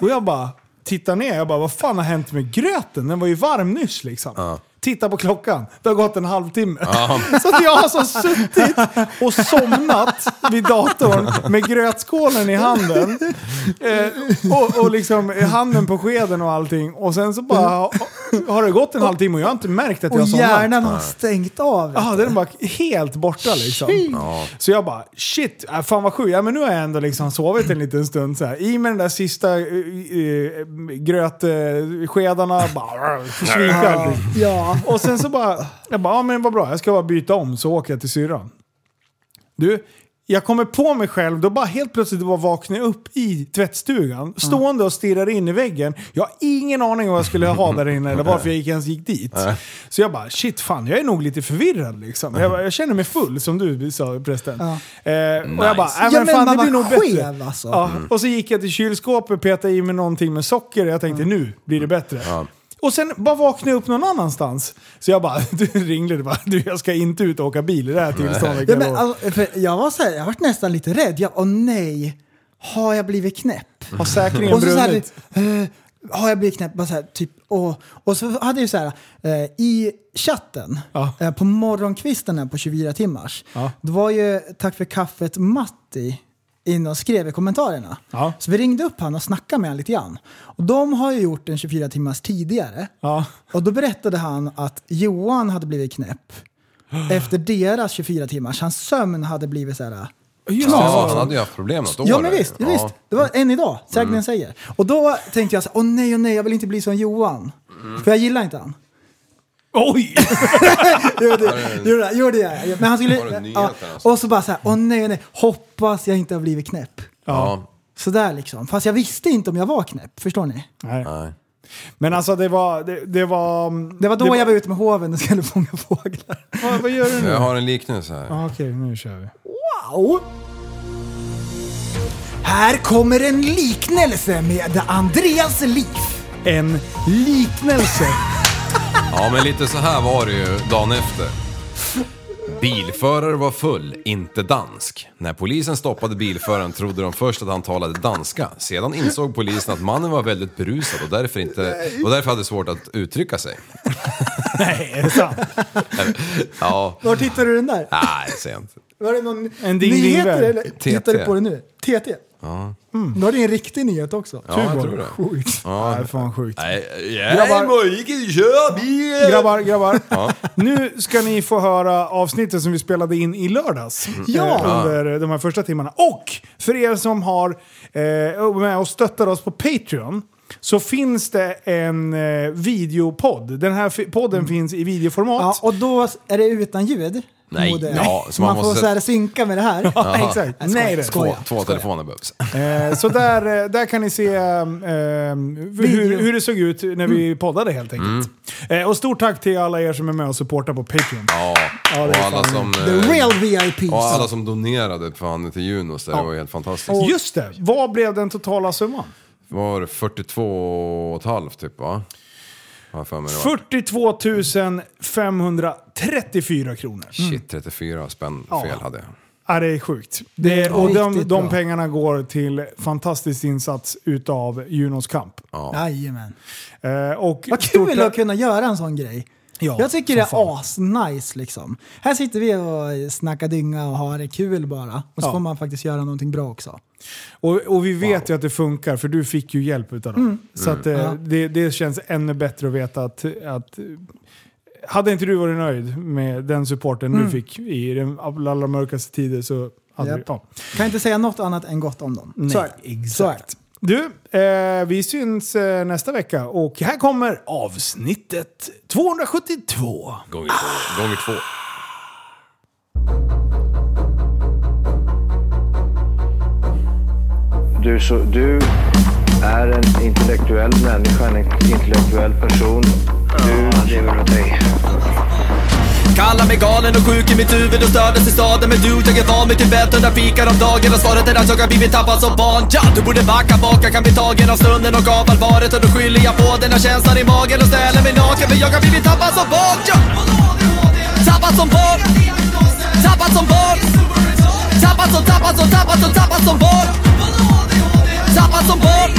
[SPEAKER 5] och jag bara tittar ner, jag bara vad fan har hänt med gröten? Den var ju varm nyss liksom. Titta på klockan, det har gått en halvtimme. (laughs) Så att jag har alltså suttit och somnat vid datorn med grötskålen i handen. Eh, och, och liksom eh, handen på skeden och allting. Och sen så bara har det gått en halvtimme och Ah, jag har inte märkt att jag
[SPEAKER 6] Och
[SPEAKER 5] har somnat.
[SPEAKER 6] hjärnan har stängt av.
[SPEAKER 5] Ja, den var helt borta liksom. Så jag bara shit, äh, fan vad sjukt. Ja, men nu har jag ändå liksom sovit en liten stund så här. I med den där sista uh, grötskedarna, bara äh, svinkall.
[SPEAKER 6] Ja.
[SPEAKER 5] Och sen så bara, jag bara, ja men vad bra, jag ska bara byta om så åker jag till syrran. Du, jag kommer på mig själv, då bara helt plötsligt bara vaknar jag upp i tvättstugan, stående och stirrar in i väggen. Jag har ingen aning om vad jag skulle ha där inne eller varför jag gick- ens gick dit. Så jag bara, shit fan, jag är nog lite förvirrad liksom. Jag, bara, jag känner mig full som du sa prästen. Eh, och jag bara, äh, men,
[SPEAKER 6] Ja, men
[SPEAKER 5] fan
[SPEAKER 6] man
[SPEAKER 5] det blir
[SPEAKER 6] var
[SPEAKER 5] nog bättre. Ah,
[SPEAKER 6] skev, alltså.
[SPEAKER 5] Ja, och så gick jag till kylskåpet, petade i mig någonting med socker och jag tänkte
[SPEAKER 6] Mm.
[SPEAKER 5] nu blir det bättre. Och sen bara vaknade jag upp någon annanstans. Så jag bara, (laughs) du ringde och bara, du jag ska inte ut och åka bil i det här tillståndet.
[SPEAKER 6] Ja, men, all, för jag var så här, jag vart nästan lite rädd. Jag, åh nej, har jag blivit knäpp?
[SPEAKER 5] Har säkringen
[SPEAKER 6] Och så, så här,
[SPEAKER 5] brunnit?
[SPEAKER 6] eh, har jag blivit knäpp? Bara så här, typ, och, och så hade jag ju så här, eh, i chatten
[SPEAKER 5] Ja.
[SPEAKER 6] eh, på morgonkvisten här på 24 timmars,
[SPEAKER 5] Ja.
[SPEAKER 6] det var ju tack för kaffet Matti in och skrev i kommentarerna.
[SPEAKER 5] Ja.
[SPEAKER 6] Så vi ringde upp han och snackade med han lite grann. Och de har ju gjort en 24 timmars tidigare.
[SPEAKER 5] Ja.
[SPEAKER 6] Och då berättade han att Johan hade
[SPEAKER 5] (gasps)
[SPEAKER 6] blivit knäpp efter deras 24 timmars. Hans sömn hade blivit så här...
[SPEAKER 7] Ja, han hade ju haft problem något år.
[SPEAKER 6] Ja men visst,
[SPEAKER 7] Ja. Mm.
[SPEAKER 6] visst. Det var en idag, sägnen säger. Och då tänkte jag så här, åh nej, åh nej, jag vill inte bli som Johan.
[SPEAKER 7] Mm.
[SPEAKER 6] För jag gillar inte han. (laughs)
[SPEAKER 5] Oj!
[SPEAKER 6] Gjorde, gjorde, gjorde jag. Men han
[SPEAKER 7] Var det
[SPEAKER 6] skulle...
[SPEAKER 7] nyheten
[SPEAKER 6] Ja,
[SPEAKER 7] alltså?
[SPEAKER 6] och så bara så här, åh nej, åh nej, hoppas jag inte har blivit knäpp.
[SPEAKER 7] Ja.
[SPEAKER 6] Sådär liksom. Fast jag visste inte om jag var knäpp, förstår ni?
[SPEAKER 5] Nej. Men alltså det var... Det, det var...
[SPEAKER 6] Det var då jag var ute med hoven och skulle (laughs) fånga fåglar.
[SPEAKER 5] Vad, vad gör du nu?
[SPEAKER 7] Jag har en liknelse här.
[SPEAKER 5] Ah, Okej, nu kör vi.
[SPEAKER 6] Wow! Här kommer en liknelse med Andreas liv.
[SPEAKER 5] En liknelse? (laughs)
[SPEAKER 7] Ja, men lite så här var det ju dagen efter. Bilförare var full, inte dansk. När polisen stoppade bilföraren trodde de först att han talade danska. Sedan insåg polisen att mannen var väldigt berusad och därför, inte, och därför hade svårt att uttrycka sig.
[SPEAKER 5] Nej, är det sant?
[SPEAKER 7] Ja,
[SPEAKER 6] Var hittar du den där?
[SPEAKER 7] nej, sent.
[SPEAKER 6] Var det någon
[SPEAKER 5] En ding ding
[SPEAKER 6] nyheter
[SPEAKER 5] värld.
[SPEAKER 6] eller?
[SPEAKER 7] TT.
[SPEAKER 6] Tittar du på det nu? Mm. TT?
[SPEAKER 7] Ja,
[SPEAKER 6] Nu har du en riktig nyhet också.
[SPEAKER 7] ja jag tror det.
[SPEAKER 5] Sjukt.
[SPEAKER 7] Ja.
[SPEAKER 5] Nej, fan sjukt.
[SPEAKER 7] Nej,
[SPEAKER 5] Grabbar.
[SPEAKER 7] jag mojke, kör bil!
[SPEAKER 5] Grabbar, grabbar. Nu ska ni få höra avsnittet som vi spelade in i lördags.
[SPEAKER 6] Mm. Ja.
[SPEAKER 5] eh, Under de här första timmarna. Och för er som har eh, med och stöttar oss på Patreon så finns det en eh, videopodd. Den här fi- podden finns i
[SPEAKER 6] Mm. Ja,
[SPEAKER 5] videoformat.
[SPEAKER 6] och då är det utan ljud.
[SPEAKER 7] Nej,
[SPEAKER 6] Mode.
[SPEAKER 7] ja, så
[SPEAKER 6] man,
[SPEAKER 7] man
[SPEAKER 6] får
[SPEAKER 7] måste-
[SPEAKER 6] så här synka med det här. (laughs)
[SPEAKER 5] Ja, exakt.
[SPEAKER 6] Nej, skoja,
[SPEAKER 5] Nej, det.
[SPEAKER 6] skoja.
[SPEAKER 7] Två, två telefoner behövs.
[SPEAKER 5] Eh, så där, eh, där kan ni se ehm, ehm, hur, hur det såg ut när
[SPEAKER 6] Mm.
[SPEAKER 5] vi poddade helt enkelt. Eh, och stort tack till alla er som är med och supportar på Patreon.
[SPEAKER 7] Ja,
[SPEAKER 5] det är
[SPEAKER 7] och alla
[SPEAKER 5] fan-
[SPEAKER 7] som...
[SPEAKER 6] The
[SPEAKER 7] eh,
[SPEAKER 6] real VIPs.
[SPEAKER 7] Och alla som donerade fan till Junos där, det var helt fantastiskt.
[SPEAKER 5] Och- Just det, vad blev den totala summan?
[SPEAKER 7] Var det 42 och ett halvt typ va? Har jag för mig det var.
[SPEAKER 5] 42 534 kronor.
[SPEAKER 7] Shit, 34 spänn
[SPEAKER 5] mm. Ja.
[SPEAKER 7] fel hade jag.
[SPEAKER 5] Ja, det är sjukt. Det är, och de,
[SPEAKER 6] riktigt
[SPEAKER 5] de
[SPEAKER 6] bra.
[SPEAKER 5] pengarna går till fantastisk insats utav Junos kamp.
[SPEAKER 6] Jajamän.
[SPEAKER 5] Eh, och
[SPEAKER 6] Vad
[SPEAKER 5] stort
[SPEAKER 6] kul
[SPEAKER 5] tack-
[SPEAKER 6] att kunna göra en sån grej.
[SPEAKER 5] Ja,
[SPEAKER 6] jag tycker
[SPEAKER 5] som
[SPEAKER 6] det
[SPEAKER 5] fan.
[SPEAKER 6] är asnice liksom. Här sitter vi och snackar dynga och har det kul bara. Och så
[SPEAKER 5] Ja.
[SPEAKER 6] får man faktiskt göra någonting bra också.
[SPEAKER 5] Och, och vi vet ju att det funkar, för du fick ju hjälp utav
[SPEAKER 6] Mm.
[SPEAKER 5] dem. Så att, eh,
[SPEAKER 6] Ja.
[SPEAKER 5] det, det känns ännu bättre att veta att, att... eh, Hade inte du varit nöjd med den supporten du fick i den allra allra mörkaste tider så... Hade
[SPEAKER 6] Mm. Japp.
[SPEAKER 5] du, ja.
[SPEAKER 6] Kan inte säga något annat än gott om dem.
[SPEAKER 5] Nej,
[SPEAKER 6] så är det. Så är det.
[SPEAKER 5] Du, eh, vi syns eh, nästa vecka och här kommer avsnittet 272.
[SPEAKER 7] Gånger två. Gånger två.
[SPEAKER 1] Du, så, du är en intellektuell människa, en intellektuell person. Du lever av dig.
[SPEAKER 2] Kallar mig galen och sjuk i mitt huvud och stördes i staden Men du, jag är van vid Tibet och där fikar om dagen Och svaret är att jag har blivit tappad som barn ja, Du borde backa bak, jag kan bli tagen av stunden och av allvaret Och då skyller jag på den här känslan i magen och ställer mig naken För jag har blivit tappad som barn ja. Tappad som barn Tappad som barn Tappad som, tappad som, tappad som, tappad som barn Tappad som barn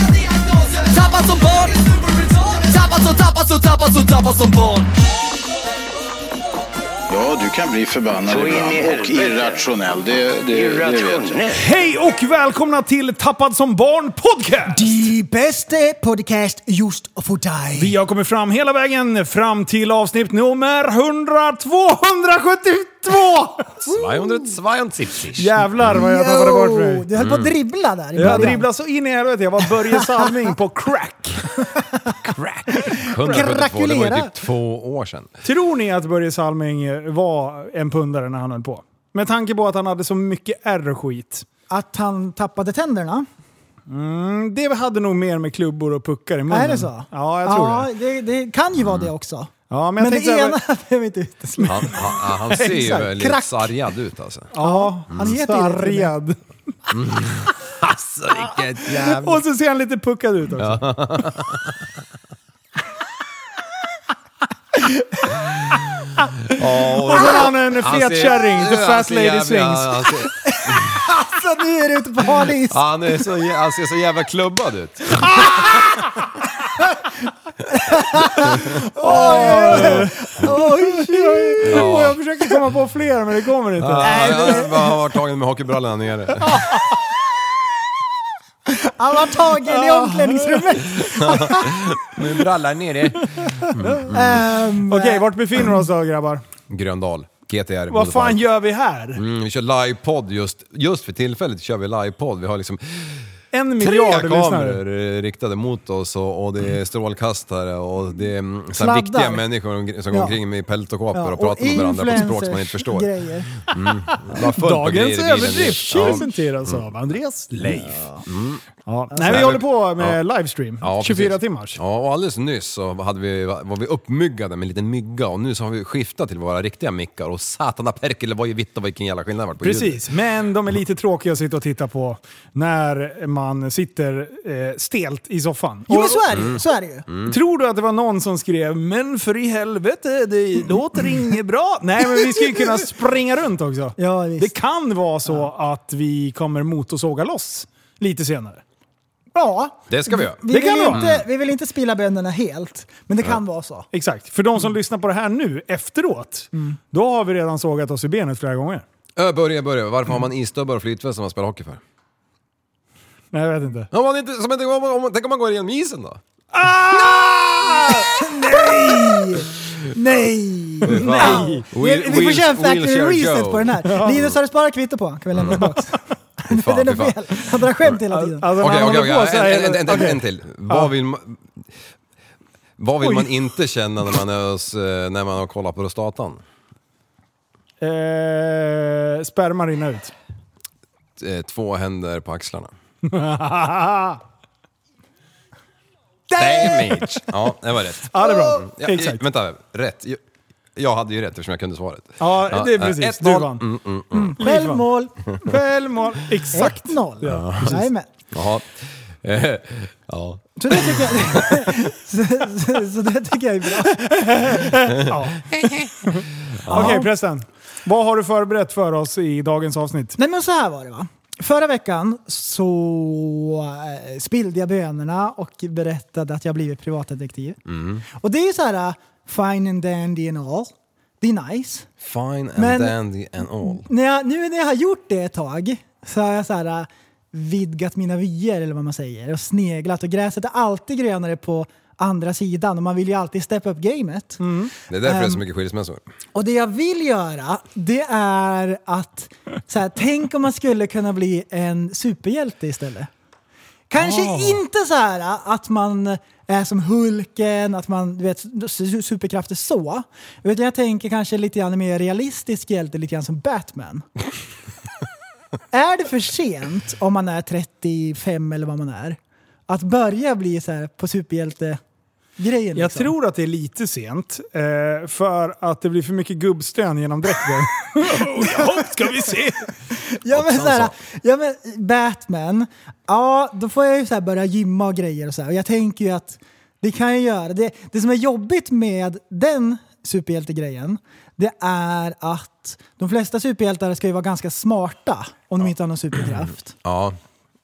[SPEAKER 2] Tappad som barn Tappad som, tappad som, tappad som, tappad som barn
[SPEAKER 3] Ja, du kan bli förbannad
[SPEAKER 1] Så in i
[SPEAKER 3] ibland och
[SPEAKER 1] helvete.
[SPEAKER 3] irrationell. Det, det, det vet jag.
[SPEAKER 1] Irrationell.
[SPEAKER 5] Hej och välkomna till Tappad som barn podcast!
[SPEAKER 6] De bästa podcast just för dig.
[SPEAKER 5] Vi har kommit fram hela vägen fram till avsnitt nummer 100 272!
[SPEAKER 7] 272.
[SPEAKER 5] Jävlar vad jag tappade bort mig.
[SPEAKER 6] Du höll på att dribbla där i
[SPEAKER 5] Jag
[SPEAKER 6] början.
[SPEAKER 5] dribblade så in i helvete. Jag var Börje Salming på crack.
[SPEAKER 7] 172, det var ju
[SPEAKER 6] Krakulera.
[SPEAKER 7] typ två år sedan.
[SPEAKER 5] Tror ni att Börje Salming eh, var en pundare när han höll på? Med tanke på att han hade så mycket ärr och skit.
[SPEAKER 6] Att han tappade tänderna.
[SPEAKER 5] Mm, Det hade nog mer med klubbor och puckar i munnen.
[SPEAKER 6] Är det så?
[SPEAKER 5] Ja, jag tror det.
[SPEAKER 6] ja, det. det. kan ju vara det också.
[SPEAKER 5] Ja, men
[SPEAKER 6] Men,
[SPEAKER 5] jag
[SPEAKER 6] det
[SPEAKER 5] tänkte...
[SPEAKER 6] ena (laughs)
[SPEAKER 5] över-
[SPEAKER 6] behöver inte utesluta.
[SPEAKER 7] Han, han, han ser
[SPEAKER 5] (laughs)
[SPEAKER 7] ju
[SPEAKER 6] Exakt.
[SPEAKER 7] väldigt
[SPEAKER 6] Krack.
[SPEAKER 7] sargad ut alltså.
[SPEAKER 5] Ja, han
[SPEAKER 6] heter ju det till och med.
[SPEAKER 5] sargad.
[SPEAKER 7] Alltså vilket jävla...
[SPEAKER 5] Och så ser han lite puckad ut också. (laughs) Och så har han en
[SPEAKER 7] Han
[SPEAKER 5] fet
[SPEAKER 7] ser-
[SPEAKER 5] kärring, the
[SPEAKER 7] Ja,
[SPEAKER 5] fat
[SPEAKER 7] ser
[SPEAKER 5] lady
[SPEAKER 7] jävla-
[SPEAKER 5] swings.
[SPEAKER 7] han ser-
[SPEAKER 6] Alltså nu är du ute på hal is.
[SPEAKER 7] Han, är så, jä- han ser så jävla klubbad ut.
[SPEAKER 5] (laughs) Oj, oj, oj. Och jag försöker komma på fler men det kommer inte.
[SPEAKER 7] Han, han, han har varit tagen med hockeybrallorna nere.
[SPEAKER 5] (laughs)
[SPEAKER 6] Han var tagen
[SPEAKER 5] Ah.
[SPEAKER 6] i omklädningsrummet.
[SPEAKER 7] Med brallan nere.
[SPEAKER 5] Mm.
[SPEAKER 6] Ehm,
[SPEAKER 5] Okej, vart befinner vi oss då grabbar?
[SPEAKER 7] Gröndal. GTR.
[SPEAKER 5] Vad fan gör vi här?
[SPEAKER 7] Mm, vi kör livepodd just, just för tillfället. kör vi livepodd. Vi har liksom
[SPEAKER 5] En
[SPEAKER 7] Tre
[SPEAKER 5] miljard lyssnare.
[SPEAKER 7] kameror eh, riktade mot oss och, och det är strålkastare och det är mm, så här
[SPEAKER 5] Sladdar.
[SPEAKER 7] viktiga människor omkring- som går
[SPEAKER 5] Ja.
[SPEAKER 7] omkring med peltokåpor
[SPEAKER 5] Ja,
[SPEAKER 7] och pratar med varandra på ett språk som man inte förstår.
[SPEAKER 6] grejer.
[SPEAKER 7] Mm. Det var fullt på grejer
[SPEAKER 5] Dagens
[SPEAKER 7] i bilen.
[SPEAKER 5] överdrift
[SPEAKER 7] Ja.
[SPEAKER 5] presenteras av alltså. Andreas Leif.
[SPEAKER 7] Mm.
[SPEAKER 5] Nej, vi håller på med livestream.
[SPEAKER 7] Ja,
[SPEAKER 5] 24
[SPEAKER 7] precis.
[SPEAKER 5] timmars.
[SPEAKER 7] Ja, och alldeles nyss så hade vi, var vi uppmyggade med en liten mygga och nu så har vi skiftat till våra riktiga mickar och satana perkele var ju vitt och vilken jävla skillnad det var på ljudet.
[SPEAKER 5] Precis, men de är lite tråkiga att sitta och titta på när man sitter eh, stelt i soffan.
[SPEAKER 6] Jo
[SPEAKER 5] Och-
[SPEAKER 6] men så är det
[SPEAKER 5] Mm.
[SPEAKER 6] ju. Så är det ju.
[SPEAKER 7] Mm.
[SPEAKER 5] Tror du att det var någon som skrev “Men för i helvete,
[SPEAKER 7] (laughs)
[SPEAKER 5] det låter inget bra”? Nej, men vi ska ju kunna springa runt också. det kan vara så att vi kommer motorsåga loss lite senare.
[SPEAKER 6] Ja.
[SPEAKER 7] Det ska vi göra.
[SPEAKER 6] Vi,
[SPEAKER 5] Det
[SPEAKER 6] vill
[SPEAKER 5] kan vi ha.
[SPEAKER 6] inte, vi vill inte spilla bönderna helt, men det kan vara så.
[SPEAKER 5] Exakt. För de som lyssnar på det här nu, efteråt, då har vi redan sågat oss i benet flera gånger.
[SPEAKER 7] Ö, börja, börja. Varför har man isstubbar och flytväst när man spelar hockey för?
[SPEAKER 5] Nej, jag vet inte.
[SPEAKER 7] Om man inte, som inte om man, om man, tänk om man går igenom isen då?
[SPEAKER 6] Nej!
[SPEAKER 5] (laughs)
[SPEAKER 6] Nej!
[SPEAKER 7] Nej!
[SPEAKER 6] Vi, vi får köra en factory reset på den här. Linus, har du sparat kvitto på? Kan vi lämna
[SPEAKER 5] Mm.
[SPEAKER 6] tillbaka?
[SPEAKER 5] (laughs)
[SPEAKER 6] (laughs) den är fel. Han drar skämt hela tiden.
[SPEAKER 5] Alltså,
[SPEAKER 7] Okej, okej, okej.
[SPEAKER 5] så här-
[SPEAKER 7] En- en- en- en-
[SPEAKER 5] okej.
[SPEAKER 7] En till. Vad vill man... Vad vill
[SPEAKER 5] Oj.
[SPEAKER 7] man inte känna när man, är hos, eh, när man har kollat på prostatan?
[SPEAKER 5] Eh, sperma rinna ut. (laughs)
[SPEAKER 7] Eh, Två händer på axlarna. Damage! Ja, det var rätt.
[SPEAKER 5] Oh! Ja, det är bra.
[SPEAKER 7] Ja,
[SPEAKER 5] Exakt.
[SPEAKER 7] i- Vänta, rätt. Jag- Jag hade ju rätt eftersom jag kunde svaret.
[SPEAKER 5] Ja, eh, det är precis.
[SPEAKER 7] ett
[SPEAKER 5] Du
[SPEAKER 7] noll.
[SPEAKER 5] vann.
[SPEAKER 7] Mm, mm, mm.
[SPEAKER 6] Självmål.
[SPEAKER 5] Självmål. Exakt.
[SPEAKER 6] 1-0.
[SPEAKER 5] Ja,
[SPEAKER 6] Jajamän.
[SPEAKER 7] Jaha. (laughs) Eh, Ja.
[SPEAKER 6] Så det tycker jag,
[SPEAKER 5] (laughs)
[SPEAKER 6] (laughs) så, så, så det tycker jag är bra.
[SPEAKER 5] Ja. Okej, prästen. Vad har du förberett för oss i dagens avsnitt?
[SPEAKER 6] Nej men så här var det va. Förra veckan så eh, spillde jag bönorna och berättade att jag blivit privatdetektiv.
[SPEAKER 5] Mm.
[SPEAKER 6] Och det är ju så här eh, fine and dandy and all. Det är nice.
[SPEAKER 7] Fine and
[SPEAKER 6] Men-
[SPEAKER 7] dandy and all.
[SPEAKER 6] När jag, nu när jag har gjort det ett tag så har jag så här, eh, vidgat mina vyer eller vad man säger och sneglat och gräset är alltid grönare på andra sidan och man vill ju alltid steppa upp gamet.
[SPEAKER 7] Det är därför det är så
[SPEAKER 6] Ehm.
[SPEAKER 7] mycket skilsmässor.
[SPEAKER 6] Och det jag vill göra, det är att så här, tänk om man skulle kunna bli en superhjälte istället. Kanske
[SPEAKER 5] Ah.
[SPEAKER 6] inte så här att man är som Hulken, att man du vet su- superkrafter så. Utan jag tänker kanske lite grann mer realistisk hjälte, lite grann
[SPEAKER 5] (laughs)
[SPEAKER 6] som Batman. är det för sent om man är 35 eller vad man är? Att börja bli så här på superhjälte-grejen?
[SPEAKER 5] Jag
[SPEAKER 6] liksom?
[SPEAKER 5] tror att det är lite sent, eh, för att det blir för mycket gubbstön genom dräkten. oh, ska vi se!
[SPEAKER 6] Ja men, såhär, ja men Batman, ja då får jag ju såhär börja gymma och grejer och såhär. Och jag tänker ju att det kan jag göra. Det, det som är jobbigt med den superhjältegrejen, det är att de flesta superhjältar ska ju vara ganska smarta om de inte har någon superkraft.
[SPEAKER 7] Ja.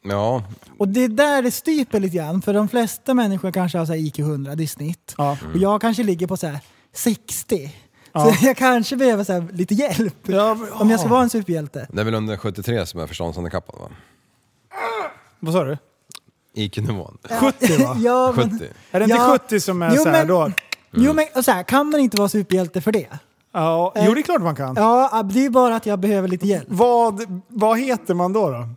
[SPEAKER 7] Ja.
[SPEAKER 5] Mm.
[SPEAKER 6] Och det är där det stryper lite grann, för de flesta människor kanske har så här IQ 100 i snitt.
[SPEAKER 5] (laughs) Ja.
[SPEAKER 6] Och jag kanske ligger på så här 60. Så jag kanske behöver så här lite hjälp om jag ska vara en superhjälte.
[SPEAKER 7] Det är väl under 73 som är förståndshandikappad va?
[SPEAKER 5] Vad sa du?
[SPEAKER 7] IQ-nivån.
[SPEAKER 5] 70 (laughs) va?
[SPEAKER 6] (laughs) Ja, men-
[SPEAKER 7] 70.
[SPEAKER 5] Är det inte
[SPEAKER 6] Ja.
[SPEAKER 5] 70 som är
[SPEAKER 6] Jo,
[SPEAKER 5] så här
[SPEAKER 6] men-
[SPEAKER 5] då?
[SPEAKER 7] Mm.
[SPEAKER 6] Jo men och så här, kan man inte vara superhjälte för det?
[SPEAKER 5] Ja, jo, det är klart man kan.
[SPEAKER 6] Ja, det är bara att jag behöver lite hjälp. (laughs)
[SPEAKER 5] Vad, vad heter man då? då?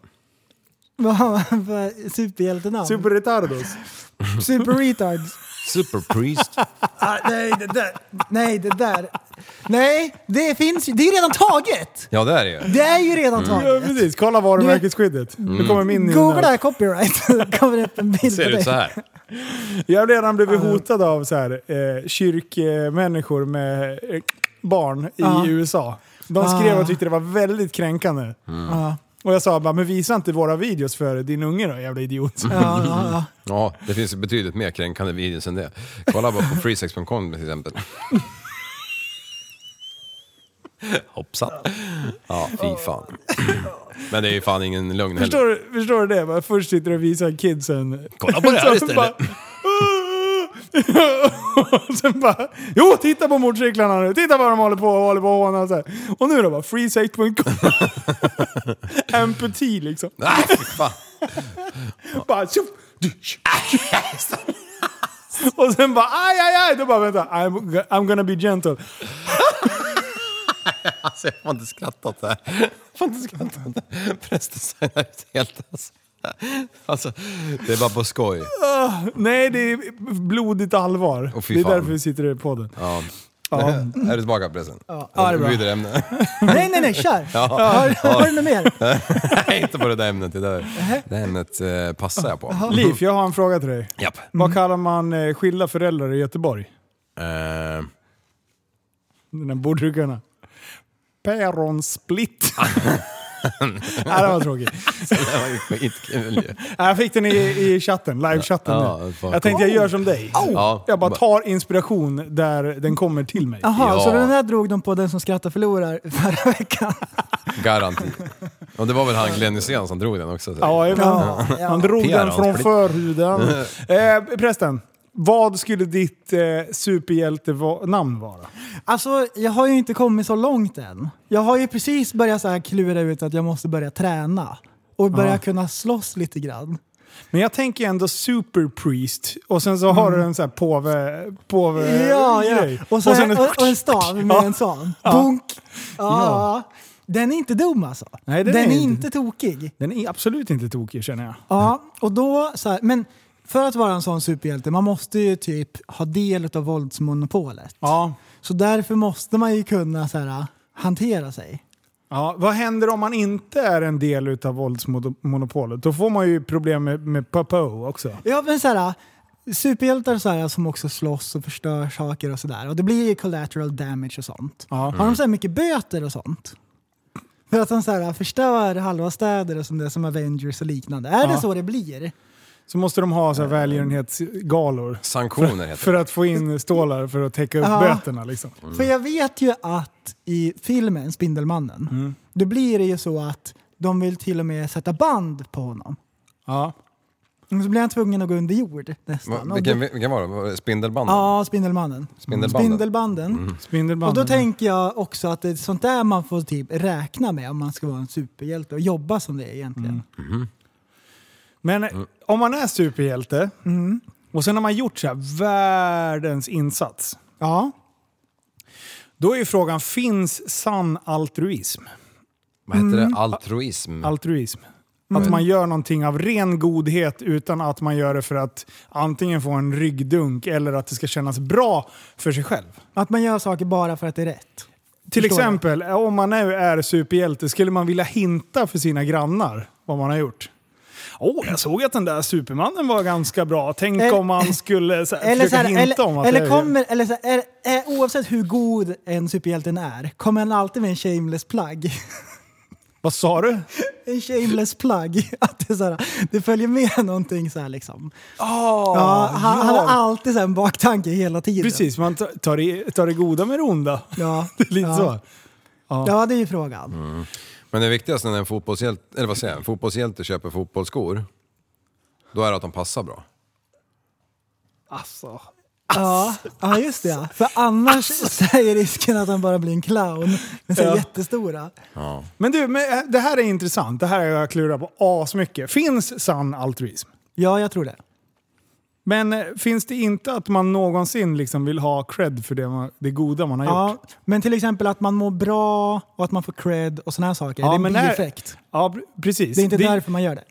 [SPEAKER 6] Vad har man för Superhjältenamn? Super,
[SPEAKER 5] Super retardos?
[SPEAKER 6] (laughs) Super retards.
[SPEAKER 7] Superpriest.
[SPEAKER 6] Ah, nej, det där. Nej, det där. Nej, det finns ju. Det är redan taget!
[SPEAKER 7] Ja det är det ju.
[SPEAKER 6] Det är ju
[SPEAKER 7] Mm.
[SPEAKER 6] redan
[SPEAKER 5] Ja,
[SPEAKER 6] taget.
[SPEAKER 5] precis. Kolla varumärkesskyddet. Nu kommer min in
[SPEAKER 6] Googla
[SPEAKER 5] här.
[SPEAKER 6] copyright. Då kommer det upp en bild
[SPEAKER 7] Ser
[SPEAKER 6] på
[SPEAKER 7] ut så
[SPEAKER 6] dig.
[SPEAKER 7] här.
[SPEAKER 5] Jag har redan blivit hotad av så här, eh, kyrkmänniskor med eh, barn i
[SPEAKER 6] Ja.
[SPEAKER 5] USA. De skrev
[SPEAKER 6] Ah.
[SPEAKER 5] och tyckte det var väldigt kränkande.
[SPEAKER 6] Ja,
[SPEAKER 5] Och jag sa bara, men visa inte våra videos för din unge då, jävla idiot.
[SPEAKER 6] ja, ja, ja.
[SPEAKER 7] Ja, det finns ju betydligt mer kränkande videos än det. Kolla bara på freesex.com till exempel. Hoppsan. Ja, fy fan. Men det är ju fan ingen lögn
[SPEAKER 5] Förstår
[SPEAKER 7] heller.
[SPEAKER 5] du, förstår du det? Bara, först sitter du och visar kidsen.
[SPEAKER 7] Kolla på det här
[SPEAKER 5] Så
[SPEAKER 7] istället.
[SPEAKER 5] bara, (laughs) och sen bara, jo titta på motorcyklarna nu, titta vad de håller på och håller på och hånar. så här. Och nu då bara,
[SPEAKER 7] (laughs)
[SPEAKER 5] freesex.com. Empati liksom.
[SPEAKER 7] Nej, fy fan.
[SPEAKER 5] Bara tjoff! du, tjoff, tjoff. Och sen bara aj, aj, aj. Då bara vänta, I'm, go- I'm gonna be gentle.
[SPEAKER 7] Alltså jag har inte skrattat där. Jag har inte skrattat där. Prästen signar ut helt alltså. Alltså, det var på skoj.
[SPEAKER 5] Ah, nej, det är blodigt allvar.
[SPEAKER 7] Åh, fy
[SPEAKER 5] det är
[SPEAKER 7] fan.
[SPEAKER 5] därför vi sitter i podden.
[SPEAKER 7] Ja.
[SPEAKER 5] Ja.
[SPEAKER 7] Är du tillbaka pressen?
[SPEAKER 5] Ja. Ja, det är bra.
[SPEAKER 7] Byter ämne.
[SPEAKER 6] Nej, nej, nej, kör!
[SPEAKER 7] Ja.
[SPEAKER 6] Har, har du något mer?
[SPEAKER 7] Nej, inte på det där ämnet. Det, där. det här ämnet eh, passar jag på.
[SPEAKER 5] Liv, jag har en fråga till dig.
[SPEAKER 7] Japp.
[SPEAKER 5] Vad kallar man eh, skilda föräldrar i Göteborg?
[SPEAKER 7] Eh,
[SPEAKER 5] De där borddukarna.
[SPEAKER 7] (laughs)
[SPEAKER 5] Päronsplitt. Nej, det var tråkigt.
[SPEAKER 7] det var ju skitkul ju.
[SPEAKER 5] Nej, Jag fick den i, i chatten, live-chatten.
[SPEAKER 7] Ja,
[SPEAKER 5] nu.
[SPEAKER 7] fan.
[SPEAKER 5] jag tänkte jag gör som dig.
[SPEAKER 7] Ja.
[SPEAKER 5] Jag bara tar inspiration där den kommer till mig.
[SPEAKER 7] (laughs)
[SPEAKER 6] Jaha,
[SPEAKER 7] Ja.
[SPEAKER 6] så den här drog de på den som skrattar förlorar förra veckan.
[SPEAKER 7] Garanti. Och det var väl han Glenn Hysén som drog den också? säkert.
[SPEAKER 5] Ja, ja.
[SPEAKER 6] Ja,
[SPEAKER 5] Han
[SPEAKER 6] ja.
[SPEAKER 5] drog den från
[SPEAKER 7] Päronsplitt. (laughs)
[SPEAKER 5] förhuden. Eh, prästen, vad skulle ditt eh, superhjältenamn vara?
[SPEAKER 6] Alltså, jag har ju inte kommit så långt än. Jag har ju precis börjat så här klura ut att jag måste börja träna och börja
[SPEAKER 5] Ja.
[SPEAKER 6] kunna slåss lite grann.
[SPEAKER 5] Men jag tänker ändå superpriest och sen så har du en sån här påve... påve
[SPEAKER 6] Mm. Ja, ja.
[SPEAKER 5] grej.
[SPEAKER 6] Och, så,
[SPEAKER 5] Eh, sen-
[SPEAKER 6] och, och en stav
[SPEAKER 5] (laughs)
[SPEAKER 6] med
[SPEAKER 5] Ja.
[SPEAKER 6] en sån.
[SPEAKER 5] Ja.
[SPEAKER 6] Bunk! Ja. Den är inte dum alltså.
[SPEAKER 5] Nej, den är
[SPEAKER 6] är
[SPEAKER 5] inte-
[SPEAKER 6] inte tokig.
[SPEAKER 5] Den är absolut inte tokig känner jag.
[SPEAKER 6] Ja, och då så här, men för att vara en sån superhjälte, man måste ju typ ha del av våldsmonopolet.
[SPEAKER 5] Ja.
[SPEAKER 6] Så därför måste man ju kunna så här, hantera sig.
[SPEAKER 5] Ja, vad händer om man inte är en del utav våldsmonopolet? Då får man ju problem med, med Papo också.
[SPEAKER 6] Ja, men så här, äh, superhjältar så här, som också slåss och förstör saker och sådär. Och det blir ju collateral damage och sånt.
[SPEAKER 5] Ja. Mm.
[SPEAKER 6] Har de så här mycket böter och sånt? För att de så här, äh, förstör halva städer och sånt där, som Avengers och liknande. Är det
[SPEAKER 5] Ja.
[SPEAKER 6] så det blir?
[SPEAKER 5] Så måste de ha så här välgörenhetsgalor
[SPEAKER 7] Sanktioner heter
[SPEAKER 5] för att få in stålar för att täcka upp
[SPEAKER 6] Ja. Mm.
[SPEAKER 5] böterna. Liksom.
[SPEAKER 6] För jag vet ju att i filmen Spindelmannen, då blir det ju så att de vill till och med sätta band på honom.
[SPEAKER 5] Ja.
[SPEAKER 6] Och Så blir han tvungen att gå under jord nästan.
[SPEAKER 7] Va-
[SPEAKER 6] Och
[SPEAKER 7] Vilken,
[SPEAKER 6] då-
[SPEAKER 7] vilken var det? Var det? Spindelbanden?
[SPEAKER 6] Ja, Spindelmannen.
[SPEAKER 7] Spindelbanden.
[SPEAKER 6] Spindelbanden. Och
[SPEAKER 5] Spindelmannen.
[SPEAKER 6] då tänker jag också att det är sånt där man får typ räkna med om man ska vara en superhjälte och jobba som det
[SPEAKER 5] Mm.
[SPEAKER 6] är egentligen.
[SPEAKER 5] Men eh, om man är superhjälte mm, och sen har man gjort så här världens insats.
[SPEAKER 6] Ja.
[SPEAKER 5] Då är ju frågan, finns sann altruism?
[SPEAKER 7] Vad heter
[SPEAKER 5] Mm.
[SPEAKER 7] det? Altruism?
[SPEAKER 5] altruism. Att man gör någonting av ren godhet utan att man gör det för att antingen få en ryggdunk eller att det ska kännas bra för sig själv.
[SPEAKER 6] Att man gör saker bara för att det är rätt.
[SPEAKER 5] Till
[SPEAKER 6] Förstår
[SPEAKER 5] exempel, om man nu är superhjälte, skulle man vilja hinta för sina grannar vad man har gjort? Åh, jag såg att den där supermannen var ganska bra. Tänk
[SPEAKER 6] Eller-
[SPEAKER 5] om man skulle så här,
[SPEAKER 6] (laughs) Eller, så
[SPEAKER 5] försöka
[SPEAKER 6] här,
[SPEAKER 5] hinta om
[SPEAKER 6] eller,
[SPEAKER 5] att
[SPEAKER 6] eller,
[SPEAKER 5] det-
[SPEAKER 6] kommer, eller så här, är, är, oavsett hur god en superhjälten är, kommer han alltid med en shameless plug? (laughs)
[SPEAKER 5] Vad sa du?
[SPEAKER 6] en shameless plug. (laughs) Att det, är så här, det följer med någonting så här liksom. ja, han, han har alltid så här en baktanke hela tiden.
[SPEAKER 5] Ah, Precis, man tar- tar det, tar det goda med det onda. (laughs)
[SPEAKER 6] Ja,
[SPEAKER 5] Det är lite
[SPEAKER 6] ja.
[SPEAKER 5] så. Mm.
[SPEAKER 6] Ja, det är ju frågan.
[SPEAKER 7] Men det viktigaste när en fotbollshjälte, eller vad säger jag, en fotbollshjälte köper fotbollsskor, då är det att de passar bra.
[SPEAKER 5] Alltså.
[SPEAKER 6] Ja, ja, just det. ja. För annars så är risken att han bara blir en clown med så här
[SPEAKER 5] Ja.
[SPEAKER 6] jättestora.
[SPEAKER 5] Men du, men eh, det här är intressant. Det här har jag klurat på asmycket. Finns sann altruism?
[SPEAKER 6] Ja, jag tror det.
[SPEAKER 5] Men eh, finns det inte att man någonsin liksom vill ha cred för det, man, det goda man har
[SPEAKER 6] Ja,
[SPEAKER 5] gjort?
[SPEAKER 6] men till exempel att man mår bra och att man får cred och sådana här saker.
[SPEAKER 5] Ja,
[SPEAKER 6] det är en
[SPEAKER 5] men när-
[SPEAKER 6] bieffekt.
[SPEAKER 5] Ja, pr- precis.
[SPEAKER 6] Det är inte därför man gör det.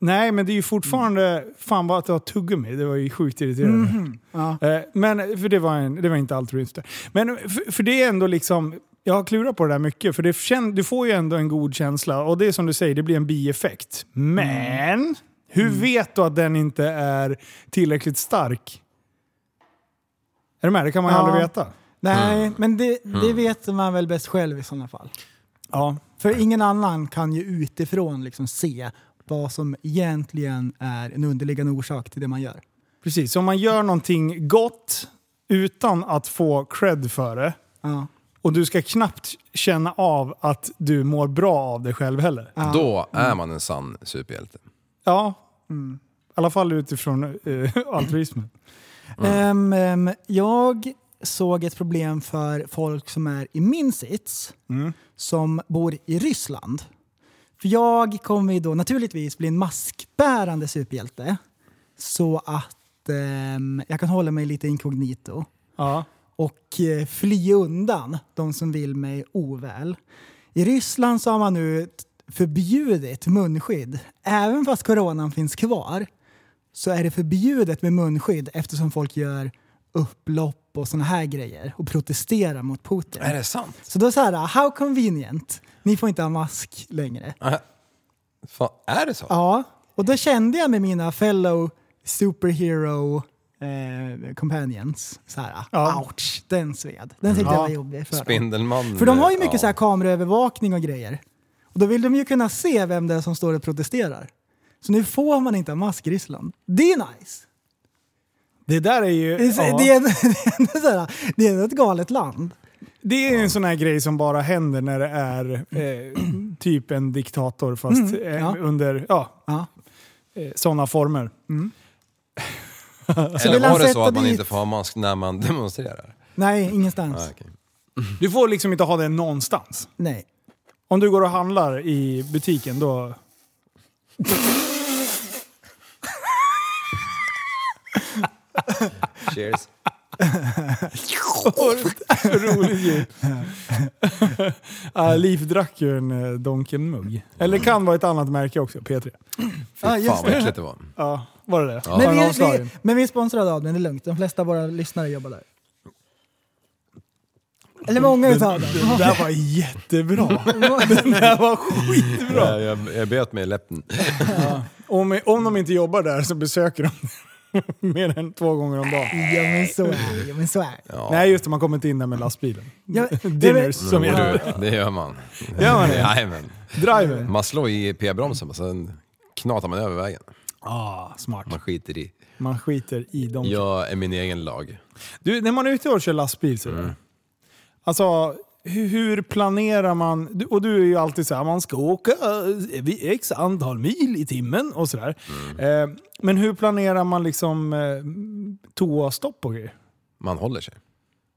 [SPEAKER 5] Nej, men det är ju fortfarande... Fan vad att det var tuggummi. Det var ju sjukt irriterande.
[SPEAKER 6] Mhm.
[SPEAKER 5] Eh, Men, för det var, en, det var inte altruism där. Men för, för det är ändå liksom... Jag har klurat på det där mycket, för det kän, du får ju ändå en god känsla. Och det är som du säger, det blir en bieffekt.
[SPEAKER 6] Mm.
[SPEAKER 5] Men... Hur vet du att den inte är tillräckligt stark? Är du med? Det kan man ju
[SPEAKER 6] Ja.
[SPEAKER 5] aldrig veta.
[SPEAKER 6] Nej,
[SPEAKER 5] Mm.
[SPEAKER 6] men det, det vet man väl bäst själv i sådana fall.
[SPEAKER 5] Ja.
[SPEAKER 6] För ingen annan kan ju utifrån liksom se vad som egentligen är en underliggande orsak till det man gör.
[SPEAKER 5] Precis, om man gör någonting gott utan att få cred för det
[SPEAKER 6] Ja.
[SPEAKER 5] och du ska knappt känna av att du mår bra av dig själv heller. Ja,
[SPEAKER 7] Då är man en sann superhjälte.
[SPEAKER 6] Mm.
[SPEAKER 5] i alla fall utifrån eh, altruismen.
[SPEAKER 6] Ehm, ehm, jag såg ett problem för folk som är i min sits, som bor i Ryssland. För jag kommer ju då naturligtvis bli en maskbärande superhjälte, så att ehm, jag kan hålla mig lite inkognito
[SPEAKER 5] Ja.
[SPEAKER 6] och eh, fly undan de som vill mig oväl. I Ryssland så har man nu t- förbjudit munskydd. Även fast coronan finns kvar så är det förbjudet med munskydd eftersom folk gör upplopp och såna här grejer och protesterar mot Putin.
[SPEAKER 7] Är det sant?
[SPEAKER 6] Så då är det så här, how convenient. Ni får inte ha mask längre.
[SPEAKER 7] Äh, Fan, är det så?
[SPEAKER 6] Ja, och då kände jag med mina fellow superhero eh, companions, så här, ouch, den sved. Den tyckte jag var jobbig för dem.
[SPEAKER 7] Spindelmannen.
[SPEAKER 6] För de har ju mycket
[SPEAKER 7] ja.
[SPEAKER 6] så här kameraövervakning och grejer. Och då vill de ju kunna se vem det är som står och protesterar. Så nu får man inte ha mask i Ryssland. Det är nice!
[SPEAKER 5] Det där är
[SPEAKER 6] Det
[SPEAKER 5] ju...
[SPEAKER 6] är, så-
[SPEAKER 5] ja.
[SPEAKER 6] det är, (laughs) det är, så här, det är ett galet land.
[SPEAKER 5] Det är en sån här grej som bara händer när det är eh, typ en diktator fast
[SPEAKER 6] Mm,
[SPEAKER 5] eh,
[SPEAKER 6] ja.
[SPEAKER 5] under ja,
[SPEAKER 6] Ja.
[SPEAKER 5] eh, sådana former.
[SPEAKER 7] Eller
[SPEAKER 6] vill han
[SPEAKER 7] var det så
[SPEAKER 6] sätta
[SPEAKER 7] att man
[SPEAKER 6] dit-
[SPEAKER 7] inte får ha mask när man demonstrerar?
[SPEAKER 6] Nej, ingenstans.
[SPEAKER 7] Ah, okej.
[SPEAKER 5] Du får liksom inte ha det någonstans.
[SPEAKER 6] Nej.
[SPEAKER 5] Om du går och handlar i butiken då...
[SPEAKER 7] Cheers.
[SPEAKER 5] Roligt ju. uh, Liv drack ju en eh, Donken-mugg. Eller kan vara ett annat märke också, P3.
[SPEAKER 6] (laughs) Ja,
[SPEAKER 7] Fan
[SPEAKER 6] Ah, just
[SPEAKER 7] vad
[SPEAKER 6] det.
[SPEAKER 7] äckligt det var.
[SPEAKER 5] Ja, var det det? Har
[SPEAKER 6] Men,
[SPEAKER 5] den
[SPEAKER 6] vi,
[SPEAKER 5] avslagen?
[SPEAKER 6] vi, men vi är sponsrade av den, det är lugnt. De flesta av våra lyssnare jobbar där. Eller många utav dem.
[SPEAKER 5] (laughs) Den där var jättebra. Den där var skitbra.
[SPEAKER 7] Ja, jag, jag bet mig i läppen.
[SPEAKER 5] Om, om de inte jobbar där så besöker de (laughs) mer än två gånger om dagen.
[SPEAKER 6] Ja men så är det, ja, men så är det.
[SPEAKER 5] Nej just det, man kommer inte in där med lastbilen.
[SPEAKER 6] Ja,
[SPEAKER 5] Dinners som
[SPEAKER 7] Jo,
[SPEAKER 5] heter.
[SPEAKER 7] du, det gör man.
[SPEAKER 5] Gör man det?
[SPEAKER 7] Jajamän.
[SPEAKER 5] Driver.
[SPEAKER 7] Man slår i p-bromsen och sen knatar man över vägen.
[SPEAKER 5] Ah, smart.
[SPEAKER 7] Man skiter i.
[SPEAKER 5] Man skiter i dem.
[SPEAKER 7] Jag är min egen lag.
[SPEAKER 5] Du, när man är ute och kör lastbil sådär.
[SPEAKER 7] Mm.
[SPEAKER 5] Alltså, hur, hur planerar man? Du, och du är ju alltid såhär, man ska åka eh, vid x antal mil i timmen och sådär.
[SPEAKER 7] Mm.
[SPEAKER 5] Eh, men hur planerar man liksom eh, toastopp och grejer?
[SPEAKER 7] Man håller sig.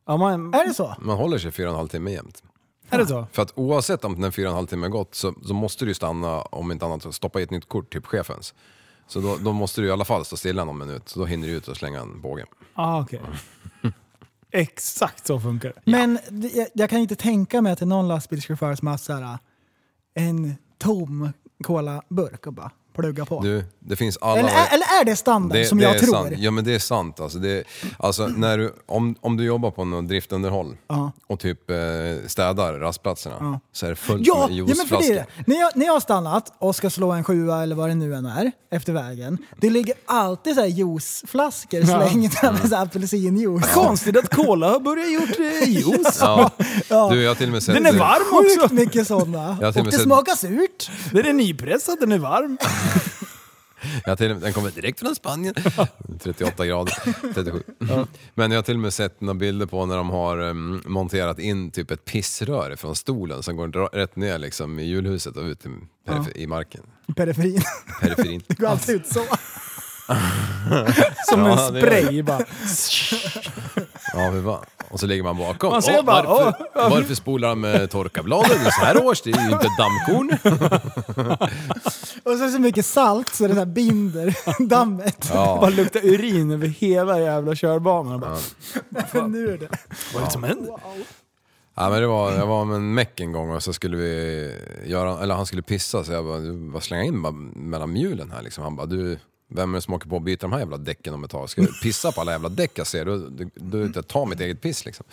[SPEAKER 5] Ja, man,
[SPEAKER 6] Är det så?
[SPEAKER 7] Man håller sig fyra och en halv timme jämt.
[SPEAKER 5] är det så?
[SPEAKER 7] För att oavsett om den fyra och en halv timme har gått så, så måste du ju stanna, om inte annat, och stoppa i ett nytt kort, typ chefens. Så då, då måste du i alla fall stå stilla någon minut, så då hinner du ut och slänga en båge.
[SPEAKER 5] Ah,
[SPEAKER 7] (laughs)
[SPEAKER 5] okej. Exakt så funkar det.
[SPEAKER 6] Men det- jag, jag kan inte tänka mig att det är någon lastbilschaufför som har haft så här, eh, en tom colaburk och bara plugga på.
[SPEAKER 7] Du, det finns alla...
[SPEAKER 6] eller, är, eller är det standard som jag
[SPEAKER 7] är
[SPEAKER 6] tror?
[SPEAKER 7] Sant. Ja men det är sant. Alltså, det, alltså, när du, om, om du jobbar på något driftunderhåll och typ eh, städar rastplatserna så är det fullt
[SPEAKER 6] Ja,
[SPEAKER 7] med
[SPEAKER 6] ja men för det är
[SPEAKER 7] juiceflaskor.
[SPEAKER 6] det. När jag, när jag har stannat och ska slå en sjua eller vad det nu än är efter vägen. Det ligger alltid så här juiceflaskor slängda
[SPEAKER 7] Mm.
[SPEAKER 6] med så här apelsinjuice.
[SPEAKER 5] Konstigt
[SPEAKER 7] (laughs)
[SPEAKER 5] att cola har börjat gjort eh, juice.
[SPEAKER 7] Ja. Du, jag har till och med sett...
[SPEAKER 5] Den är varm också!
[SPEAKER 6] Sjukt mycket sådana.
[SPEAKER 7] Jag har
[SPEAKER 6] Och
[SPEAKER 7] till och med
[SPEAKER 6] det
[SPEAKER 7] sett-
[SPEAKER 6] smakar surt.
[SPEAKER 5] Den är nypressad, den är varm.
[SPEAKER 7] Jag har till, och med- den kommer direkt från Spanien. 38 grader, 37. Men jag har till och med sett några bilder på när de har em, monterat in typ ett pissrör från stolen som går dra- rätt ner liksom, i hjulhuset och ut i, perifer- i marken.
[SPEAKER 6] Periferin.
[SPEAKER 7] Periferin.
[SPEAKER 6] (laughs) Det går
[SPEAKER 7] (laughs)
[SPEAKER 6] alltid ut så.
[SPEAKER 5] Som
[SPEAKER 7] Ja,
[SPEAKER 5] en
[SPEAKER 7] det är
[SPEAKER 5] spray bara.
[SPEAKER 7] Ja, hur fan. Och så ligger man bakom.
[SPEAKER 5] Man ser
[SPEAKER 7] Åh,
[SPEAKER 5] bara,
[SPEAKER 7] varför, varför spolar de eh, torkarbladen så här års? Det är ju inte dammkorn.
[SPEAKER 6] Och så är det så mycket salt så det så
[SPEAKER 7] (laughs)
[SPEAKER 6] här binder dammet.
[SPEAKER 5] (laughs)
[SPEAKER 6] (laughs)
[SPEAKER 5] Bara luktar urin över hela jävla körbanan. Bara,
[SPEAKER 6] nu är det.
[SPEAKER 5] Vad är det som händer?
[SPEAKER 7] Ja, men det var, jag var med en meck en gång och så skulle vi göra, eller han skulle pissa så jag bara, du, bara slänga in bara mellan mjulen här liksom. Han bara, du, vem är det som åker på att byta de här jävla däcken om ett tag? Ska du pissa på alla jävla däck jag ser? Då, då, då inte jag tar mitt eget piss liksom.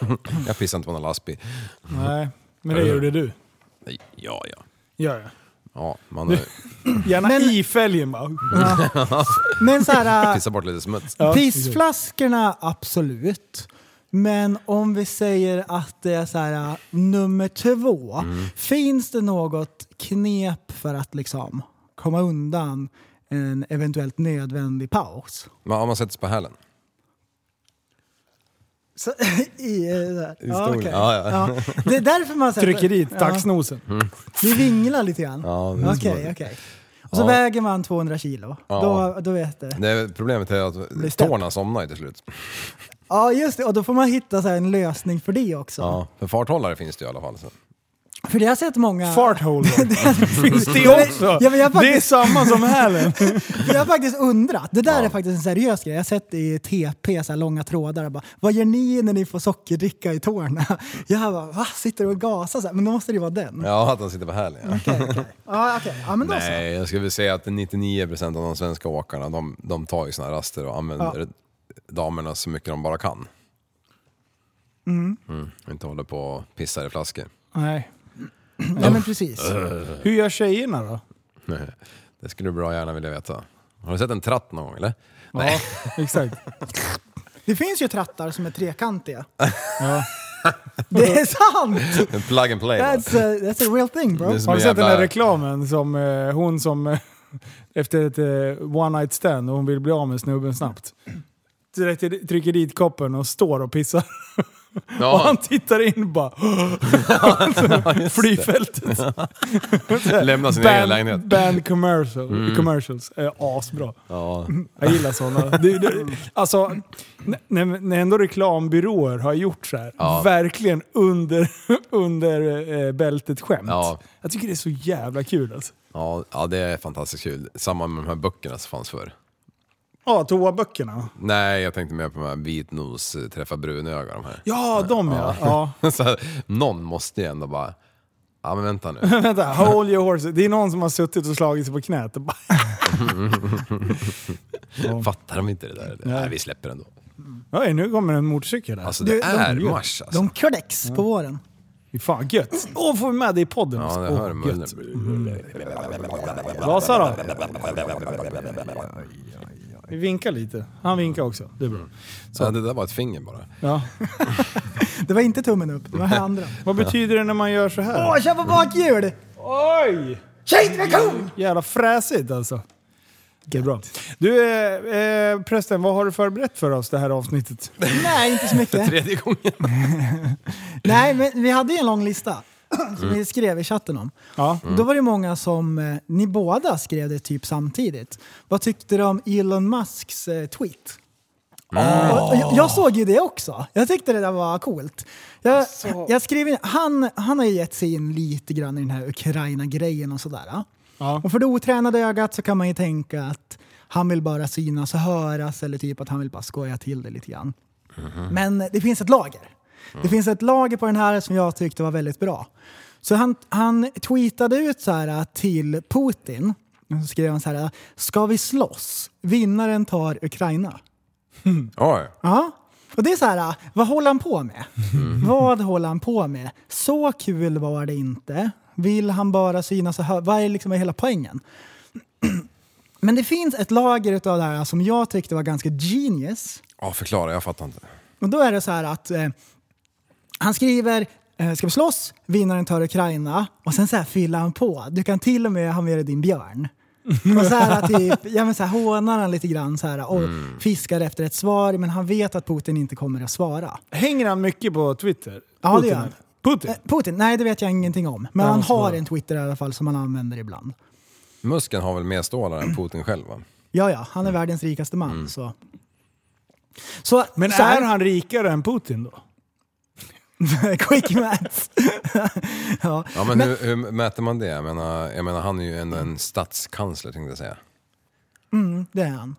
[SPEAKER 7] (laughs) Jag pissar inte på någon lastbil.
[SPEAKER 5] Nej, men det gjorde du.
[SPEAKER 7] Nej, Ja, ja.
[SPEAKER 5] Gör jag.
[SPEAKER 7] Ja, man har ju
[SPEAKER 5] Gärna i fälgen bara.
[SPEAKER 7] (laughs)
[SPEAKER 6] Men så här, äh,
[SPEAKER 7] pissat bort lite smuts.
[SPEAKER 6] Pissflaskorna, absolut. Men om vi säger att det är så här, äh, nummer två.
[SPEAKER 7] Mm.
[SPEAKER 6] Finns det något knep för att liksom komma undan en eventuellt nödvändig paus?
[SPEAKER 7] Man, om man sätter sig på hälen.
[SPEAKER 6] Så, (laughs) i, äh, så här, ja,
[SPEAKER 7] stolen.
[SPEAKER 6] okej.
[SPEAKER 7] Ja, ja.
[SPEAKER 6] Det är därför man sätter-
[SPEAKER 5] Trycker dit
[SPEAKER 6] Ja,
[SPEAKER 5] taxnosen.
[SPEAKER 7] Mm.
[SPEAKER 6] Vi vinglar lite grann.
[SPEAKER 7] Ja, det är
[SPEAKER 6] Okej,
[SPEAKER 7] smart.
[SPEAKER 6] okej. Och så
[SPEAKER 7] Ja.
[SPEAKER 6] väger man 200 kilo.
[SPEAKER 7] Ja.
[SPEAKER 6] Då, då vet det.
[SPEAKER 7] Det är, problemet är att
[SPEAKER 6] stämt.
[SPEAKER 7] tårna somnar ju till slut.
[SPEAKER 6] Ja, just det. Och då får man hitta så här, en lösning för det också.
[SPEAKER 7] Ja. För farthållare finns det ju i alla fall. Så.
[SPEAKER 6] För det har jag sett många... (laughs)
[SPEAKER 5] Fartholder. (laughs) Finns det
[SPEAKER 6] Ja, men-
[SPEAKER 5] också?
[SPEAKER 6] ja, men jag har
[SPEAKER 5] Det är
[SPEAKER 6] faktiskt-
[SPEAKER 5] samma som hälen.
[SPEAKER 6] (laughs) Jag har faktiskt undrat. Det där är faktiskt en seriös grej. Jag har sett i TP så här långa trådar. och Bara, Vad gör ni när ni får sockerdricka i tårna? (laughs) Jag bara, va? Sitter du och gasar? Så här? Men då måste det ju vara den. Ja,
[SPEAKER 7] Ja, att han sitter på hälen. ja.
[SPEAKER 6] ah, okej. Ja, men då så.
[SPEAKER 7] Nej, jag skulle vilja säga att 99% av de svenska åkarna, de, de tar ju såna här raster och använder damerna så mycket de bara kan.
[SPEAKER 6] Mm.
[SPEAKER 7] Mm. Inte håller på och pissar i flaskor. (laughs)
[SPEAKER 5] Nej.
[SPEAKER 6] Ja, men precis.
[SPEAKER 5] Hur gör tjejerna då?
[SPEAKER 7] Det skulle du bra gärna vilja veta. Har du sett en tratt någon gång eller?
[SPEAKER 5] Ja, exakt.
[SPEAKER 6] Det finns ju trattar som är trekantiga.
[SPEAKER 5] Ja.
[SPEAKER 6] (laughs) Det är sant!
[SPEAKER 7] En (laughs) plug and play. va?
[SPEAKER 6] That's a, that's a real thing bro.
[SPEAKER 7] Det är som
[SPEAKER 5] Har du
[SPEAKER 7] en
[SPEAKER 5] sett den
[SPEAKER 7] jävla-
[SPEAKER 5] där reklamen som eh, hon som eh, (laughs) efter ett eh, one night stand och hon vill bli av med snubben snabbt. Direkt Trycker dit koppen och står och pissar. (laughs) Och han
[SPEAKER 7] Ja,
[SPEAKER 5] tittar in och
[SPEAKER 7] (laughs)
[SPEAKER 5] bara... (laughs) Flygfältet.
[SPEAKER 7] lämna sin egen lägenhet. Mm.
[SPEAKER 5] Band, band commercial, commercials är asbra.
[SPEAKER 7] Ja.
[SPEAKER 5] Jag gillar sådana. Det, det, alltså, n- när, när ändå reklambyråer har gjort så här,
[SPEAKER 7] Ja.
[SPEAKER 5] verkligen under, (laughs) under eh, bältet skämt.
[SPEAKER 7] Ja.
[SPEAKER 5] Jag tycker det är så jävla kul alltså.
[SPEAKER 7] Ja, ja, det är fantastiskt kul. Samma med de här böckerna som fanns förr.
[SPEAKER 5] Ja, toaböckerna.
[SPEAKER 7] Nej, jag tänkte mer på de här vit nos, träffa brunöga de här.
[SPEAKER 5] Ja, de ja. ja.
[SPEAKER 7] (laughs) Så här, någon måste ju ändå bara, ja men vänta nu.
[SPEAKER 5] (laughs) Vänta, hold your horse. Det är någon som har suttit och slagit sig på knät. och bara- (laughs)
[SPEAKER 7] Fattar de inte det där eller?
[SPEAKER 5] Nej.
[SPEAKER 7] Nej, vi släpper ändå.
[SPEAKER 5] Oj, nu kommer en motorcykel här.
[SPEAKER 7] Alltså
[SPEAKER 6] Du,
[SPEAKER 7] det
[SPEAKER 6] de
[SPEAKER 7] är
[SPEAKER 6] gör-
[SPEAKER 7] mars alltså.
[SPEAKER 6] De kodex på våren.
[SPEAKER 5] Fy Fan gött. Åh, får vi med det i podden?
[SPEAKER 7] Ja, det
[SPEAKER 5] Åh,
[SPEAKER 7] hör
[SPEAKER 5] gött.
[SPEAKER 6] Mm.
[SPEAKER 7] munnen.
[SPEAKER 5] Vasa då. Vi vinkar lite. Han vinkar också. Det är bra.
[SPEAKER 7] Så det där var ett finger
[SPEAKER 6] (laughs)
[SPEAKER 7] bara.
[SPEAKER 5] Ja.
[SPEAKER 6] Det var inte tummen upp, det var
[SPEAKER 5] (laughs)
[SPEAKER 6] det andra.
[SPEAKER 5] Vad betyder det när man gör så här?
[SPEAKER 6] Åh, kör på bakhjul!
[SPEAKER 5] Oj!
[SPEAKER 6] Shit vad cool!
[SPEAKER 5] Jävla fräsigt alltså. Det är bra. Du, eh, eh, prästen, vad har du förberett för oss det här avsnittet?
[SPEAKER 6] Nej, inte så mycket.
[SPEAKER 7] Tredje gången.
[SPEAKER 6] Nej, men vi hade ju en lång lista som vi skrev i chatten om.
[SPEAKER 5] Ja.
[SPEAKER 6] Då var det många som, eh, ni båda skrev det typ samtidigt. Vad tyckte du om Elon Musks eh, tweet? Och- och jag- Jag såg ju det också. Jag tyckte det där var coolt. Jag, jag skrev in, han, han har ju gett sig in lite grann i den här Ukraina-grejen och sådär.
[SPEAKER 5] Ja.
[SPEAKER 6] Och för det otränade ögat så kan man ju tänka att han vill bara synas och höras eller typ att han vill bara skoja till det lite grann. Men det finns ett lager. Det finns ett lager på den här som jag tyckte var väldigt bra. Så han, han tweetade ut så här äh, till Putin. Så skrev han så här, äh, ska vi slåss? Vinnaren tar Ukraina.
[SPEAKER 7] Oj.
[SPEAKER 6] Ja. Och det är så här, äh, vad håller han på med? Vad håller han på med? Så kul var det inte. Vill han bara synas och hö- Vad är liksom hela poängen? (clears throat) Men det finns ett lager utav det här äh, som jag tyckte var ganska genius.
[SPEAKER 7] Ja, förklara, jag fattar inte.
[SPEAKER 6] Och då är det så här att eh, han skriver eh, “Ska vi slåss? Vinnaren tar Ukraina” och sen så här fyller han på. Du kan till och med ha med dig din björn. Och så här, typ, ja, men så här hånar han lite grann så här, och
[SPEAKER 7] Mm.
[SPEAKER 6] fiskar efter ett svar men han vet att Putin inte kommer att svara.
[SPEAKER 5] Hänger han mycket på Twitter?
[SPEAKER 6] Ja, det
[SPEAKER 5] Putin,
[SPEAKER 6] gör han.
[SPEAKER 5] eller? Putin?
[SPEAKER 6] Eh, Putin? Nej, det vet jag ingenting om. Men
[SPEAKER 5] Nej,
[SPEAKER 6] han
[SPEAKER 5] måste
[SPEAKER 6] har
[SPEAKER 5] vara.
[SPEAKER 6] en Twitter i alla fall som han använder ibland.
[SPEAKER 7] Musken har väl mer stålar än Putin själv va?
[SPEAKER 6] Ja, ja, han är
[SPEAKER 7] Mm.
[SPEAKER 6] världens rikaste man. Så. (laughs) Så,
[SPEAKER 5] Men
[SPEAKER 6] så här-
[SPEAKER 5] är han rikare än Putin då?
[SPEAKER 6] Quick maths! ja.
[SPEAKER 7] Ja, men, Hur, hur mäter man det? Jag menar, jag menar han är ju ändå en statskansler tänkte jag säga.
[SPEAKER 6] Mm, det är han.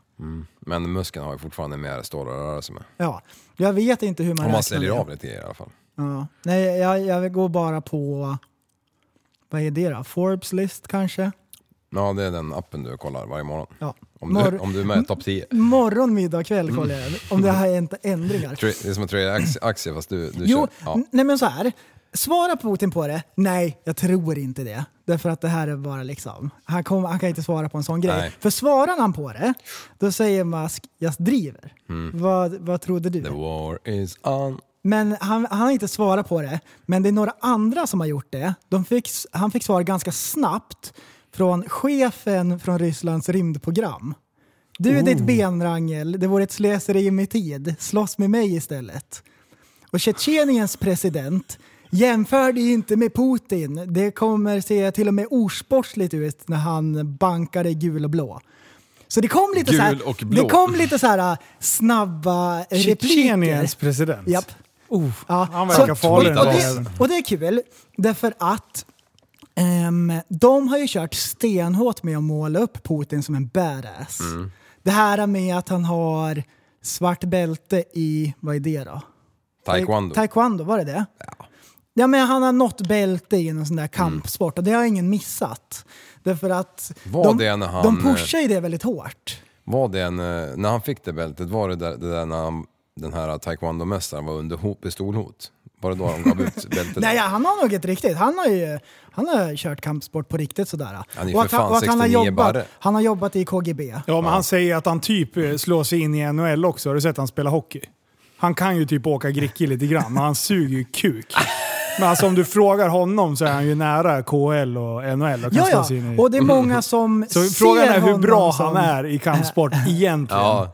[SPEAKER 7] Men muskeln har ju fortfarande mer stålar att röra sig med.
[SPEAKER 6] Ja. Jag vet inte hur man
[SPEAKER 7] Om man
[SPEAKER 6] räknar
[SPEAKER 7] säljer
[SPEAKER 6] det.
[SPEAKER 7] av lite i alla fall.
[SPEAKER 6] Ja. Nej, jag, jag går bara på... Vad är det då? Forbes list kanske?
[SPEAKER 7] Ja, det är den appen du kollar varje morgon.
[SPEAKER 6] Ja.
[SPEAKER 7] Om du,
[SPEAKER 6] Mor-
[SPEAKER 7] om du är med i topp 10.
[SPEAKER 6] Morgon, middag, kväll kollar jag.
[SPEAKER 7] Mm.
[SPEAKER 6] Om det har hänt ändringar.
[SPEAKER 7] Tra- Det är som att trada aktie- aktier fast du, du
[SPEAKER 6] Jo,
[SPEAKER 7] kör. Ja.
[SPEAKER 6] n- nej men så här. Svara Putin på det? Nej, jag tror inte det. Därför att det här är bara liksom... Han, kom, han kan inte svara på en sån grej.
[SPEAKER 7] Nej.
[SPEAKER 6] För svarar han på det, då säger Musk jag driver.
[SPEAKER 7] Mm.
[SPEAKER 6] Vad, vad trodde du?
[SPEAKER 7] The war is on.
[SPEAKER 6] Men han, han har inte svarat på det. Men det är några andra som har gjort det. De fick, han fick svar ganska snabbt från chefen från Rysslands rymdprogram. Du är ditt
[SPEAKER 7] Oh.
[SPEAKER 6] benrangel, det vore ett slöseri med tid. Slåss med mig istället. Och Tjetjeniens president jämför dig inte med Putin. Det kommer se till och med osportsligt ut när han bankade gul och blå. Så det kom lite
[SPEAKER 7] Gul
[SPEAKER 6] så här,
[SPEAKER 7] och blå.
[SPEAKER 6] Det kom lite så här snabba repliker.
[SPEAKER 5] Tjetjeniens president?
[SPEAKER 6] Japp. Ja.
[SPEAKER 5] Han verkar
[SPEAKER 6] Så-
[SPEAKER 5] farlig
[SPEAKER 6] och, och,
[SPEAKER 5] den
[SPEAKER 6] det,
[SPEAKER 5] jäveln.
[SPEAKER 6] och det är kul, därför att ehm, de har ju kört stenhårt med att måla upp Putin som en badass.
[SPEAKER 12] Mm.
[SPEAKER 6] Det här med att han har svart bälte i, vad är det då?
[SPEAKER 7] Taekwondo.
[SPEAKER 6] Taekwondo, var det det? Ja. men han har nått bälte i någon sån
[SPEAKER 7] Mm.
[SPEAKER 6] där kampsport och det har ingen missat. Därför att
[SPEAKER 7] Var
[SPEAKER 6] de,
[SPEAKER 7] det när han, eh,
[SPEAKER 6] de pushar ju det väldigt hårt.
[SPEAKER 7] Var det en, eh, när han fick det bältet, var det där, det där när han, den här taekwondo-mästaren var under hot, pistolhot? Var det då de gav ut bältet?
[SPEAKER 6] (laughs) Nej, ja, han har nog ett riktigt. Han har ju han har kört kampsport på riktigt sådär.
[SPEAKER 7] Han är ju
[SPEAKER 6] Och
[SPEAKER 7] för
[SPEAKER 6] att han-
[SPEAKER 7] fan
[SPEAKER 6] och att han har
[SPEAKER 7] 69
[SPEAKER 6] jobbat,
[SPEAKER 7] barre.
[SPEAKER 6] han har jobbat i KGB.
[SPEAKER 5] Ja, men han säger att han typ eh, slår sig in i NHL också. Har du sett han spela hockey? Han kan ju typ åka grickig lite grann, men han suger ju kuk. Men alltså om du frågar honom så är han ju nära KHL och NHL och kan
[SPEAKER 6] Ja,
[SPEAKER 5] slå
[SPEAKER 6] ja.
[SPEAKER 5] sig in i.
[SPEAKER 6] Och det är många som
[SPEAKER 5] (laughs) Så
[SPEAKER 6] ser
[SPEAKER 5] frågan är hur
[SPEAKER 6] honom
[SPEAKER 5] bra
[SPEAKER 6] som-
[SPEAKER 5] han är i
[SPEAKER 6] (laughs)
[SPEAKER 5] kampsport egentligen.
[SPEAKER 7] Ja.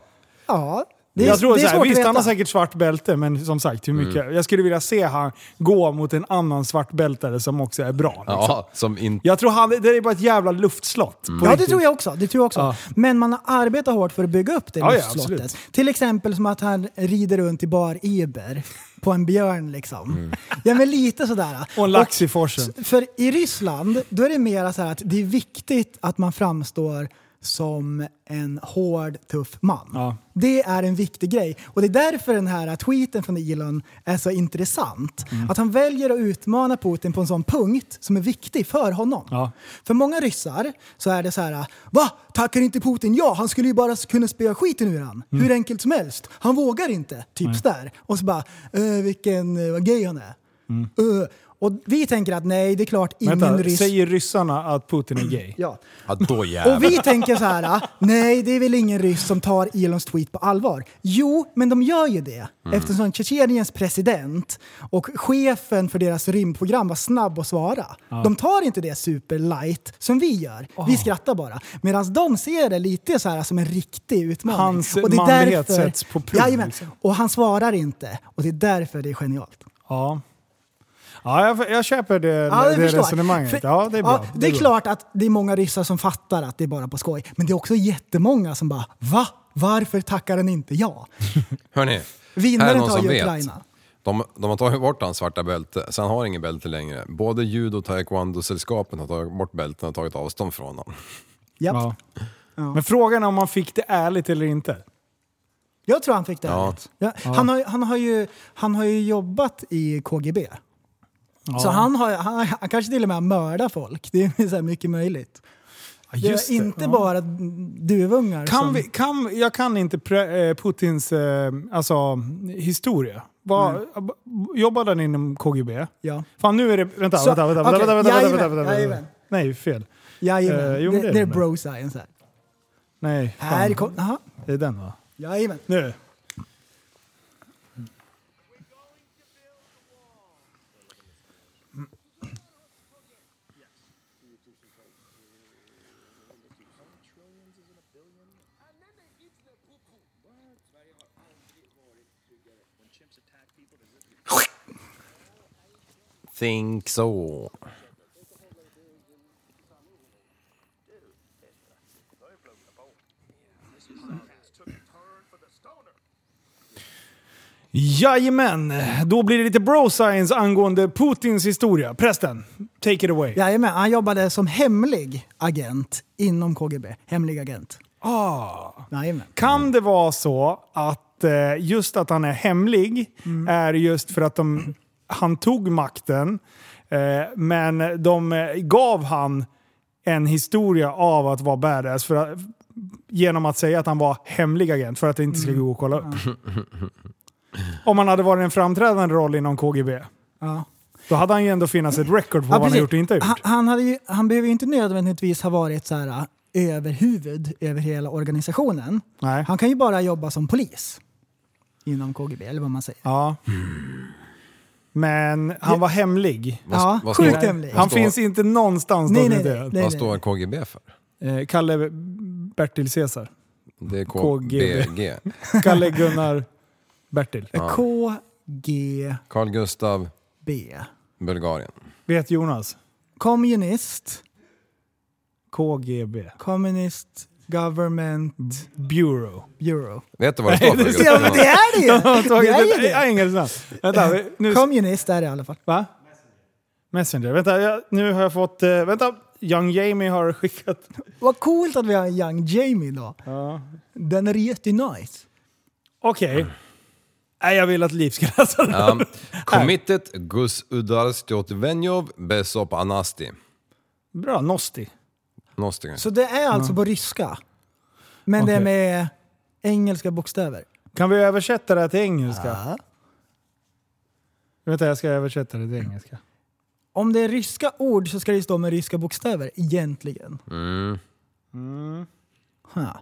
[SPEAKER 6] Ja, det är,
[SPEAKER 5] jag tror
[SPEAKER 6] det är
[SPEAKER 5] så här,
[SPEAKER 6] svårt
[SPEAKER 5] visst, han
[SPEAKER 6] att
[SPEAKER 5] har
[SPEAKER 6] veta.
[SPEAKER 5] säkert svart bälte, men som sagt, hur mycket?
[SPEAKER 7] Mm.
[SPEAKER 5] Jag skulle vilja se han gå mot en annan svartbältare som också är bra. Liksom.
[SPEAKER 7] Ja, som inte...
[SPEAKER 5] Jag tror han, det är bara ett jävla luftslott. på
[SPEAKER 6] Mm. Ja, det
[SPEAKER 5] riktigt.
[SPEAKER 6] tror jag också. Det tror jag också.
[SPEAKER 5] Ja.
[SPEAKER 6] Men man har arbetat hårt för att bygga upp det
[SPEAKER 5] Ja, ja,
[SPEAKER 6] luftslottet.
[SPEAKER 5] absolut.
[SPEAKER 6] Till exempel som att han rider runt i bar Eber på en björn liksom. Ja, men lite sådär.
[SPEAKER 5] Mm. (laughs) Och en lax i forsen.
[SPEAKER 6] För i Ryssland, då är det mer så här att det är viktigt att man framstår som en hård, tuff man. Det är en viktig grej. Och det är därför den här tweeten från Elon är så intressant.
[SPEAKER 5] Mm.
[SPEAKER 6] Att han väljer att utmana Putin på en sån punkt som är viktig för honom. För många ryssar så är det så här, va? Tackar inte Putin ja? Han skulle ju bara kunna spöa skiten ur han.
[SPEAKER 12] Mm.
[SPEAKER 6] Hur enkelt som helst. Han vågar inte. Tips där. Och så bara, "Eh, vilken eh, vad gay han är. Eh, och vi tänker att nej, det är klart ingen
[SPEAKER 5] Mm. Vänta,
[SPEAKER 6] ryss...
[SPEAKER 5] säger ryssarna att Putin
[SPEAKER 6] (clears throat)
[SPEAKER 5] är gay?
[SPEAKER 6] Ja.
[SPEAKER 7] Ja, då
[SPEAKER 6] Och vi tänker så här, nej det är väl ingen ryss som tar Elons tweet på allvar. Jo, men de gör ju det.
[SPEAKER 12] Mm.
[SPEAKER 6] Eftersom Tjetjeniens president och chefen för deras rymdprogram var snabb att svara.
[SPEAKER 12] Ja.
[SPEAKER 6] De tar inte det superlight som vi gör. Vi skrattar bara. Medan de ser det lite så här som en riktig utmaning.
[SPEAKER 5] Hans manlighet sätts på prov,
[SPEAKER 6] Jajamän.
[SPEAKER 5] liksom.
[SPEAKER 6] Och han svarar inte. Och det är därför det är genialt.
[SPEAKER 5] Ja. Ja, jag, jag köper det,
[SPEAKER 6] Ja, det
[SPEAKER 5] det
[SPEAKER 6] förstår jag.
[SPEAKER 5] resonemanget.
[SPEAKER 6] För-
[SPEAKER 5] ja, det är bra.
[SPEAKER 6] Ja, det är
[SPEAKER 5] bra.
[SPEAKER 6] klart att det är många ryssar som fattar att det är bara på skoj. Men det är också jättemånga som bara va? Varför tackar den inte ja?
[SPEAKER 7] Hörni,
[SPEAKER 6] Vinnaren
[SPEAKER 7] här är någon
[SPEAKER 6] tar
[SPEAKER 7] som
[SPEAKER 6] ju
[SPEAKER 7] vet.
[SPEAKER 6] Ukraina.
[SPEAKER 7] De, de har tagit bort hans svarta bälte, så han har ingen bälte längre. Både judo och taekwondo-sällskapen har tagit bort bälten och tagit avstånd från honom.
[SPEAKER 5] Ja. Men frågan är om han fick det ärligt eller inte.
[SPEAKER 6] Jag tror han fick det.
[SPEAKER 7] Ja.
[SPEAKER 6] Ja.
[SPEAKER 5] Ja.
[SPEAKER 6] Han, har, han, har ju, han har ju jobbat i KGB.
[SPEAKER 5] Ja.
[SPEAKER 6] Så han, har, han, han kanske till och med har mördat folk. Det är så här mycket möjligt.
[SPEAKER 5] just
[SPEAKER 6] det
[SPEAKER 5] det.
[SPEAKER 6] är inte
[SPEAKER 5] Ja.
[SPEAKER 6] bara duvungar
[SPEAKER 5] Kan
[SPEAKER 6] som...
[SPEAKER 5] vi, kan, jag kan inte pre, eh, Putins eh, alltså, historia. Var, Jobbade han inom KGB?
[SPEAKER 6] Ja.
[SPEAKER 5] Fan nu är det... Vänta,
[SPEAKER 6] Så-
[SPEAKER 5] vänta, vänta, vänta,
[SPEAKER 6] okej,
[SPEAKER 5] vänta, vänta,
[SPEAKER 6] jajamän,
[SPEAKER 5] vänta, vänta, vänta,
[SPEAKER 6] jajamän.
[SPEAKER 5] vänta. Nej, fel.
[SPEAKER 6] Jajamän,
[SPEAKER 5] Eh, jo,
[SPEAKER 6] det,
[SPEAKER 5] det är
[SPEAKER 6] det är
[SPEAKER 5] det.
[SPEAKER 6] bro science här.
[SPEAKER 5] Nej, fan.
[SPEAKER 6] Här kom, aha.
[SPEAKER 5] Det är den va?
[SPEAKER 6] Jajamän.
[SPEAKER 5] Nu.
[SPEAKER 7] Think so.
[SPEAKER 5] Jajamän, då blir det lite bro science angående Putins historia. Prästen, take it away.
[SPEAKER 6] Jajamän, han jobbade som hemlig agent inom KGB. Hemlig agent.
[SPEAKER 5] Ah.
[SPEAKER 6] Jajamän.
[SPEAKER 5] Kan det vara så att eh, just att han är hemlig är just för att de, han tog makten eh, men de eh, gav han en historia av att vara badass för att, genom att säga att han var hemlig agent för att det inte skulle gå att kolla upp. Om han hade varit en framträdande roll inom KGB.
[SPEAKER 6] Ja.
[SPEAKER 5] Då hade han ju ändå finnas ett record på vad han har
[SPEAKER 6] precis.
[SPEAKER 5] gjort och inte har gjort.
[SPEAKER 6] Han, han, hade ju, han behöver ju inte nödvändigtvis ha varit så här ah, överhuvud över hela organisationen.
[SPEAKER 5] Nej.
[SPEAKER 6] Han kan ju bara jobba som polis inom KGB, eller vad man säger.
[SPEAKER 5] Ja. Men han var hemlig.
[SPEAKER 6] Mm. Vad- Ja, vad står- sjukt hemlig.
[SPEAKER 5] Han
[SPEAKER 6] vad står-
[SPEAKER 5] finns inte någonstans
[SPEAKER 6] Nej, nej,
[SPEAKER 5] dokumenterad.
[SPEAKER 6] nej,
[SPEAKER 7] Vad står KGB för?
[SPEAKER 5] Eh, Kalle Bertil Caesar.
[SPEAKER 7] Det är KBG.
[SPEAKER 5] Kalle Gunnar Bertil.
[SPEAKER 7] Ja.
[SPEAKER 6] KGB.
[SPEAKER 7] Carl Gustav, Bulgarien.
[SPEAKER 5] Vet Jonas?
[SPEAKER 6] Kommunist.
[SPEAKER 5] KGB.
[SPEAKER 6] Kommunist. Government
[SPEAKER 5] Bureau.
[SPEAKER 6] Bureau.
[SPEAKER 7] Vet
[SPEAKER 6] (laughs)
[SPEAKER 7] du vad det står för?
[SPEAKER 6] Ja, men det
[SPEAKER 5] (laughs)
[SPEAKER 6] är det ju!
[SPEAKER 5] De har tagit
[SPEAKER 6] Det
[SPEAKER 5] ett
[SPEAKER 6] är ju det.
[SPEAKER 5] engelskt namn. Vänta, vi- nu...
[SPEAKER 6] Communist är det i alla fall.
[SPEAKER 5] Va? Messenger. Vänta, jag, nu har jag fått... eh, vänta, Young Jamie har skickat...
[SPEAKER 6] Vad coolt att vi har en Young Jamie då.
[SPEAKER 5] Ja.
[SPEAKER 6] Den är jättenice.
[SPEAKER 5] Okej.
[SPEAKER 6] Mm.
[SPEAKER 5] Nej, jag vill att Liv ska läsa den.
[SPEAKER 7] Ja. Committed Gus Udarstjotvenjov Besop Anasti.
[SPEAKER 5] Bra, Nosti.
[SPEAKER 7] Någonting.
[SPEAKER 6] Så det är alltså på ryska. Men det är med engelska bokstäver.
[SPEAKER 5] Kan vi översätta det här till engelska? Vänta, jag ska översätta det till engelska.
[SPEAKER 6] Om det är ryska ord så ska det ju stå med ryska bokstäver, egentligen.
[SPEAKER 7] Mm.
[SPEAKER 5] Mm.
[SPEAKER 6] Ha.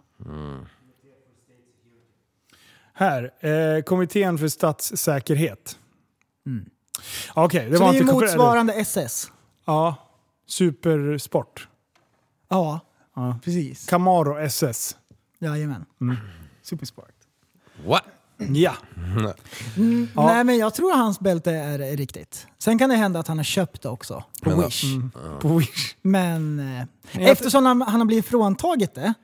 [SPEAKER 5] Här, eh, Kommittén för statssäkerhet.
[SPEAKER 6] Mm.
[SPEAKER 5] Okej, det
[SPEAKER 6] så
[SPEAKER 5] var
[SPEAKER 6] det är
[SPEAKER 5] inte
[SPEAKER 6] ju
[SPEAKER 5] korrekt.
[SPEAKER 6] motsvarande SS.
[SPEAKER 5] Ja, supersport.
[SPEAKER 6] Ja,
[SPEAKER 5] Ja.
[SPEAKER 6] precis.
[SPEAKER 5] Camaro SS.
[SPEAKER 6] Jajamän.
[SPEAKER 5] Mm.
[SPEAKER 6] Superspark.
[SPEAKER 7] What?
[SPEAKER 5] Ja.
[SPEAKER 6] Mm,
[SPEAKER 5] Ja.
[SPEAKER 6] Nej men jag tror hans bälte är riktigt. Sen kan det hända att han har köpt det också på
[SPEAKER 7] Men,
[SPEAKER 6] Wish.
[SPEAKER 5] Mm. På Wish.
[SPEAKER 6] Men eh,
[SPEAKER 5] jag-
[SPEAKER 6] eftersom han, han har blivit fråntaget det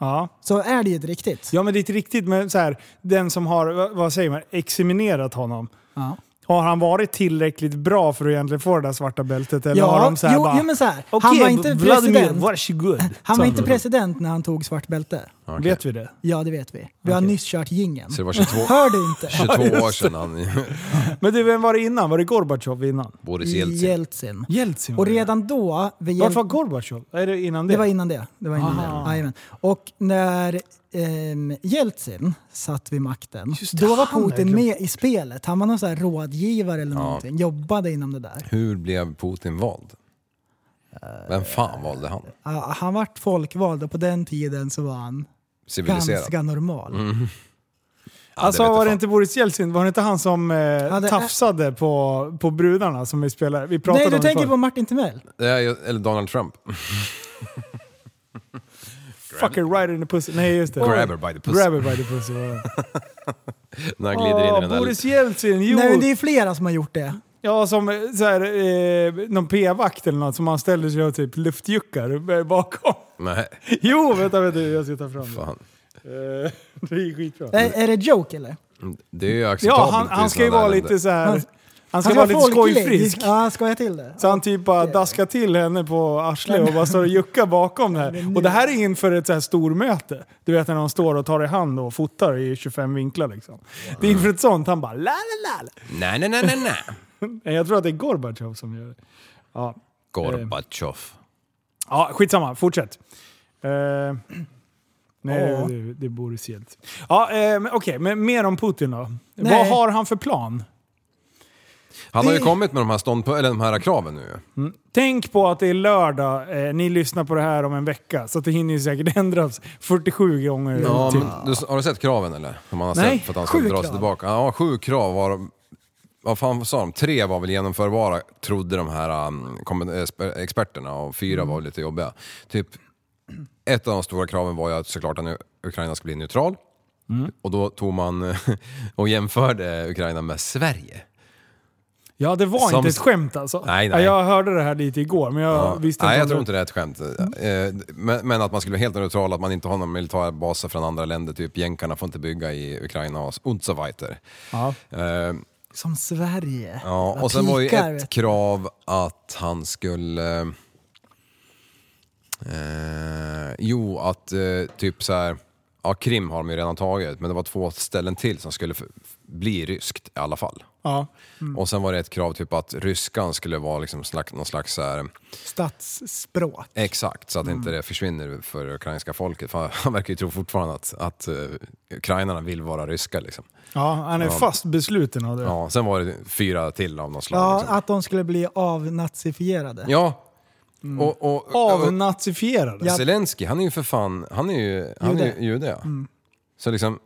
[SPEAKER 5] Ja.
[SPEAKER 6] så är det ju ett riktigt.
[SPEAKER 5] ja, men det är inte riktigt men så här, den som har, vad- vad säger man, examinerat honom.
[SPEAKER 6] Ja.
[SPEAKER 5] Har han varit tillräckligt bra för att egentligen få det där svarta bältet? Eller har de så här
[SPEAKER 6] jo,
[SPEAKER 5] bara...
[SPEAKER 6] jo, men så här. han
[SPEAKER 5] "Okej,
[SPEAKER 6] var inte
[SPEAKER 5] Vladimir,
[SPEAKER 6] president.
[SPEAKER 5] varsågod.
[SPEAKER 6] Han var
[SPEAKER 5] Så.
[SPEAKER 6] inte president när han tog svart bälte.
[SPEAKER 7] Okej.
[SPEAKER 5] Vet vi det?
[SPEAKER 6] Ja, det vet vi. Vi har nyss kört jingeln.
[SPEAKER 7] Så det var 22,
[SPEAKER 5] (laughs)
[SPEAKER 6] Hör du inte?
[SPEAKER 7] 22 år sedan han... (laughs)
[SPEAKER 5] Men du, vem var det innan? Var det Gorbatjov innan?
[SPEAKER 7] Boris Jeltsin.
[SPEAKER 6] Jeltsin.
[SPEAKER 5] Jeltsin var
[SPEAKER 6] Och
[SPEAKER 5] det.
[SPEAKER 6] redan då... Vid Jel-
[SPEAKER 5] Varför var Gorbatjov? Är det innan det?
[SPEAKER 6] Det var innan det. det, var innan
[SPEAKER 5] Aha.
[SPEAKER 6] det. Jajamän. Och när ehm, Jeltsin satt vid makten,
[SPEAKER 5] Just det,
[SPEAKER 6] då var
[SPEAKER 5] han
[SPEAKER 6] Putin
[SPEAKER 5] verkligen.
[SPEAKER 6] med i spelet. Han var någon så här rådgivare eller någonting, jobbade inom det där.
[SPEAKER 7] Hur blev Putin vald? Vem fan valde han?
[SPEAKER 6] Ah, han vart folkvald och på den tiden så var han
[SPEAKER 7] Civiliserad? Mm.
[SPEAKER 6] ganska normal.
[SPEAKER 7] Ja, det
[SPEAKER 5] Alltså
[SPEAKER 7] vet jag
[SPEAKER 5] var det
[SPEAKER 7] fan.
[SPEAKER 5] inte Boris Jeltsin? Var det inte han som eh,
[SPEAKER 6] det-
[SPEAKER 5] tafsade på, på brudarna som vi spelade? Vi pratade
[SPEAKER 6] Nej, du
[SPEAKER 5] om
[SPEAKER 6] tänker
[SPEAKER 5] det
[SPEAKER 6] på Martin Timell.
[SPEAKER 7] Det är ju- Eller Donald Trump. (laughs)
[SPEAKER 5] förr. Fucking right in the pussy. Nej just det.
[SPEAKER 7] Grab her by the pussy.
[SPEAKER 5] Grab her by the pussy.
[SPEAKER 7] (laughs)
[SPEAKER 5] var det.
[SPEAKER 7] När han glider in i den
[SPEAKER 5] Åh,
[SPEAKER 7] där...
[SPEAKER 5] Boris Jeltsin, jo!
[SPEAKER 6] Nej, men det är flera som har gjort det.
[SPEAKER 5] Ja, som eh, så här, eh, någon p-vakt eller något som han ställde sig och typ luftjuckar eh, bakom. (laughs)
[SPEAKER 7] Nej,
[SPEAKER 5] Jo, vänta, vänta, jag ska ta fram det.
[SPEAKER 7] fan.
[SPEAKER 5] Eh, (laughs) Det är skitbra.
[SPEAKER 6] Är,
[SPEAKER 7] Mm.
[SPEAKER 6] är det joke eller?
[SPEAKER 7] Det är ju acceptabelt.
[SPEAKER 5] Ja, han,
[SPEAKER 7] i
[SPEAKER 5] han ska ju
[SPEAKER 7] sådana
[SPEAKER 5] vara
[SPEAKER 7] här
[SPEAKER 5] lite
[SPEAKER 7] länder.
[SPEAKER 5] så här...
[SPEAKER 6] Han-
[SPEAKER 5] Han ska vara lite
[SPEAKER 6] folklig.
[SPEAKER 5] skojfrisk.
[SPEAKER 6] Ja, skoja till det.
[SPEAKER 5] Så han typ bara daskar till henne på arslet och bara står och juckar bakom det här. Och det här är inför ett så här stormöte. Du vet när de står och tar i hand och fotar i 25 vinklar liksom. Det är inför ett sånt. Han bara la la la.
[SPEAKER 7] Nej, nej, nej, nej,
[SPEAKER 5] (laughs)
[SPEAKER 7] nej.
[SPEAKER 5] Eh. Nej, Jag tror att det är Gorbatjov som gör det. Ja,
[SPEAKER 7] Gorbatjov.
[SPEAKER 5] ja skitsamma. Fortsätt. Eh, nej,
[SPEAKER 6] Ja.
[SPEAKER 5] det, det är Boris Jeltsin. Ja, eh, men okej, men mer om Putin då.
[SPEAKER 6] Nej.
[SPEAKER 5] Vad har han för plan?
[SPEAKER 7] Han har ju
[SPEAKER 6] Det-
[SPEAKER 7] kommit med de här, ståndp- eller de här kraven nu.
[SPEAKER 5] Tänk på att det är lördag, eh, ni lyssnar på det här om en vecka, så att det hinner ju säkert (laughs) ändras 47 gånger.
[SPEAKER 7] Ja,
[SPEAKER 5] typ.
[SPEAKER 7] men du, har du sett kraven eller? Som han har
[SPEAKER 5] Nej,
[SPEAKER 7] sett för att han ska
[SPEAKER 6] sju
[SPEAKER 7] dra sig
[SPEAKER 6] krav.
[SPEAKER 7] tillbaka. Ja, sju krav var vad fan sa de? Tre var väl genomförbara, trodde de här um, kom- eh, spe- experterna och fyra
[SPEAKER 6] Mm.
[SPEAKER 7] var lite jobbiga. Typ, ett av de stora kraven var ju att såklart att nu- Ukraina ska bli neutral.
[SPEAKER 6] Mm.
[SPEAKER 7] Och då tog man (laughs) och jämförde Ukraina med Sverige.
[SPEAKER 5] Ja, det var
[SPEAKER 7] Som-
[SPEAKER 5] inte ett skämt alltså.
[SPEAKER 7] Nej, nej.
[SPEAKER 5] Ja, Jag hörde det här lite igår, men jag visste
[SPEAKER 7] Nej,
[SPEAKER 5] inte
[SPEAKER 7] jag
[SPEAKER 5] om
[SPEAKER 7] tror
[SPEAKER 5] det-
[SPEAKER 7] inte det är ett skämt. Eh, Men, men att man skulle vara helt neutral, att man inte har några militära baser från andra länder. Typ jänkarna får inte bygga i Ukraina och s- und so weiter.
[SPEAKER 5] Ja.
[SPEAKER 7] Eh,
[SPEAKER 6] Som Sverige.
[SPEAKER 7] Ja,
[SPEAKER 6] Vad
[SPEAKER 7] och sen var ju
[SPEAKER 6] pikar,
[SPEAKER 7] ett
[SPEAKER 6] vet
[SPEAKER 7] krav att han skulle... Eh, jo, att eh, typ så här... Ja, Krim har de ju redan tagit, men det var två ställen till som skulle f- f- bli ryskt i alla fall.
[SPEAKER 5] Ja.
[SPEAKER 7] Och sen var det ett krav typ att ryskan skulle vara liksom slags, någon slags så här,
[SPEAKER 6] Statsspråk.
[SPEAKER 7] Exakt, så att inte det försvinner för det ukrainska folket. För (laughs) han verkar ju tro fortfarande att, att eh, ukrainarna vill vara ryska. Liksom.
[SPEAKER 5] ja, han är fast besluten av det.
[SPEAKER 7] Ja, sen var det fyra till av något slag.
[SPEAKER 6] Ja,
[SPEAKER 7] liksom.
[SPEAKER 6] att de skulle bli avnazifierade.
[SPEAKER 7] ja. Och, och, och,
[SPEAKER 5] Avnazifierade.
[SPEAKER 7] Zelensky, han är ju för fan, han är ju han jude. Är ju, jude ja. Så liksom,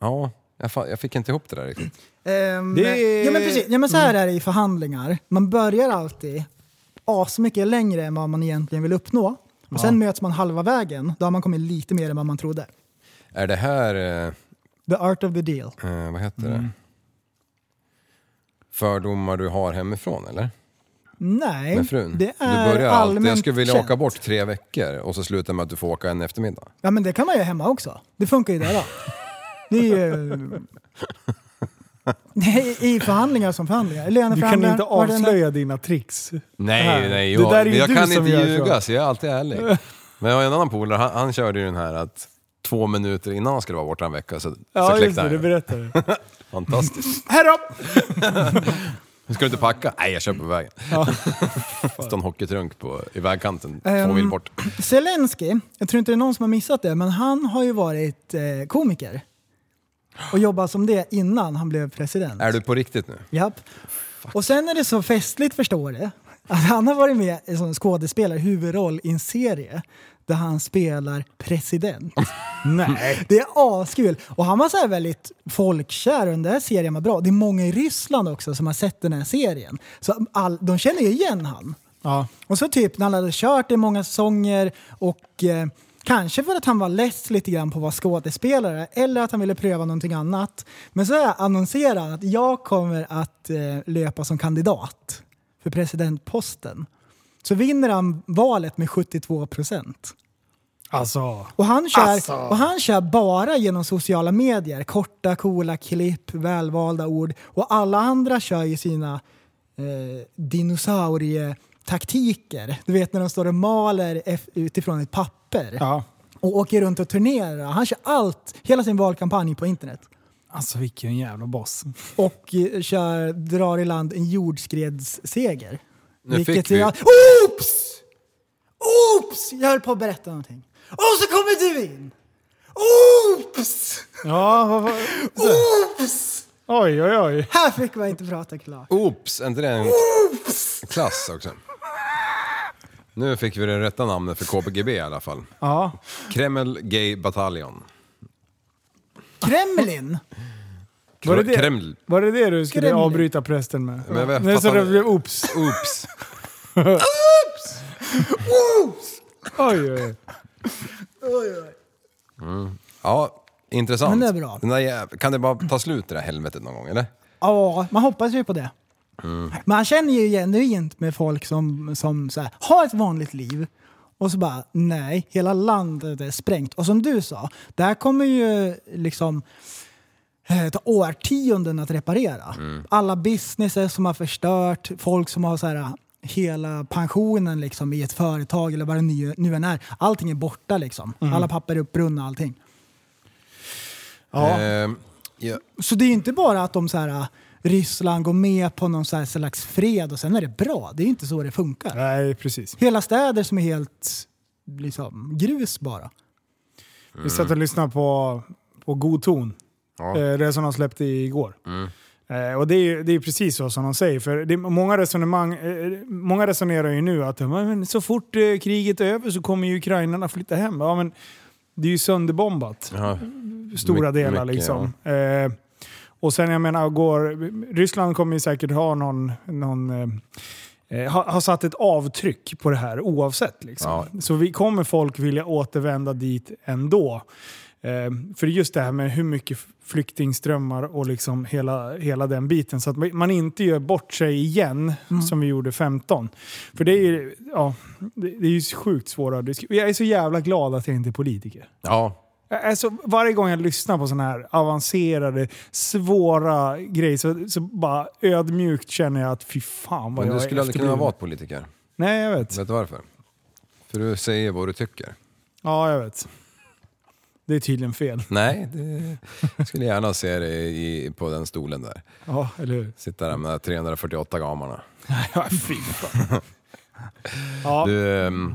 [SPEAKER 7] ja, jag, fa- jag fick inte ihop det där riktigt.
[SPEAKER 6] Ehm,
[SPEAKER 5] Det- Mm.
[SPEAKER 6] ja, men precis. Ja, men så här är det i förhandlingar. Man börjar alltid asmycket längre än vad man egentligen vill uppnå. Och sen möts man halva vägen. Då har man kommit lite mer än vad man trodde.
[SPEAKER 7] Är det här, eh,
[SPEAKER 6] The art of the deal.
[SPEAKER 7] Mm. eh, vad heter det? Fördomar du har hemifrån eller?
[SPEAKER 6] Nej,
[SPEAKER 7] med frun?
[SPEAKER 6] det
[SPEAKER 7] du
[SPEAKER 6] är
[SPEAKER 7] börjar alltid, jag
[SPEAKER 6] allmänt
[SPEAKER 7] skulle vilja
[SPEAKER 6] känt.
[SPEAKER 7] åka bort tre veckor och så slutar med att du får åka en eftermiddag.
[SPEAKER 6] Ja men det kan man ju hemma också. Det funkar ju där då. Det är ju...
[SPEAKER 7] (laughs)
[SPEAKER 6] Nej, I förhandlingar som förhandlingar.
[SPEAKER 5] Du kan
[SPEAKER 6] Löneförhandlingar.
[SPEAKER 5] inte
[SPEAKER 6] vad det än är.
[SPEAKER 5] avslöja dina tricks.
[SPEAKER 7] Nej,
[SPEAKER 5] här.
[SPEAKER 7] nej,
[SPEAKER 5] Det
[SPEAKER 7] jag,
[SPEAKER 5] där är ju
[SPEAKER 7] jag
[SPEAKER 5] du
[SPEAKER 7] kan
[SPEAKER 5] som
[SPEAKER 7] inte
[SPEAKER 5] gör så.
[SPEAKER 7] ljuga så jag är
[SPEAKER 5] (laughs)
[SPEAKER 7] alltid ärlig. Men jag har en annan polare, han, han körde ju den här att två minuter innan han skulle vara borta en vecka så, så
[SPEAKER 5] Ja, just det.
[SPEAKER 7] kläckte han
[SPEAKER 5] Du
[SPEAKER 7] ju. (laughs)
[SPEAKER 5] berättar.
[SPEAKER 7] Fantastiskt.
[SPEAKER 5] (laughs) Här då!
[SPEAKER 7] Ska du inte packa? Nej, jag kör på vägen. (laughs) Står en hockeytrunk på, i vägkanten, två
[SPEAKER 6] Ehm,
[SPEAKER 7] mil bort.
[SPEAKER 6] Zelensky, jag tror inte det är någon som har missat det, men han har ju varit eh, komiker. Och jobbat som det innan han blev president.
[SPEAKER 7] Är du på riktigt nu?
[SPEAKER 6] Japp. Och sen är det så festligt förstår du, att han har varit med som skådespelare, huvudroll i en serie där han spelar president.
[SPEAKER 5] Nej.
[SPEAKER 6] Det är askul! Och han var så här väldigt folkkär och den där serien var bra. Det är många i Ryssland också som har sett den här serien. Så all, de känner ju igen han.
[SPEAKER 5] Ja.
[SPEAKER 6] Och så typ när han hade kört i många säsonger och eh, kanske för att han var less lite grann på att vara skådespelare eller att han ville pröva någonting annat. Men så här annonserade han att jag kommer att eh, löpa som kandidat för presidentposten. Så vinner han valet med 72 procent.
[SPEAKER 5] Alltså.
[SPEAKER 6] Och han, kör,
[SPEAKER 5] Alltså.
[SPEAKER 6] och han kör bara genom sociala medier. Korta, coola klipp, välvalda ord. Och alla andra kör ju sina eh, dinosaurietaktiker. Du vet när de står och maler eff- utifrån ett papper.
[SPEAKER 5] Ja.
[SPEAKER 6] Och åker runt och turnerar. Han kör allt, hela sin valkampanj på internet.
[SPEAKER 5] Alltså vilken jävla boss.
[SPEAKER 6] Och eh, kör, drar i land en jordskredsseger.
[SPEAKER 7] Nu fick vi-
[SPEAKER 6] jag... Oops! Oops! Jag höll på att berätta någonting. Och så kommer du in!
[SPEAKER 7] (laughs)
[SPEAKER 6] Oops!
[SPEAKER 5] Ja, vad var
[SPEAKER 6] Oops!
[SPEAKER 5] Oj, oj, oj.
[SPEAKER 6] Här fick man inte prata klart.
[SPEAKER 7] Oops, är inte det en klass också? Nu fick vi det rätta namnet för KPGB i alla fall.
[SPEAKER 5] Ja.
[SPEAKER 7] Kreml Gay Battalion.
[SPEAKER 6] Kremlin!
[SPEAKER 5] Var det,
[SPEAKER 7] Kre-
[SPEAKER 5] det,
[SPEAKER 7] Kreml.
[SPEAKER 5] var det det du skulle
[SPEAKER 6] Kremlin.
[SPEAKER 5] avbryta prästen med?
[SPEAKER 7] Men jag
[SPEAKER 5] Nej, så
[SPEAKER 7] fattar-
[SPEAKER 5] det blev oops.
[SPEAKER 7] Oops.
[SPEAKER 5] Oj, oj, oj.
[SPEAKER 7] Ja, intressant.
[SPEAKER 6] Men det är bra.
[SPEAKER 7] Den där jäv... Kan det bara ta slut det där helvetet någon gång eller?
[SPEAKER 6] Ja, man hoppas ju på det. Man känner ju genuint med folk som, som så här, har ett vanligt liv och så bara nej, hela landet är sprängt. Och som du sa, det här kommer ju liksom eh, ta årtionden att reparera. Alla businesser som har förstört, folk som har så här, hela pensionen liksom, i ett företag eller vad det nu, nu än är. Allting är borta liksom. Alla papper är uppbrunna allting.
[SPEAKER 5] Ja.
[SPEAKER 7] Ehm, ja.
[SPEAKER 6] Så det är ju inte bara att de så här, äh, Ryssland går med på någon så här slags fred och sen är det bra. Det är ju inte så det funkar.
[SPEAKER 5] Nej, precis.
[SPEAKER 6] Hela städer som är helt liksom, grus bara.
[SPEAKER 5] Vi satt och lyssnade på, på God ton.
[SPEAKER 7] Ja. Mm.
[SPEAKER 5] Eh, det som de släppte igår. Eh, och det är, ju- det är precis så som de säger. För det, är många, resonemang, eh, många resonerar ju nu att "Ja, men, så fort eh, kriget är över så kommer ju ukrainarna flytta hem. Ja, men det är ju sönderbombat.
[SPEAKER 7] Ja.
[SPEAKER 5] stora
[SPEAKER 7] Mycket-
[SPEAKER 5] delar
[SPEAKER 7] mycket,
[SPEAKER 5] liksom. Eh, och sen jag menar, går, Ryssland kommer ju säkert ha någon, någon eh, har ha satt ett avtryck på det här oavsett. Liksom. Så vi kommer folk vilja återvända dit ändå. Eh, för det är just det här med hur mycket flyktingströmmar och liksom hela, hela den biten. Så att man inte gör bort sig igen som vi gjorde 15. För det är ju, ja, det, det är ju sjukt svåra disk- Jag är så jävla glad att jag inte är politiker.
[SPEAKER 7] ja.
[SPEAKER 5] Alltså, varje gång jag lyssnar på sådana här avancerade, svåra grejer så, så bara ödmjukt känner jag att fy fan vad
[SPEAKER 7] Men du
[SPEAKER 5] jag är
[SPEAKER 7] skulle aldrig kunna
[SPEAKER 5] efterbliven.
[SPEAKER 7] vara politiker.
[SPEAKER 5] Nej, jag vet.
[SPEAKER 7] Vet du varför? För du säger vad du tycker.
[SPEAKER 5] Ja, jag vet. Det är tydligen fel.
[SPEAKER 7] Nej, det... jag skulle gärna se dig i, på den stolen där.
[SPEAKER 5] Ja, eller hur?
[SPEAKER 7] Sitta där med de här 348 gamarna.
[SPEAKER 5] (laughs) Ja, fy fan. Ja,
[SPEAKER 7] Du, ehm,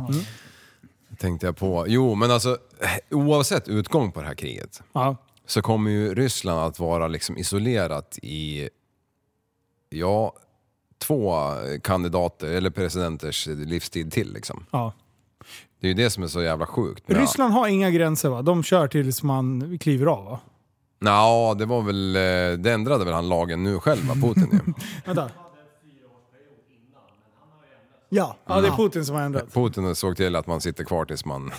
[SPEAKER 7] tänkte jag på. Jo, men alltså oavsett utgång på det här kriget
[SPEAKER 5] ja.
[SPEAKER 7] så kommer ju Ryssland att vara liksom isolerat i, ja, två kandidater eller presidenters livstid till liksom.
[SPEAKER 5] ja.
[SPEAKER 7] Det är ju det som är så jävla sjukt. med-
[SPEAKER 5] Ryssland har inga gränser va? De kör tills man kliver av va?
[SPEAKER 7] Nja, det var väl, eh, det ändrade väl han lagen nu
[SPEAKER 5] (laughs)
[SPEAKER 7] själv, va, Putin ju.
[SPEAKER 5] Vänta.
[SPEAKER 6] Ja.
[SPEAKER 5] Ja, det är Putin som har ändrat.
[SPEAKER 7] Putin såg till att man (laughs) sitter kvar tills man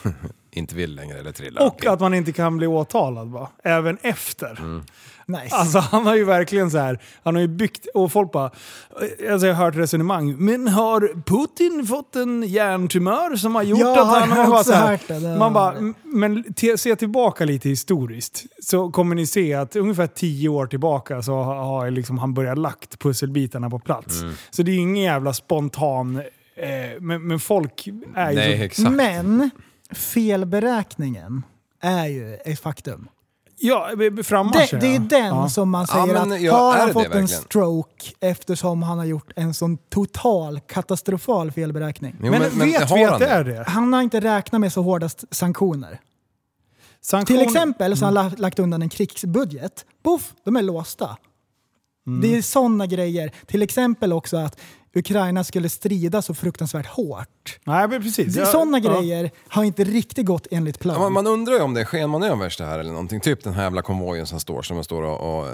[SPEAKER 7] inte vill längre eller trillar.
[SPEAKER 5] Och att man inte kan bli åtalad va? Även efter.
[SPEAKER 6] Nice.
[SPEAKER 5] Alltså han har ju verkligen så här, han har ju byggt, och folk bara, alltså jag har hört resonemang, men har Putin fått en hjärntumör som har gjort
[SPEAKER 6] Ja,
[SPEAKER 5] att han
[SPEAKER 6] jag har
[SPEAKER 5] man bara
[SPEAKER 6] också
[SPEAKER 5] så här,
[SPEAKER 6] hört det, det
[SPEAKER 5] Man
[SPEAKER 6] var
[SPEAKER 5] bara,
[SPEAKER 6] det.
[SPEAKER 5] "M- men te, se tillbaka lite historiskt så kommer ni se att ungefär tio år tillbaka så har, har liksom han börjat lagt pusselbitarna på plats.
[SPEAKER 7] Mm.
[SPEAKER 5] Så det är ju ingen jävla spontan, eh, men, men folk är ju
[SPEAKER 7] Nej,
[SPEAKER 5] så
[SPEAKER 7] exakt.
[SPEAKER 6] Men felberäkningen är ju ett faktum.
[SPEAKER 5] Ja, b- b- frammarsch.
[SPEAKER 6] Det, det är
[SPEAKER 5] ja.
[SPEAKER 6] den
[SPEAKER 5] ja.
[SPEAKER 6] som man
[SPEAKER 7] Ja,
[SPEAKER 6] säger
[SPEAKER 7] men
[SPEAKER 6] att
[SPEAKER 7] ja,
[SPEAKER 6] har
[SPEAKER 7] är
[SPEAKER 6] han
[SPEAKER 7] det
[SPEAKER 6] fått
[SPEAKER 7] det
[SPEAKER 6] en
[SPEAKER 7] verkligen?
[SPEAKER 6] stroke eftersom han har gjort en sån total katastrofal felberäkning.
[SPEAKER 7] Jo,
[SPEAKER 5] Men, vet vi
[SPEAKER 7] har
[SPEAKER 5] att
[SPEAKER 7] han
[SPEAKER 5] det är det?
[SPEAKER 6] Han har inte räknat med så hårda s- sanktioner.
[SPEAKER 5] Sanktion-
[SPEAKER 6] Till exempel så har
[SPEAKER 5] Mm.
[SPEAKER 6] han la- lagt undan en krigsbudget. Boff, de är låsta.
[SPEAKER 5] Mm.
[SPEAKER 6] Det är sådana grejer. Till exempel också att Ukraina skulle strida så fruktansvärt hårt.
[SPEAKER 5] Nej, men precis. Ja,
[SPEAKER 6] Sådana
[SPEAKER 5] ja.
[SPEAKER 6] grejer har inte riktigt gått enligt plan.
[SPEAKER 7] Ja, Man, man undrar ju om det är skenmanövers det här eller någonting. Typ den här jävla konvojen som står, som står och, och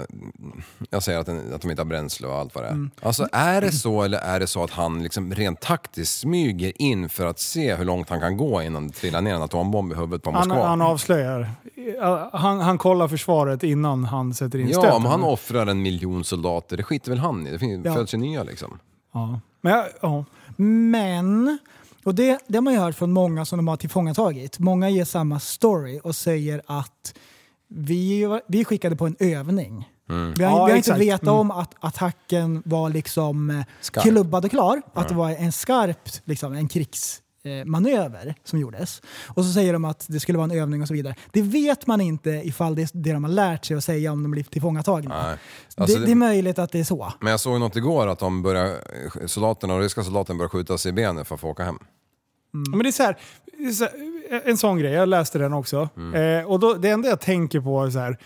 [SPEAKER 7] jag säger att, den, att de inte har bränsle och allt vad det är.
[SPEAKER 5] Mm.
[SPEAKER 7] Alltså är det så eller är det så att han liksom rent taktiskt smyger in för att se hur långt han kan gå innan det trillar ner en atombomb i huvudet på
[SPEAKER 5] Han,
[SPEAKER 7] Moskva?
[SPEAKER 5] han avslöjar. Eh, Han, han kollar försvaret innan han sätter in
[SPEAKER 7] ja,
[SPEAKER 5] stöten.
[SPEAKER 7] om han offrar en miljon soldater, det skiter väl han i? Det finns,
[SPEAKER 6] Ja.
[SPEAKER 7] föds ju nya liksom.
[SPEAKER 5] ja. Men jag, ja.
[SPEAKER 6] Men, och det, det har man ju hört från många som de har tillfångatagit. Många ger samma story och säger att vi, var- vi skickade på en övning. Vi har,
[SPEAKER 5] Ja,
[SPEAKER 6] vi har inte
[SPEAKER 5] exakt.
[SPEAKER 6] vetat
[SPEAKER 5] Mm.
[SPEAKER 6] om att attacken var liksom eh,
[SPEAKER 7] Skarp.
[SPEAKER 6] klubbad och klar. Att det var en skarp liksom, en krigsmanöver som gjordes. Och så säger de att det skulle vara en övning och så vidare. Det vet man inte ifall det är det de har lärt sig att säga om de blir tillfångatagna.
[SPEAKER 7] Nej. Alltså,
[SPEAKER 6] det,
[SPEAKER 7] det-
[SPEAKER 6] det är möjligt att det är så.
[SPEAKER 7] Men jag såg något igår att de börjar, soldaterna, de ryska soldaterna börjar skjuta sig i benen för att få åka hem.
[SPEAKER 5] Men det är så här, det är så här, en sån grej, jag läste den också. Eh, och då, det enda jag tänker på är så här,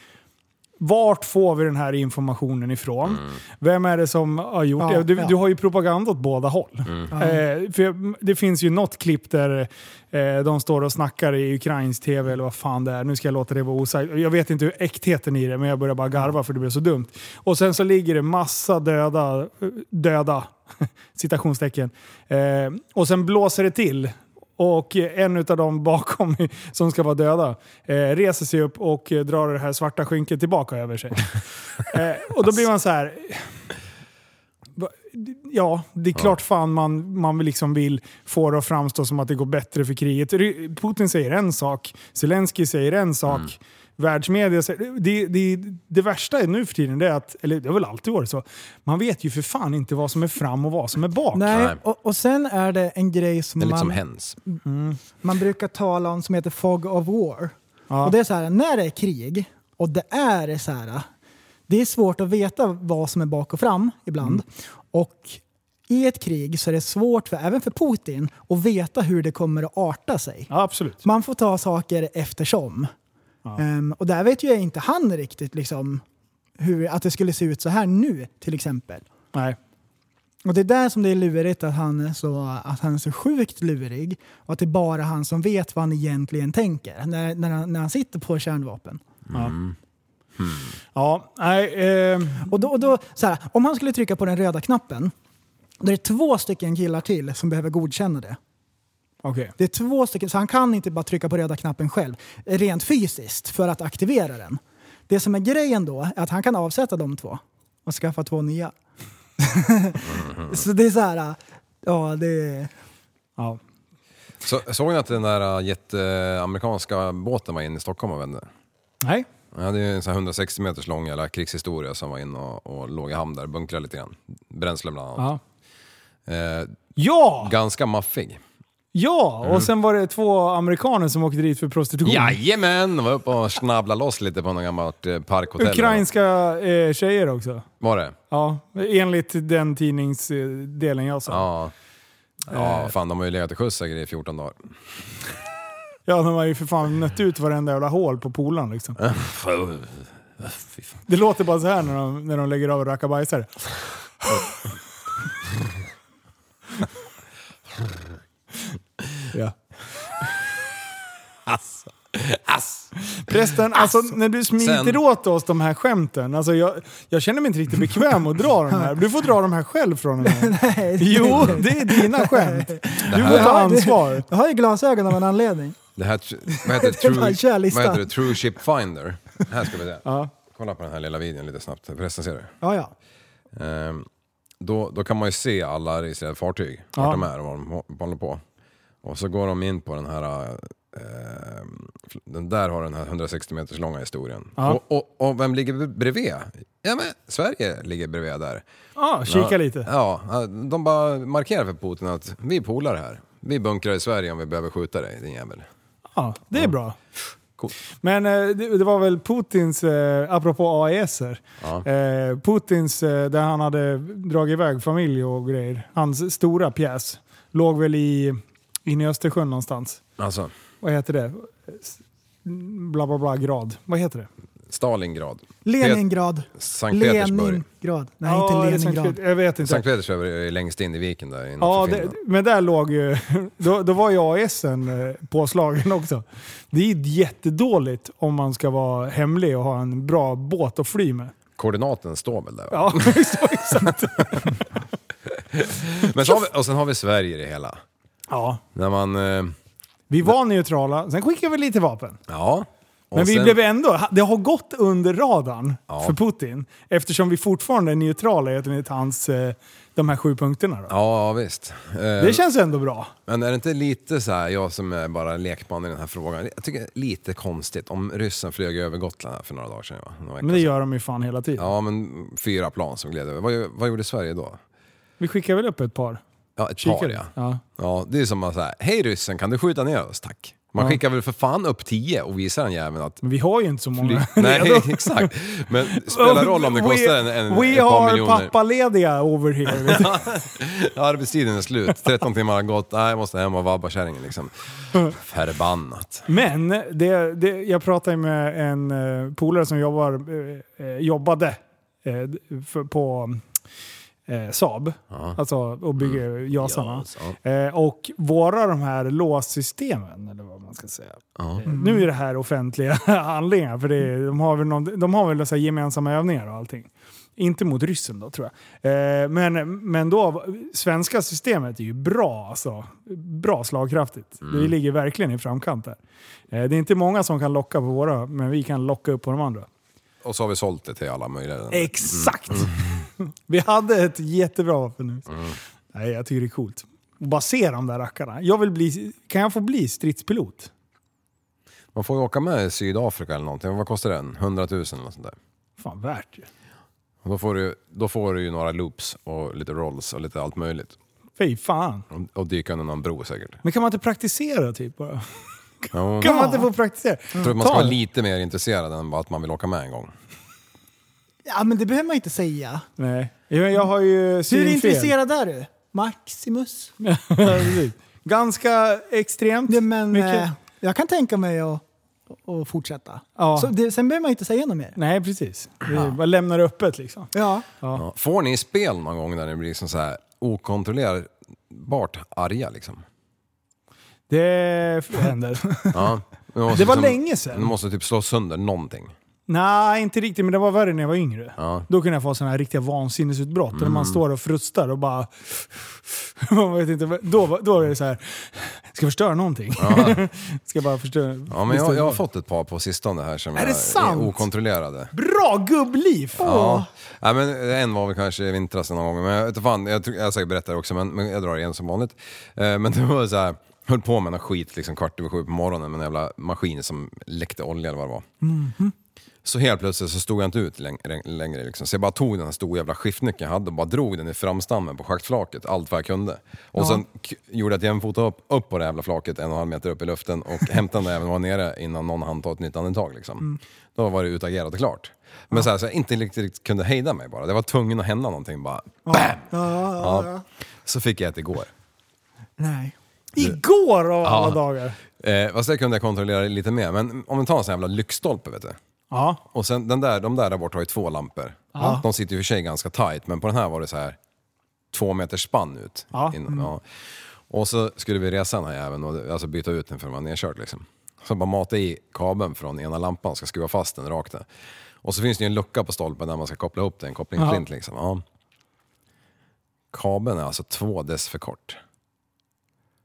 [SPEAKER 5] vart får vi den här informationen ifrån? Vem är det som har gjort
[SPEAKER 6] Ja,
[SPEAKER 5] det? Du,
[SPEAKER 6] ja.
[SPEAKER 5] du har ju propaganda åt båda håll. Eh, för jag- det finns ju något klipp där eh, de står och snackar i ukrainsk tv eller vad fan det är. Nu ska jag låta det vara osagt. Jag vet inte hur äktheten i det, men jag börjar bara garva för det blev så dumt. Och sen så ligger det massa döda, döda (laughs) citationstecken. Eh, och sen blåser det till. Och en av dem bakom (laughs) som ska vara döda eh, reser sig upp och eh, drar det här svarta skynket tillbaka över sig. eh, och då blir man så här... Va- Ja, det är klart fan man, man vill liksom vill få det att framstå som att det går bättre för kriget. Ry- Putin säger en sak, Zelensky säger en sak, världsmedia säger... Det, det, det värsta är nu för tiden det är att, eller det har väl alltid varit så, man vet ju för fan inte vad som är fram och vad som är bak.
[SPEAKER 6] Nej,
[SPEAKER 7] Nej.
[SPEAKER 6] och, och sen är det en grej som
[SPEAKER 7] Det är lite
[SPEAKER 6] man... Mm.
[SPEAKER 7] som hens.
[SPEAKER 6] man brukar tala om som heter fog of war.
[SPEAKER 5] Ja.
[SPEAKER 6] Och det är så här, när det är krig och det är så här, det är svårt att veta vad som är bak och fram ibland. Och i ett krig så är det svårt, för, även för Putin, att veta hur det kommer att arta sig.
[SPEAKER 5] Ja, absolut.
[SPEAKER 6] Man får ta saker eftersom. Ehm, och där vet ju inte han riktigt liksom, hur, att det skulle se ut så här nu till exempel.
[SPEAKER 5] Nej.
[SPEAKER 6] Och det är där som det är lurigt att han är så, att han är så sjukt lurig och att det är bara han som vet vad han egentligen tänker när, när, han, när han sitter på kärnvapen.
[SPEAKER 5] Ja, nej. Eh,
[SPEAKER 6] Och då, och då, så här, om han skulle trycka på den röda knappen, då är det två stycken killar till som behöver godkänna det.
[SPEAKER 5] okej.
[SPEAKER 6] Det är två stycken, så han kan inte bara trycka på röda knappen själv, rent fysiskt, för att aktivera den. Det som är grejen då är att han kan avsätta de två och skaffa två nya. (laughs) så det är så här, ja det är...
[SPEAKER 5] Ja.
[SPEAKER 7] Så, såg ni att den där äh, jätteamerikanska båten var inne i Stockholm och vände?
[SPEAKER 5] Nej.
[SPEAKER 7] Ja, det är en sån här 160 meters lång jävla krigshistoria som var inne och, och låg i hamn där och bunkrade lite grann. Bränsle bland annat.
[SPEAKER 5] Ja.
[SPEAKER 7] Eh,
[SPEAKER 5] Ja!
[SPEAKER 7] ganska maffig.
[SPEAKER 5] Ja! Och sen var det två amerikaner som åkte dit för prostitution.
[SPEAKER 7] Jajamän! Oh. Var uppe och snabblade loss lite på något gammalt eh, parkhotell.
[SPEAKER 5] Ukrainska eh, tjejer också.
[SPEAKER 7] Var det?
[SPEAKER 5] Ja, enligt den tidningsdelen jag sa. Ja,
[SPEAKER 7] Ja. Ja, fan de har ju legat i skjuts säkert i 14 dagar.
[SPEAKER 5] de har ju för fan nött ut varenda jävla hål på polaren liksom.
[SPEAKER 7] Äh,
[SPEAKER 5] Det låter bara så här när de, när de lägger av och rackar bajsare. ja.
[SPEAKER 7] Ass. Ass.
[SPEAKER 5] Prästen, alltså, när du smiter
[SPEAKER 7] Sen-
[SPEAKER 5] åt oss de här skämten, alltså, jag, jag känner mig inte riktigt bekväm att dra de här. Du får dra de här själv från och med.
[SPEAKER 6] (laughs) Nej, (laughs)
[SPEAKER 5] Jo, det är dina skämt. Du får ta
[SPEAKER 6] Ja, det-
[SPEAKER 5] ansvar.
[SPEAKER 6] Jag har ju glasögon av en anledning.
[SPEAKER 7] Det här, vad heter det?
[SPEAKER 6] Det var en
[SPEAKER 7] True,
[SPEAKER 6] körlista.
[SPEAKER 7] vad heter det? True Ship Finder. Här ska vi se.
[SPEAKER 6] Ja.
[SPEAKER 7] Kolla på den här lilla videon lite snabbt, recensera det.
[SPEAKER 6] Ja, ja.
[SPEAKER 7] Ehm, då, då kan man ju se alla registrerade fartyg, vart
[SPEAKER 6] Ja.
[SPEAKER 7] de är och vad de hå- håller på. Och så går de in på den här, eh, den där har den här 160 meters långa historien.
[SPEAKER 5] Ja.
[SPEAKER 7] Och, och, och vem ligger bredvid? Ja men Sverige ligger bredvid där.
[SPEAKER 5] Ja, Ah, kika lite.
[SPEAKER 7] Ja, de bara markerar för Putin att vi är polare här. Vi bunkrar i Sverige om vi behöver skjuta dig din jävel.
[SPEAKER 5] Ja, det är bra.
[SPEAKER 7] Coolt.
[SPEAKER 5] Men eh, det, det var väl Putins, eh, apropå AES eh,
[SPEAKER 7] Ja.
[SPEAKER 5] Putins eh, där han hade dragit iväg familj och grejer. Hans stora pjäs låg väl i, inne i Östersjön någonstans.
[SPEAKER 7] Alltså,
[SPEAKER 5] Vad heter det? S- Bla bla bla grad. Vad heter det?
[SPEAKER 7] Stalingrad.
[SPEAKER 6] Leningrad.
[SPEAKER 7] Pet- Sankt Petersburg.
[SPEAKER 6] Leningrad. Nej,
[SPEAKER 5] Ja, det är
[SPEAKER 6] inte
[SPEAKER 5] Sankt
[SPEAKER 6] Leningrad.
[SPEAKER 5] Pet- Jag vet inte.
[SPEAKER 7] Sankt Petersburg är längst in i viken där innanför
[SPEAKER 5] Ja, det,
[SPEAKER 7] Finland.
[SPEAKER 5] men där låg ju... (laughs) Då, då var ju AESen eh, påslagen också. Det är jättedåligt om man ska vara hemlig och ha en bra båt att fly med.
[SPEAKER 7] Koordinaten står väl där? va? (laughs)
[SPEAKER 5] Ja, visst var det sant.
[SPEAKER 7] Men så har vi, och sen har vi Sverige i det hela.
[SPEAKER 5] Ja,
[SPEAKER 7] När man... eh,
[SPEAKER 5] vi var neutrala, sen skickade vi lite vapen.
[SPEAKER 7] Ja. Och
[SPEAKER 5] Men vi
[SPEAKER 7] sen,
[SPEAKER 5] blev ändå, det har gått under radarn
[SPEAKER 7] Ja.
[SPEAKER 5] för Putin. Eftersom vi fortfarande är neutrala gentemot hans, eh, de här sju punkterna. Då.
[SPEAKER 7] Ja, ja, visst. Eh,
[SPEAKER 5] Det känns ändå bra.
[SPEAKER 7] Men är det inte lite så här, jag som är bara lekman i den här frågan, jag tycker det är lite konstigt om ryssen flög över Gotland här för några dagar sedan. Va? Några veckor
[SPEAKER 5] Men det
[SPEAKER 7] sedan.
[SPEAKER 5] gör de ju fan hela tiden.
[SPEAKER 7] Ja, men fyra plan som gled över. Vad, gör- vad gjorde Sverige då?
[SPEAKER 5] Vi skickar väl upp ett par?
[SPEAKER 7] Ja, ett par
[SPEAKER 5] Kikade.
[SPEAKER 7] ja.
[SPEAKER 5] Ja.
[SPEAKER 7] ja. Det är som att säga, hej ryssen, kan du skjuta ner oss? Tack. Man
[SPEAKER 5] Ja.
[SPEAKER 7] skickar väl för fan upp tio och visar den jäveln att
[SPEAKER 5] Men vi har ju inte så (laughs)
[SPEAKER 7] Fly-
[SPEAKER 5] många.
[SPEAKER 7] Nej, (laughs) exakt. Men det spelar roll om det kostar en, en
[SPEAKER 5] Mm. (laughs) We
[SPEAKER 7] ett par
[SPEAKER 5] are
[SPEAKER 7] miljoner.
[SPEAKER 5] pappalediga over here. vet du.
[SPEAKER 7] Arbetstiden är slut, 13 timmar har gått, nej, jag måste hem och vabba kärringen liksom. Förbannat.
[SPEAKER 5] Men det, det, jag pratade med en eh, polare som jobbar, eh, eh, jobbade eh, för, på eh, Saab, alltså och bygger Jasarna. Eh, och våra de här låssystemen, eller vad man ska säga.
[SPEAKER 7] Ja.
[SPEAKER 5] Eh, Nu är det här offentliga (laughs) handlingar, för det är, de har väl, någon, de har väl så här gemensamma övningar och allting. Inte mot ryssen då tror jag. Eh, men, men då, svenska systemet är ju bra alltså. Bra slagkraftigt. Vi ligger verkligen i framkant där. Eh, det är inte många som kan locka på våra, men vi kan locka upp på de andra.
[SPEAKER 7] Och så har vi sålt det till alla möjliga.
[SPEAKER 5] Exakt! (laughs) Vi hade ett jättebra vapen nu. Nej, jag tycker det är coolt. Och bara se de där rackarna. Jag vill bli, kan jag få bli stridspilot?
[SPEAKER 7] Man får ju åka med i Sydafrika eller någonting, vad kostar den? 100 000 eller något sånt där.
[SPEAKER 5] Fan värt ju.
[SPEAKER 7] Och då, får du, då får du ju några loops och lite rolls och lite allt möjligt.
[SPEAKER 5] Fy fan.
[SPEAKER 7] Och- Och dyka under någon bro säkert.
[SPEAKER 5] Men kan man inte praktisera typ bara?
[SPEAKER 7] Jo.
[SPEAKER 5] Kan man inte få praktisera?
[SPEAKER 7] Jag tror att man ska
[SPEAKER 5] Ta
[SPEAKER 7] vara
[SPEAKER 5] det.
[SPEAKER 7] lite mer intresserad än bara att man vill åka med en gång.
[SPEAKER 6] Ja, men det behöver man inte säga.
[SPEAKER 5] Nej. Jag, jag har ju
[SPEAKER 6] Hur
[SPEAKER 5] synfel. (laughs)
[SPEAKER 6] intresserad är du? Maximus?
[SPEAKER 5] Precis. Ganska extremt.
[SPEAKER 6] Nej, men,
[SPEAKER 5] Mycket.
[SPEAKER 6] eh, jag kan tänka mig att, att fortsätta.
[SPEAKER 5] Ja.
[SPEAKER 6] Så det, sen behöver man inte säga något mer.
[SPEAKER 5] Nej, precis. Vi bara lämnar det öppet liksom.
[SPEAKER 6] Ja.
[SPEAKER 7] Ja. Får ni spel någon gång när ni blir liksom så här okontrollerbart arga liksom?
[SPEAKER 5] Det f-
[SPEAKER 7] (laughs)
[SPEAKER 5] händer. (laughs)
[SPEAKER 7] Ja. Ni måste liksom-
[SPEAKER 5] Det var länge sedan.
[SPEAKER 7] Ni måste typ slå sönder någonting.
[SPEAKER 5] Nej, inte riktigt, men det var värre när jag var yngre.
[SPEAKER 7] Ja.
[SPEAKER 5] Då kunde jag få sådana här riktiga vansinnesutbrott. När man står och frustar och bara... (laughs) man vet inte, vad- då, var- då är det så här. Ska jag förstöra någonting? (laughs) ska jag bara förstöra...
[SPEAKER 7] Ja, men jag, jag har fått ett par på sistone här som
[SPEAKER 5] det
[SPEAKER 7] jag
[SPEAKER 5] sant?
[SPEAKER 7] är okontrollerade.
[SPEAKER 5] Bra gubbliv!
[SPEAKER 7] Ja. ja, men eh, en var väl kanske i vintras någon gång, men jag vet inte fan, jag, tror- jag har säkert berättat det också, men, men jag drar igen som vanligt. Eh, men (laughs) det var så här, höll på med någon skit liksom kvart över sju på morgonen med en jävla maskin som läckte olja eller vad det var. Så helt plötsligt så stod jag inte ut läng- längre liksom. så jag bara tog den här stora jävla skiftnyckeln jag hade och bara drog den i framstammen på schaktflaket, allt vad jag kunde. Och sen k- gjorde jag ett jämfota upp, upp på det jävla flaket en och en halv meter upp i luften och (laughs) hämtade den även var nere innan någon hann ta ett nytt andetag liksom. Då var det utagerat och klart. Men så, här, så jag inte riktigt, riktigt kunde hejda mig bara, det var tvungen att hända någonting bara. BAM! Ja. Så fick jag ett igår.
[SPEAKER 6] Nej.
[SPEAKER 5] Igår av alla
[SPEAKER 7] Ja.
[SPEAKER 5] dagar!
[SPEAKER 7] Eh, fast det kunde jag kontrollera lite mer, men om vi tar en sån här jävla lyktstolpe vet du.
[SPEAKER 5] Ja.
[SPEAKER 7] Och sen den där, de där där borta har ju två lampor. De sitter ju i och för sig ganska tight, men på den här var det så här två meters spann ut.
[SPEAKER 5] Ja.
[SPEAKER 7] Innan, ja. Och så skulle vi resa den här jäveln och alltså byta ut den för den var nedkörd liksom. Så bara mata i kabeln från ena lampan, ska skruva fast den rakt där. Och så finns det ju en lucka på stolpen där man ska koppla upp den, kopplingsplint liksom. Ja. Kabeln är alltså två dess för kort.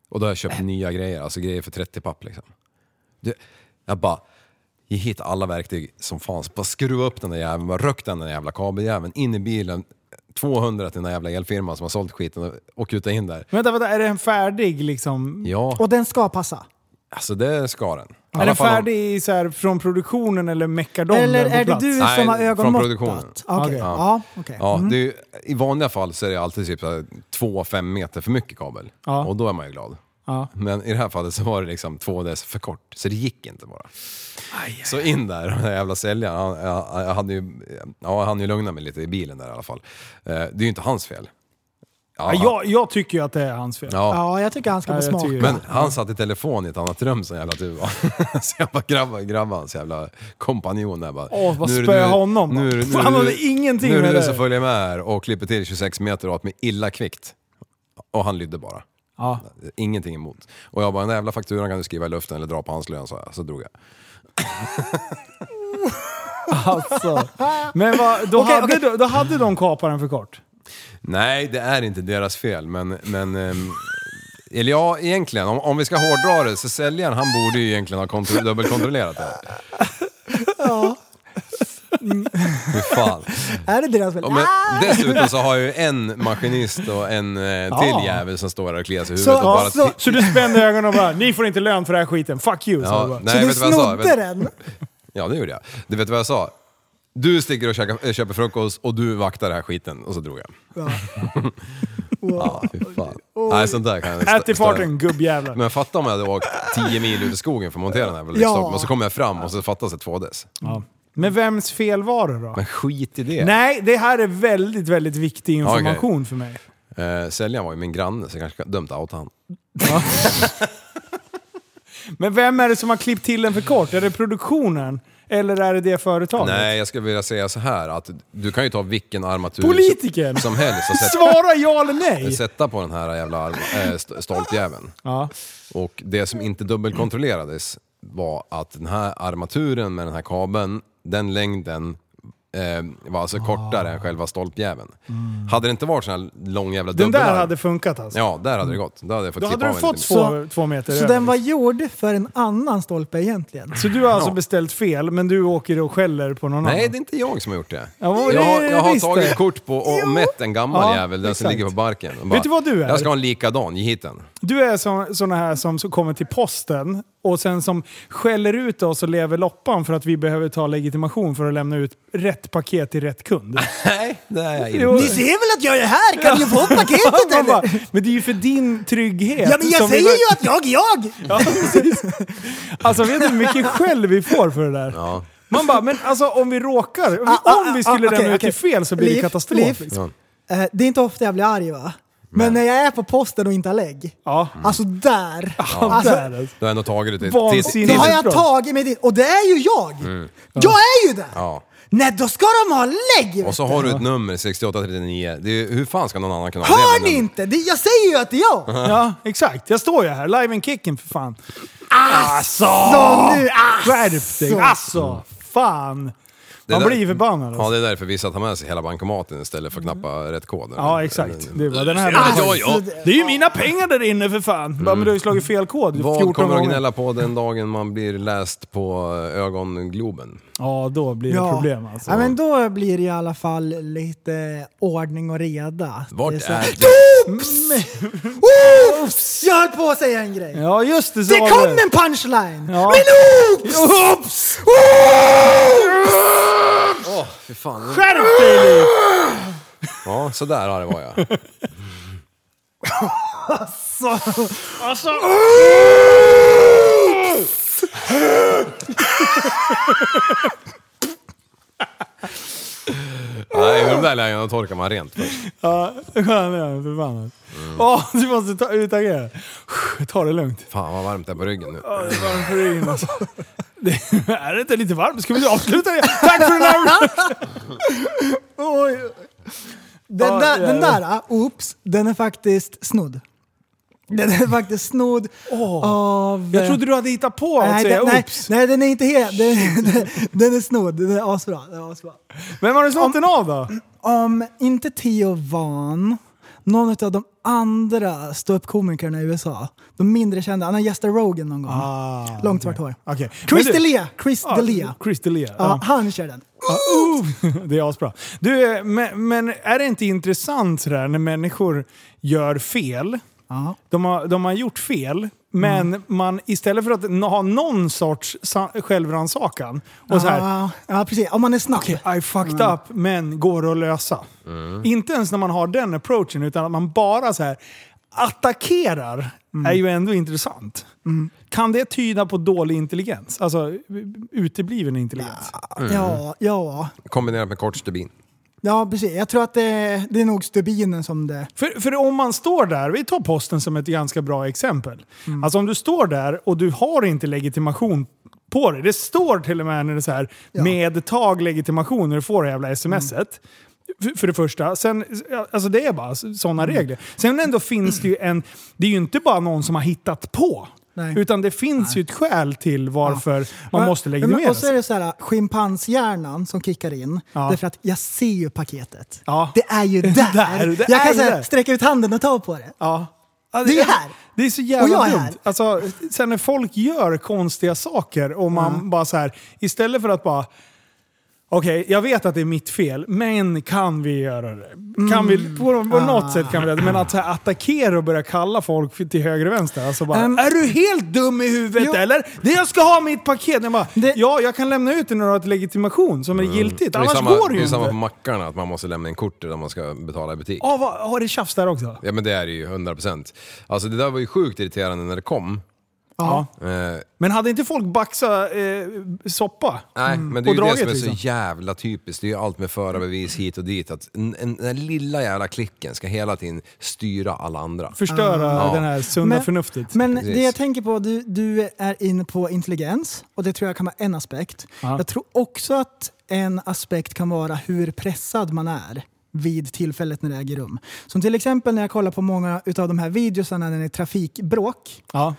[SPEAKER 7] Och då har jag köpt nya grejer, alltså grejer för 30 papp liksom. Du, jag bara, jag hittade alla verktyg som fanns. Bara skruva upp den där jäveln, bara rök den där jävla kabeljäveln in i bilen. 200 till den där jävla elfirman som har sålt skiten och- och kuta in där.
[SPEAKER 5] Men Vänta, vänta, är den färdig liksom?
[SPEAKER 7] Ja.
[SPEAKER 5] Och den ska passa?
[SPEAKER 7] Alltså det ska den. I
[SPEAKER 5] Är
[SPEAKER 7] alla
[SPEAKER 5] den
[SPEAKER 7] fall om-
[SPEAKER 5] färdig i så här, från produktionen eller meckar de
[SPEAKER 6] Eller
[SPEAKER 5] den på
[SPEAKER 6] är det
[SPEAKER 5] plats?
[SPEAKER 6] du
[SPEAKER 7] Nej,
[SPEAKER 6] som har
[SPEAKER 7] från
[SPEAKER 6] ögonmåttat?
[SPEAKER 7] produktionen.
[SPEAKER 6] Okej, ja, okej.
[SPEAKER 7] Ja,
[SPEAKER 5] Mhm.
[SPEAKER 6] Mm.
[SPEAKER 7] det är, ju- I vanliga fall så är det alltid typ 2-5 meter för mycket kabel.
[SPEAKER 5] Ja.
[SPEAKER 7] Och då är man ju glad.
[SPEAKER 5] Ja.
[SPEAKER 7] Men i det här fallet så var det liksom 2 dess för kort, så det gick inte bara. Så in där, den där jävla säljaren, han, jag, jag hade ju, ja, han ju lugnat mig lite i bilen där i alla fall. Eh, Det är ju inte hans fel.
[SPEAKER 5] Ja, jag, jag tycker ju att det är hans fel.
[SPEAKER 7] Ja.
[SPEAKER 6] Ja, jag tycker han ska
[SPEAKER 5] Ja,
[SPEAKER 6] få
[SPEAKER 5] jag
[SPEAKER 6] smaka.
[SPEAKER 5] tycker-
[SPEAKER 7] Men han satt i telefon i ett annat rum som jävla du var. (laughs) Så jag bara grabbar, grabbar hans jävla kompanjon där bara.
[SPEAKER 5] Åh, vad
[SPEAKER 7] "Nu är det
[SPEAKER 5] spöa
[SPEAKER 7] du-
[SPEAKER 5] honom,
[SPEAKER 7] Nu,
[SPEAKER 5] va?"
[SPEAKER 7] är det- nu,
[SPEAKER 5] Fan,
[SPEAKER 7] är
[SPEAKER 5] han
[SPEAKER 7] det-
[SPEAKER 5] hade ingenting
[SPEAKER 7] Nu är
[SPEAKER 5] med
[SPEAKER 7] det du
[SPEAKER 5] det.
[SPEAKER 7] som följer med här och klipper till 26 meter åt mig illa kvickt. Och han lydde bara.
[SPEAKER 5] Ja.
[SPEAKER 7] Ingenting emot. Och jag bara, den där jävla fakturan kan du skriva i luften eller dra på hans lön, så, så drog jag.
[SPEAKER 5] Alltså. Men vad, då,
[SPEAKER 6] Okej,
[SPEAKER 5] hade,
[SPEAKER 6] okej.
[SPEAKER 5] Då, då hade de kaparen för kort.
[SPEAKER 7] Nej, det är inte deras fel, men... men ehm, eller ja, egentligen, om, om vi ska hårdra det, så säljaren han borde ju egentligen ha kontro- dubbelkontrollerat det. Ja. Hur fan.
[SPEAKER 6] Är det deras fel?
[SPEAKER 7] Ja, Men
[SPEAKER 6] Ah!
[SPEAKER 7] dessutom så har ju en maskinist och en eh, till
[SPEAKER 5] Ja.
[SPEAKER 7] jävel som står där och kliar sig i
[SPEAKER 6] Så-
[SPEAKER 7] huvudet och bara...
[SPEAKER 6] ja, så-
[SPEAKER 7] ti-
[SPEAKER 5] Så du spände ögonen och bara “Ni får inte lön för den här skiten, fuck you” sa
[SPEAKER 7] Ja,
[SPEAKER 5] du bara.
[SPEAKER 7] nej,
[SPEAKER 6] Så du
[SPEAKER 7] vet du vad jag sa?
[SPEAKER 6] snodde
[SPEAKER 7] Vet-
[SPEAKER 6] den?
[SPEAKER 7] Ja, det gjorde jag. Du vet vad jag sa? Du sticker och käkar, äh, köper frukost och du vaktar den här skiten. Och så drog jag. (laughs) Ja, fy fan. Nej, sånt där kan jag
[SPEAKER 5] Ät i
[SPEAKER 7] stö- störa.
[SPEAKER 5] farten gubbjävlar.
[SPEAKER 7] Men fatta om jag hade åkt 10 mil ut i skogen för att montera den här väl i
[SPEAKER 6] Ja.
[SPEAKER 7] Stockholm och så kommer jag fram och så fattas ett 2DS.
[SPEAKER 5] Ja. Men vems fel var det då?
[SPEAKER 7] Men skit i det.
[SPEAKER 5] Nej, det här är väldigt, väldigt viktig
[SPEAKER 7] okej.
[SPEAKER 5] information för mig.
[SPEAKER 7] Eh, säljaren var ju min granne så jag kanske kan- dömt outa han.
[SPEAKER 5] Men vem är det som har klippt till den för kort? Är det produktionen? Eller är det det företaget?
[SPEAKER 7] Nej, jag skulle vilja säga så här att du kan ju ta vilken armatur
[SPEAKER 5] Politikern!
[SPEAKER 7] som helst och sätta,
[SPEAKER 5] Svara ja eller nej!
[SPEAKER 7] (laughs) sätta på den här jävla arm- eh, st- stolpjäveln.
[SPEAKER 5] Ja.
[SPEAKER 7] Och det som inte dubbelkontrollerades var att den här armaturen med den här kabeln, den längden eh, var alltså
[SPEAKER 5] Ah.
[SPEAKER 7] kortare än själva stolpjäveln. Hade det inte varit sån här lång jävla
[SPEAKER 5] Mm. Den där
[SPEAKER 7] dubbelarm-
[SPEAKER 5] hade funkat alltså.
[SPEAKER 7] Ja, där hade det gått. Då hade jag fått
[SPEAKER 5] Då
[SPEAKER 7] klippa
[SPEAKER 5] hade du
[SPEAKER 7] av en typ.
[SPEAKER 5] fått
[SPEAKER 7] liten-
[SPEAKER 5] två, två meter
[SPEAKER 6] Så
[SPEAKER 5] över.
[SPEAKER 6] den var gjord för en annan stolpe egentligen?
[SPEAKER 5] Så du har alltså
[SPEAKER 7] Ja.
[SPEAKER 5] beställt fel, men du åker och skäller på någon
[SPEAKER 7] Nej,
[SPEAKER 5] annan?
[SPEAKER 7] det är inte jag som har gjort det.
[SPEAKER 5] Ja, vad-
[SPEAKER 7] jag har,
[SPEAKER 5] det är
[SPEAKER 7] jag har
[SPEAKER 5] visst
[SPEAKER 7] tagit
[SPEAKER 5] det.
[SPEAKER 7] kort på och
[SPEAKER 5] Jo.
[SPEAKER 7] mätt en gammal
[SPEAKER 5] Ja,
[SPEAKER 7] jävel, den som
[SPEAKER 5] exakt.
[SPEAKER 7] ligger på barken. Och
[SPEAKER 5] du vad du är?
[SPEAKER 7] Jag ska ha en likadan, ge hit den.
[SPEAKER 5] Du är så, såna här som, som kommer till posten och sen som skäller ut oss och lever loppan för att vi behöver ta legitimation för att lämna ut rätt paket till rätt kund.
[SPEAKER 7] (laughs) Nej, det är jag inte.
[SPEAKER 5] Jo.
[SPEAKER 6] Ni ser väl att jag är här? Kan ni få paketet
[SPEAKER 5] Man bara,
[SPEAKER 6] eller?
[SPEAKER 5] men det är ju för din trygghet.
[SPEAKER 6] Ja,
[SPEAKER 5] (laughs)
[SPEAKER 6] men jag
[SPEAKER 5] som vi
[SPEAKER 6] säger
[SPEAKER 5] bara-
[SPEAKER 6] ju att jag är jag!
[SPEAKER 5] Ja, precis. Alltså vet du hur
[SPEAKER 6] (laughs)
[SPEAKER 5] mycket skäll vi får för det där?
[SPEAKER 7] Ja.
[SPEAKER 5] Man bara, men alltså om vi råkar, om vi,
[SPEAKER 6] Ah, ah,
[SPEAKER 5] om vi
[SPEAKER 6] ah,
[SPEAKER 5] skulle
[SPEAKER 6] okej,
[SPEAKER 5] lämna ut
[SPEAKER 6] okej.
[SPEAKER 5] till fel så blir det
[SPEAKER 6] Liv,
[SPEAKER 5] katastrof.
[SPEAKER 6] Liv.
[SPEAKER 5] liksom.
[SPEAKER 6] Eh, Det är inte ofta jag blir arg va? Men när jag är på posten och inte har lägg,
[SPEAKER 5] Ja.
[SPEAKER 6] alltså där.
[SPEAKER 5] Alltså,
[SPEAKER 6] Alltså,
[SPEAKER 5] där, alltså.
[SPEAKER 7] Du har ändå tagit det till...
[SPEAKER 5] Vansinnigt.
[SPEAKER 7] till,
[SPEAKER 6] då
[SPEAKER 7] till
[SPEAKER 6] har jag
[SPEAKER 5] Bra.
[SPEAKER 6] tagit mig dit, och det är ju jag! Jag är ju där!
[SPEAKER 7] Mm. ja.
[SPEAKER 6] Nej, då ska de ha lägg!
[SPEAKER 7] Och så har du ett nummer, 6839. Det är, hur fan ska någon annan kunna ha det?
[SPEAKER 6] Hör
[SPEAKER 7] Men-
[SPEAKER 6] ni inte? Det, jag säger ju att det är jag!
[SPEAKER 5] Ja, exakt. Jag står ju här, live and kicking för fan. Alltså!
[SPEAKER 6] Så nu, ah,
[SPEAKER 5] Skärp dig! Alltså! Fan!
[SPEAKER 7] det är
[SPEAKER 5] Man
[SPEAKER 7] där-
[SPEAKER 5] blir ju förbannad.
[SPEAKER 7] Ja,
[SPEAKER 5] Alltså. Mm.
[SPEAKER 7] det är därför vissa tar med sig hela bankomaten istället för att knappa rätt kod.
[SPEAKER 5] Ja, exakt. Det är, bara, den här
[SPEAKER 7] Ja, ja,
[SPEAKER 6] Alltså,
[SPEAKER 7] ja.
[SPEAKER 5] det är ju mina pengar där inne för fan! Bara, men du har ju slagit fel kod
[SPEAKER 7] Vad
[SPEAKER 5] 14
[SPEAKER 7] kommer att
[SPEAKER 5] gånger.
[SPEAKER 7] gnälla på den dagen man blir läst på eh, ögongloben?
[SPEAKER 5] Ja, då blir det problem alltså.
[SPEAKER 6] ja, men då blir det i alla fall lite ordning och reda.
[SPEAKER 7] Vart
[SPEAKER 6] det
[SPEAKER 7] är,
[SPEAKER 6] så-
[SPEAKER 7] det?
[SPEAKER 6] Oops! Jag höll på att säga en grej.
[SPEAKER 5] Ja, just det. Så
[SPEAKER 6] Det
[SPEAKER 5] var
[SPEAKER 6] kom en punchline!
[SPEAKER 5] Ja.
[SPEAKER 6] Men oops! Oops!
[SPEAKER 7] Åh, fy fan.
[SPEAKER 5] Skärp dig Liv!
[SPEAKER 7] Ja, sådär arg var jag.
[SPEAKER 5] (laughs)
[SPEAKER 6] Alltså!
[SPEAKER 7] Nej, i de där lägena torkar man rent först.
[SPEAKER 5] Ja, skön är han, förbannad. Åh, du måste ta, utagera. Ta det lugnt.
[SPEAKER 7] Fan vad varmt det är på ryggen nu.
[SPEAKER 5] Ja, det är varmt för ryggen alltså. (laughs) Det, är det inte lite varmt? Ska vi avsluta det? Tack för den här
[SPEAKER 6] (laughs) Oj. Den
[SPEAKER 5] Ja,
[SPEAKER 6] där,
[SPEAKER 5] det är
[SPEAKER 6] den
[SPEAKER 5] det.
[SPEAKER 6] där ah, oops, den är faktiskt snodd. Den är faktiskt snodd av...
[SPEAKER 5] Jag trodde du hade hittat på att
[SPEAKER 6] nej,
[SPEAKER 5] säga
[SPEAKER 6] den, nej,
[SPEAKER 5] oops.
[SPEAKER 6] nej, den är inte helt... Den, (laughs) den, den är snodd. Den är asbra. Den är asbra.
[SPEAKER 5] Vem har du snott den av då?
[SPEAKER 6] Om inte Theo Van, någon av de andra ståuppkomikerna i USA. De mindre kända. Han har gästat Rogan någon gång.
[SPEAKER 5] Ah,
[SPEAKER 6] Långt svart hår.
[SPEAKER 5] Okay.
[SPEAKER 6] Chris D'Elia! Chris D'Elia.
[SPEAKER 5] Chris D'Elia.
[SPEAKER 6] Ja, han kör den.
[SPEAKER 5] Ja, uh, (laughs) det är asbra. Du, eh, men, men är det inte intressant sådär när människor gör fel? De har, de har gjort fel, men
[SPEAKER 6] Mm.
[SPEAKER 5] man, istället för att n- ha någon sorts sa- självrannsakan och så här,
[SPEAKER 6] Ja, ja, precis. Om man är snabb. Mm.
[SPEAKER 5] I fucked up, men går att lösa. Inte ens när man har den approachen, utan att man bara så här attackerar är ju ändå intressant. Kan det tyda på dålig intelligens? Alltså utebliven intelligens?
[SPEAKER 6] Ja, ja.
[SPEAKER 7] Kombinerat med kort stubin.
[SPEAKER 6] Ja, precis. Jag tror att det, det är nog stubinen som det...
[SPEAKER 5] För, för om man står där, vi tar posten som ett ganska bra exempel.
[SPEAKER 6] Mm.
[SPEAKER 5] Alltså om du står där och du har inte legitimation på dig. Det står till och med när det är så här, med tag legitimation när du får det
[SPEAKER 6] Mm.
[SPEAKER 5] jävla smset. För, för det första. Sen, alltså det är bara sådana
[SPEAKER 6] Mm.
[SPEAKER 5] regler. Sen ändå finns det ju en, det är ju inte bara någon som har hittat på.
[SPEAKER 6] Nej.
[SPEAKER 5] Utan det finns ju ett skäl till varför man
[SPEAKER 6] Men-
[SPEAKER 5] måste
[SPEAKER 6] men-
[SPEAKER 5] legitimera
[SPEAKER 6] Och så är
[SPEAKER 5] sig.
[SPEAKER 6] det så här, äh, schimpanshjärnan som kickar in.
[SPEAKER 5] Ja.
[SPEAKER 6] Därför att jag ser ju paketet.
[SPEAKER 5] Ja.
[SPEAKER 6] Det är ju där.
[SPEAKER 5] Där, (laughs) det
[SPEAKER 6] jag
[SPEAKER 5] är
[SPEAKER 6] kan så här,
[SPEAKER 5] där.
[SPEAKER 6] sträcka ut handen och ta på det.
[SPEAKER 5] Ja.
[SPEAKER 6] Det är ju här.
[SPEAKER 5] Det är så
[SPEAKER 6] Och
[SPEAKER 5] jävla
[SPEAKER 6] jag är
[SPEAKER 5] dumt.
[SPEAKER 6] här.
[SPEAKER 5] Alltså, sen när folk gör konstiga saker och man bara så här, istället för att bara Okej, jag vet att det är mitt fel, men kan vi göra det? Kan
[SPEAKER 6] Mm.
[SPEAKER 5] vi, på, på
[SPEAKER 6] Ah.
[SPEAKER 5] något sätt kan vi göra det. Men att så här, attackera och börja kalla folk för- till höger och vänster. Alltså bara,
[SPEAKER 6] Ehm,
[SPEAKER 5] är du helt dum i huvudet
[SPEAKER 6] jo.
[SPEAKER 5] eller? Det jag ska ha mitt paket! Jag bara,
[SPEAKER 6] Det-
[SPEAKER 5] ja, jag kan lämna ut det när du har ett legitimation som är giltigt.
[SPEAKER 7] Mm. är
[SPEAKER 5] Annars
[SPEAKER 7] samma,
[SPEAKER 5] går det
[SPEAKER 7] är
[SPEAKER 5] ju
[SPEAKER 7] samma på
[SPEAKER 5] inte.
[SPEAKER 7] mackarna, att man måste lämna in kort där man ska betala i butik.
[SPEAKER 5] Ja, vad- Har det tjafs där också?
[SPEAKER 7] Ja men det är det ju, 100%. Alltså det där var ju sjukt irriterande när det kom.
[SPEAKER 5] Ja.
[SPEAKER 7] Eh,
[SPEAKER 5] Men hade inte folk baxat eh, soppa?
[SPEAKER 7] Nej, men det är
[SPEAKER 5] Och
[SPEAKER 7] ju det
[SPEAKER 5] draget,
[SPEAKER 7] som är
[SPEAKER 5] liksom.
[SPEAKER 7] så jävla typiskt. Det är ju allt med förarbevis hit och dit. Att en, en, den här lilla jävla klicken ska hela tiden styra alla andra.
[SPEAKER 5] förstöra
[SPEAKER 7] Ja.
[SPEAKER 5] den här sunda
[SPEAKER 6] Men-
[SPEAKER 5] förnuftet.
[SPEAKER 6] Men
[SPEAKER 7] Precis.
[SPEAKER 6] det jag tänker på, du, du är inne på intelligens och det tror jag kan vara en aspekt. Jag tror också att en aspekt kan vara hur pressad man är vid tillfället när det äger rum. Som till exempel när jag kollar på många av de här videosarna när det är trafikbråk.
[SPEAKER 5] ja.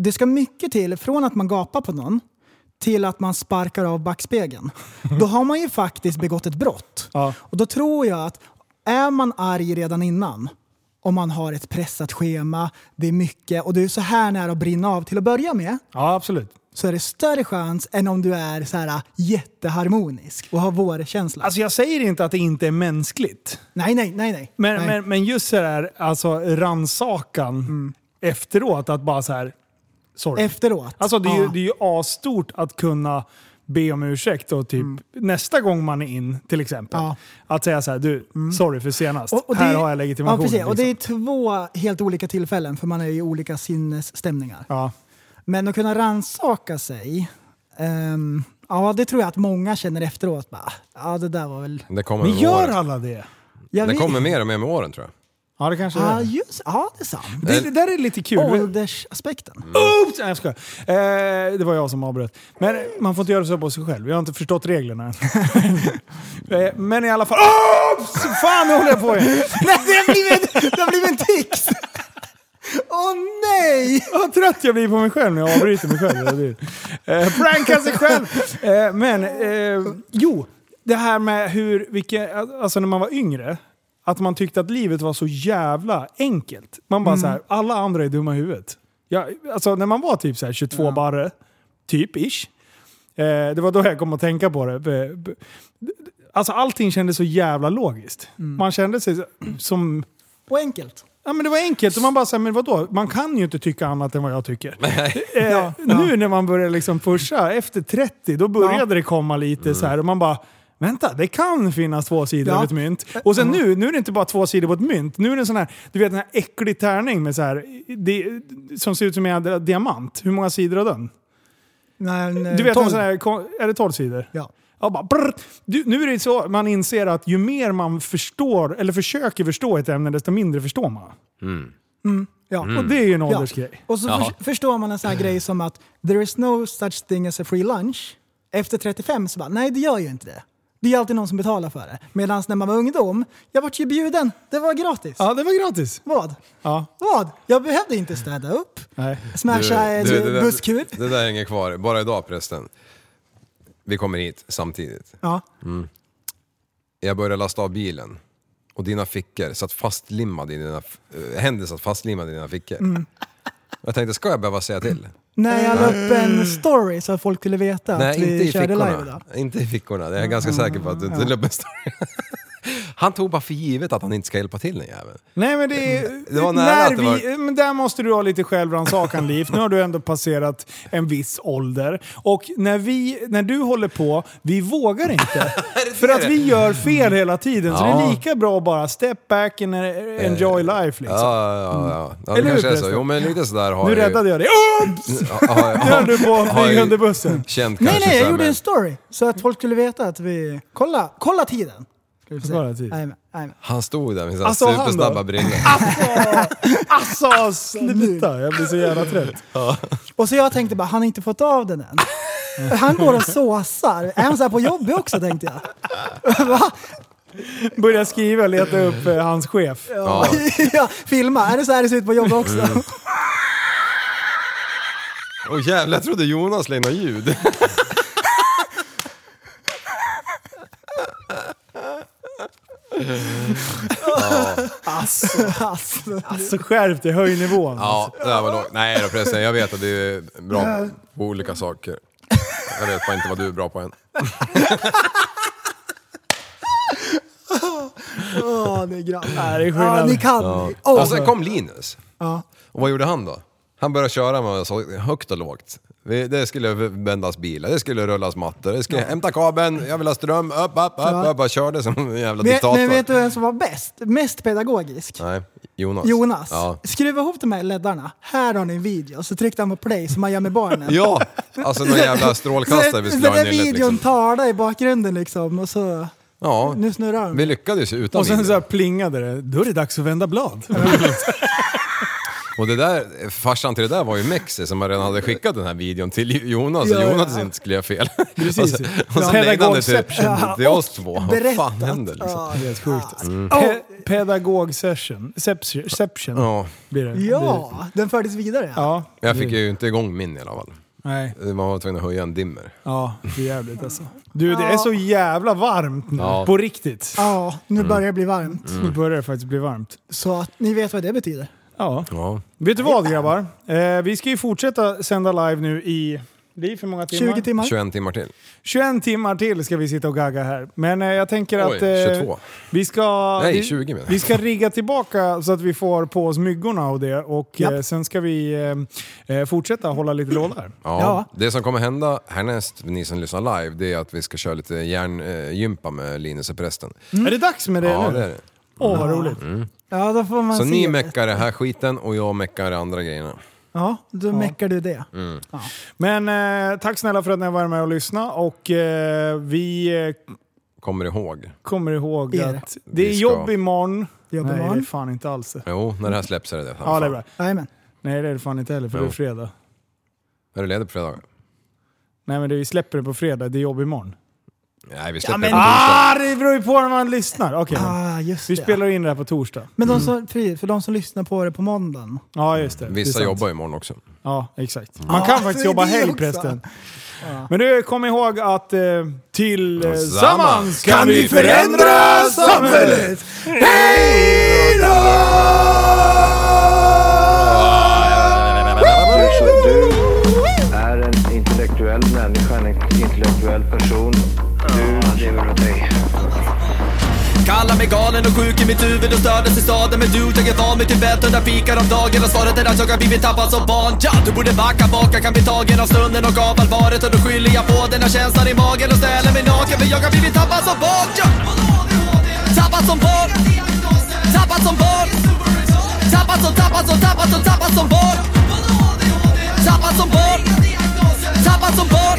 [SPEAKER 6] Det ska mycket till från att man gapar på någon till att man sparkar av backspegeln. Då har man ju faktiskt begått ett brott.
[SPEAKER 5] Ja.
[SPEAKER 6] Och då tror jag att är man arg redan innan, om man har ett pressat schema, det är mycket och du är så här nära att brinna av till att börja med,
[SPEAKER 5] ja, absolut.
[SPEAKER 6] så är det större chans än om du är så här äh, jätteharmonisk och har vårkänsla.
[SPEAKER 5] Alltså jag säger inte att det inte är mänskligt.
[SPEAKER 6] nej, nej, nej, nej.
[SPEAKER 5] Men,
[SPEAKER 6] nej.
[SPEAKER 5] men, men just så här, alltså rannsakan
[SPEAKER 6] Mm.
[SPEAKER 5] efteråt, att bara så här, sorry.
[SPEAKER 6] Efteråt.
[SPEAKER 5] alltså det är, ju,
[SPEAKER 6] Ja.
[SPEAKER 5] det är ju asstort att kunna be om ursäkt och typ
[SPEAKER 6] Mm.
[SPEAKER 5] nästa gång man är in till exempel.
[SPEAKER 6] Ja.
[SPEAKER 5] Att säga så här, du, sorry för senast.
[SPEAKER 6] Ah. Mm. Och- och det-
[SPEAKER 5] här har jag legitimation.
[SPEAKER 6] Ja, precis. Och det är
[SPEAKER 5] liksom.
[SPEAKER 6] två helt olika tillfällen för man är i olika sinnesstämningar.
[SPEAKER 5] ja.
[SPEAKER 6] Men att kunna ransaka sig, ehm, ja det tror jag att många känner efteråt. Bara, ja det där var väl...
[SPEAKER 7] Det kommer,
[SPEAKER 5] Men
[SPEAKER 7] med
[SPEAKER 5] gör
[SPEAKER 7] åren.
[SPEAKER 5] alla det? Ah,
[SPEAKER 6] Jag
[SPEAKER 7] det
[SPEAKER 6] vet-
[SPEAKER 7] kommer mer och mer med åren tror jag.
[SPEAKER 5] Ja, det kanske
[SPEAKER 6] Ja,
[SPEAKER 5] är. det.
[SPEAKER 6] just, ja det är sant.
[SPEAKER 7] Eh,
[SPEAKER 5] Det, det där är lite kul.
[SPEAKER 6] Åldersaspekten. (laughs)
[SPEAKER 5] Oops! Eh, Nej, jag skojar. Eh, det var jag som avbröt. Men man får inte göra så på sig själv. Jag har inte förstått reglerna. (laughs) eh, men i alla fall... Oops! Fan, nu håller jag på igen.
[SPEAKER 6] Nej, det har blivit, det har blivit en tics! Åh nej!
[SPEAKER 5] (laughs) Vad trött jag blir på mig själv när jag avbryter mig själv. Det blir- Eh, pranka sig själv! Eh, men, eh, jo. Det här med hur, vilken, alltså när man var yngre, att man tyckte att livet var så jävla enkelt. Man bara så här, alla andra är dumma i huvudet. Ja, alltså när man var typ så här 22 barre, typ ish. Eh, det var då jag kom att tänka på det. B- b- Alltså allting kändes så jävla logiskt. Man kände sig som
[SPEAKER 6] Och enkelt.
[SPEAKER 5] Ja men det var enkelt. Och man bara såhär, men vadå? Man kan ju inte tycka annat än vad jag tycker. Eh,
[SPEAKER 6] (laughs)
[SPEAKER 5] Nu när man börjar liksom pusha, efter 30, då började det komma lite så här och man bara, vänta, det kan finnas två sidor
[SPEAKER 6] Ja.
[SPEAKER 5] av ett mynt. Och sen nu, nu är det inte bara två sidor på ett mynt. Nu är det en sån här, du vet den här äcklig tärning med så här, det, som ser ut som en diamant. Hur många sidor har den?
[SPEAKER 6] Men, eh,
[SPEAKER 5] Du vet
[SPEAKER 6] tolv.
[SPEAKER 5] en sån här, kon- är det 12 sidor?
[SPEAKER 6] Ja.
[SPEAKER 5] Ja, bara, brr. du, nu är det så man inser att ju mer man förstår, eller försöker förstå ett ämne, desto mindre förstår man.
[SPEAKER 7] Mm.
[SPEAKER 5] Mm,
[SPEAKER 6] Ja.
[SPEAKER 5] Och det är ju en
[SPEAKER 6] Ja.
[SPEAKER 5] åldersgrej. Eh.
[SPEAKER 6] Och så förs- förstår man en sån här grej som att there is no such thing as a free lunch. Efter 35 så bara, nej det gör ju inte det. Det är alltid någon som betalar för det. Medan när man var ungdom, jag vart ju bjuden, det var gratis.
[SPEAKER 5] Ja, det var gratis.
[SPEAKER 6] Vad?
[SPEAKER 5] Ja.
[SPEAKER 6] Vad? Jag behövde inte städa
[SPEAKER 7] (laughs)
[SPEAKER 6] upp,
[SPEAKER 5] Nej.
[SPEAKER 6] smasha en
[SPEAKER 7] Du, det där-
[SPEAKER 6] busskur.
[SPEAKER 7] Det där hänger kvar. Bara idag förresten. Vi kommer hit samtidigt.
[SPEAKER 6] Ja.
[SPEAKER 7] Jag började lasta av bilen. och dina fickor satt fastlimmade i dina, eh, händer satt fastlimmade i dina fickor.
[SPEAKER 6] Mm.
[SPEAKER 7] Jag tänkte, ska jag behöva säga till?
[SPEAKER 6] När jag la upp
[SPEAKER 5] Mm.
[SPEAKER 6] en story så att folk ville veta
[SPEAKER 7] Nej,
[SPEAKER 6] att vi
[SPEAKER 7] inte i
[SPEAKER 6] körde
[SPEAKER 7] fickorna.
[SPEAKER 6] live idag.
[SPEAKER 7] Inte i fickorna, det är jag ganska säker på att du inte la upp en story. (laughs) Han tog bara för givet att han inte ska hjälpa till den jäveln.
[SPEAKER 5] Nej men det
[SPEAKER 6] Mm.
[SPEAKER 5] är...
[SPEAKER 7] Det var nära att det var-
[SPEAKER 5] vi, men Där måste du ha lite
[SPEAKER 7] (laughs)
[SPEAKER 5] självrannsakan Liv. Nu har du ändå passerat en viss ålder. Och när, vi, när du håller på, vi vågar
[SPEAKER 7] (laughs)
[SPEAKER 5] inte. För att vi gör fel hela tiden. Så det
[SPEAKER 7] Ja.
[SPEAKER 5] är lika bra att bara step back and eh, enjoy life liksom.
[SPEAKER 7] Ja, ja, ja. ja. Mm. ja det
[SPEAKER 5] Eller hur,
[SPEAKER 7] kanske är så.
[SPEAKER 5] förresten?
[SPEAKER 7] Jo, men lite sådär har
[SPEAKER 5] Nu
[SPEAKER 7] jag ju-
[SPEAKER 5] räddade jag dig. Oops!
[SPEAKER 7] Ja, har jag-
[SPEAKER 5] Nu höll du på att
[SPEAKER 7] har jag ju
[SPEAKER 5] flyga under bussen.
[SPEAKER 7] Känt
[SPEAKER 6] Nej,
[SPEAKER 7] kanske
[SPEAKER 6] nej,
[SPEAKER 7] så
[SPEAKER 6] jag
[SPEAKER 7] här,
[SPEAKER 6] gjorde
[SPEAKER 7] men-
[SPEAKER 6] en story så att folk skulle veta att vi... Kolla, kolla tiden! Ska vi se.
[SPEAKER 7] Kolla tiden.
[SPEAKER 6] Jajamän, jajamän.
[SPEAKER 7] Han stod där med sina
[SPEAKER 6] Alltså, han då?
[SPEAKER 7] supersnabba brillor.
[SPEAKER 5] Alltså sluta, jag blir så jävla trött.
[SPEAKER 6] Och så jag tänkte bara, han har inte fått av den än. (laughs) Han går och såsar. Är han så här på jobbet också tänkte
[SPEAKER 7] (laughs)
[SPEAKER 6] jag?
[SPEAKER 5] Börja skriva, leta upp eh, hans chef.
[SPEAKER 6] (laughs) Ja. filma. Är det så här det ser ut på jobbet också? (laughs)
[SPEAKER 7] Mm. Åh jävlar, jag trodde Jonas lämnade ljud. ja.
[SPEAKER 5] Alltså, alltså skärp dig, höj nivån.
[SPEAKER 7] ja,
[SPEAKER 6] Alltså.
[SPEAKER 7] det här var långt. Nej då förresten, jag vet att du är bra på olika saker. Jag vet bara inte vad du är bra på än.
[SPEAKER 6] Åh, ni grabbar.
[SPEAKER 5] det är
[SPEAKER 6] ja, ni kan.
[SPEAKER 7] Ja.
[SPEAKER 6] Åh.
[SPEAKER 7] Och Alltså, sen kom Linus.
[SPEAKER 6] Ja.
[SPEAKER 7] Och vad gjorde han då? Han började köra med oss högt och lågt. Vi- Det skulle vändas bilar, det skulle rullas mattor, det skulle hämta kabeln, jag vill ha ström, upp, upp, upp,
[SPEAKER 6] Ja.
[SPEAKER 7] upp. Bara körde som en jävla
[SPEAKER 6] Men,
[SPEAKER 7] diktator.
[SPEAKER 6] men vet du vem som var bäst? Mest pedagogisk?
[SPEAKER 7] Nej, Jonas.
[SPEAKER 6] Jonas.
[SPEAKER 7] Ja.
[SPEAKER 6] Skruva ihop de här leddarna. Här har ni en video. Så tryckte han på play som man gör
[SPEAKER 7] (laughs)
[SPEAKER 6] med barnen.
[SPEAKER 7] ja, alltså några jävla strålkastare vi
[SPEAKER 6] Så
[SPEAKER 7] skulle
[SPEAKER 6] den
[SPEAKER 7] ha i
[SPEAKER 6] där
[SPEAKER 7] nyllet,
[SPEAKER 6] videon
[SPEAKER 7] liksom.
[SPEAKER 6] talar i bakgrunden liksom och så...
[SPEAKER 7] Ja,
[SPEAKER 6] Nu snurrar de.
[SPEAKER 7] vi lyckades ju utan
[SPEAKER 5] Och sen
[SPEAKER 7] video.
[SPEAKER 5] så här plingade det. Då är det dags att vända blad.
[SPEAKER 7] Och det där, farsan till det där var ju Mexi som redan hade skickat den här videon till Jonas,
[SPEAKER 6] Ja,
[SPEAKER 7] så
[SPEAKER 6] ja.
[SPEAKER 7] Jonas inte skulle göra fel.
[SPEAKER 5] Precis.
[SPEAKER 7] Och sen, och sen lägger han det till,
[SPEAKER 5] Pedagogception.
[SPEAKER 7] till oss två. Vad
[SPEAKER 6] berättat.
[SPEAKER 7] fan händer liksom?
[SPEAKER 5] Helt sjukt.
[SPEAKER 7] Mm.
[SPEAKER 5] Pe Pedagog-session. Seption.
[SPEAKER 7] Ja.
[SPEAKER 5] Blir det. Blir det.
[SPEAKER 6] Ja, den fördes vidare.
[SPEAKER 5] Ja.
[SPEAKER 7] Jag fick ju inte igång min i alla fall.
[SPEAKER 5] Nej.
[SPEAKER 7] Man var tvungen att höja en dimmer.
[SPEAKER 5] Ja, det är jävligt alltså. Du, det är så jävla varmt nu.
[SPEAKER 7] Ja.
[SPEAKER 5] På riktigt.
[SPEAKER 6] Ja, nu
[SPEAKER 7] Mm.
[SPEAKER 6] börjar det bli varmt.
[SPEAKER 5] Nu börjar det faktiskt bli varmt.
[SPEAKER 6] Så att ni vet vad det betyder.
[SPEAKER 5] Ja.
[SPEAKER 7] Ja.
[SPEAKER 5] Vet du vad grabbar? Eh, vi ska ju fortsätta sända live nu i... Liv, hur många timmar?
[SPEAKER 6] 20 timmar.
[SPEAKER 7] 21 timmar till.
[SPEAKER 5] 21 timmar till ska vi sitta och gagga här. Men eh, jag tänker
[SPEAKER 7] Oj,
[SPEAKER 5] att... eh,
[SPEAKER 7] 22.
[SPEAKER 5] Vi ska...
[SPEAKER 7] Nej,
[SPEAKER 5] vi,
[SPEAKER 7] 20 menar jag.
[SPEAKER 5] Vi ska rigga tillbaka så att vi får på oss myggorna och det. Och
[SPEAKER 6] Japp.
[SPEAKER 5] eh, sen ska vi eh, eh, fortsätta hålla lite låda här.
[SPEAKER 7] Ja.
[SPEAKER 6] Ja.
[SPEAKER 7] Det som kommer hända härnäst, ni som lyssnar live, det är att vi ska köra lite hjärngympa med Linus och prästen.
[SPEAKER 6] Mm.
[SPEAKER 5] Är det dags med det
[SPEAKER 7] Ja,
[SPEAKER 5] nu?
[SPEAKER 7] det är det.
[SPEAKER 5] Åh, vad roligt.
[SPEAKER 6] Ja, då får man
[SPEAKER 7] Mm. Så
[SPEAKER 6] se.
[SPEAKER 7] ni
[SPEAKER 6] det.
[SPEAKER 7] meckar det här skiten och jag meckar det andra grejerna.
[SPEAKER 6] Ja, då meckar du det.
[SPEAKER 7] Mm.
[SPEAKER 5] Men eh, tack snälla för att ni var med och lyssnade. Och eh, vi eh,
[SPEAKER 7] Kommer ihåg?
[SPEAKER 5] kommer ihåg
[SPEAKER 6] Er.
[SPEAKER 5] att det är
[SPEAKER 7] Vi ska-
[SPEAKER 5] jobb imorgon.
[SPEAKER 6] Jobb
[SPEAKER 5] Nej,
[SPEAKER 6] imorgon.
[SPEAKER 5] det är fan inte alls det.
[SPEAKER 7] Jo, när det här släpps är det det.
[SPEAKER 5] Ja, det är bra.
[SPEAKER 6] Jajamän.
[SPEAKER 5] Nej, det är det fan inte heller för
[SPEAKER 7] Jo.
[SPEAKER 5] det är fredag.
[SPEAKER 7] Är du ledig på fredag?
[SPEAKER 5] Nej, men det, vi släpper det på fredag. Det är jobb imorgon.
[SPEAKER 7] Nej, vi släpper
[SPEAKER 6] men-
[SPEAKER 7] det på torsdag.
[SPEAKER 5] Ah, det beror ju på när man lyssnar. Okej, då.
[SPEAKER 6] Ah, just
[SPEAKER 5] vi
[SPEAKER 6] det.
[SPEAKER 5] spelar Mm. in det här på torsdag.
[SPEAKER 6] Men de som, för för de som lyssnar på det på måndagen.
[SPEAKER 5] Ja, just det. det. är
[SPEAKER 7] Vissa
[SPEAKER 5] sant.
[SPEAKER 7] jobbar imorgon också.
[SPEAKER 5] Ja, exakt. Man kan
[SPEAKER 6] Ja,
[SPEAKER 5] faktiskt
[SPEAKER 6] det är
[SPEAKER 5] jobba
[SPEAKER 6] det
[SPEAKER 5] helg
[SPEAKER 6] också.
[SPEAKER 5] prästen. Men du, kom ihåg att eh, tillsammans
[SPEAKER 7] Kan vi
[SPEAKER 5] förändra
[SPEAKER 6] samhället!
[SPEAKER 1] Du, så du är en intellektuell människa, en intellektuell person. Du lever av dig.
[SPEAKER 2] Kallar mig galen och sjuk i mitt huvud och stördes i staden Men du, jag är van vid Tibet under fikar om dagen Och svaret är att jag har blivit tappad som barn ja, Du borde backa bak, jag kan bli tagen av stunden och av allvaret Och då skyller jag på den här känslan i magen och ställer mig naken För jag har blivit tappad som barn ja. Tappad som barn Tappad som barn Tappad som, tappad som, tappad som, tappad som barn Tappad som barn Tappad som barn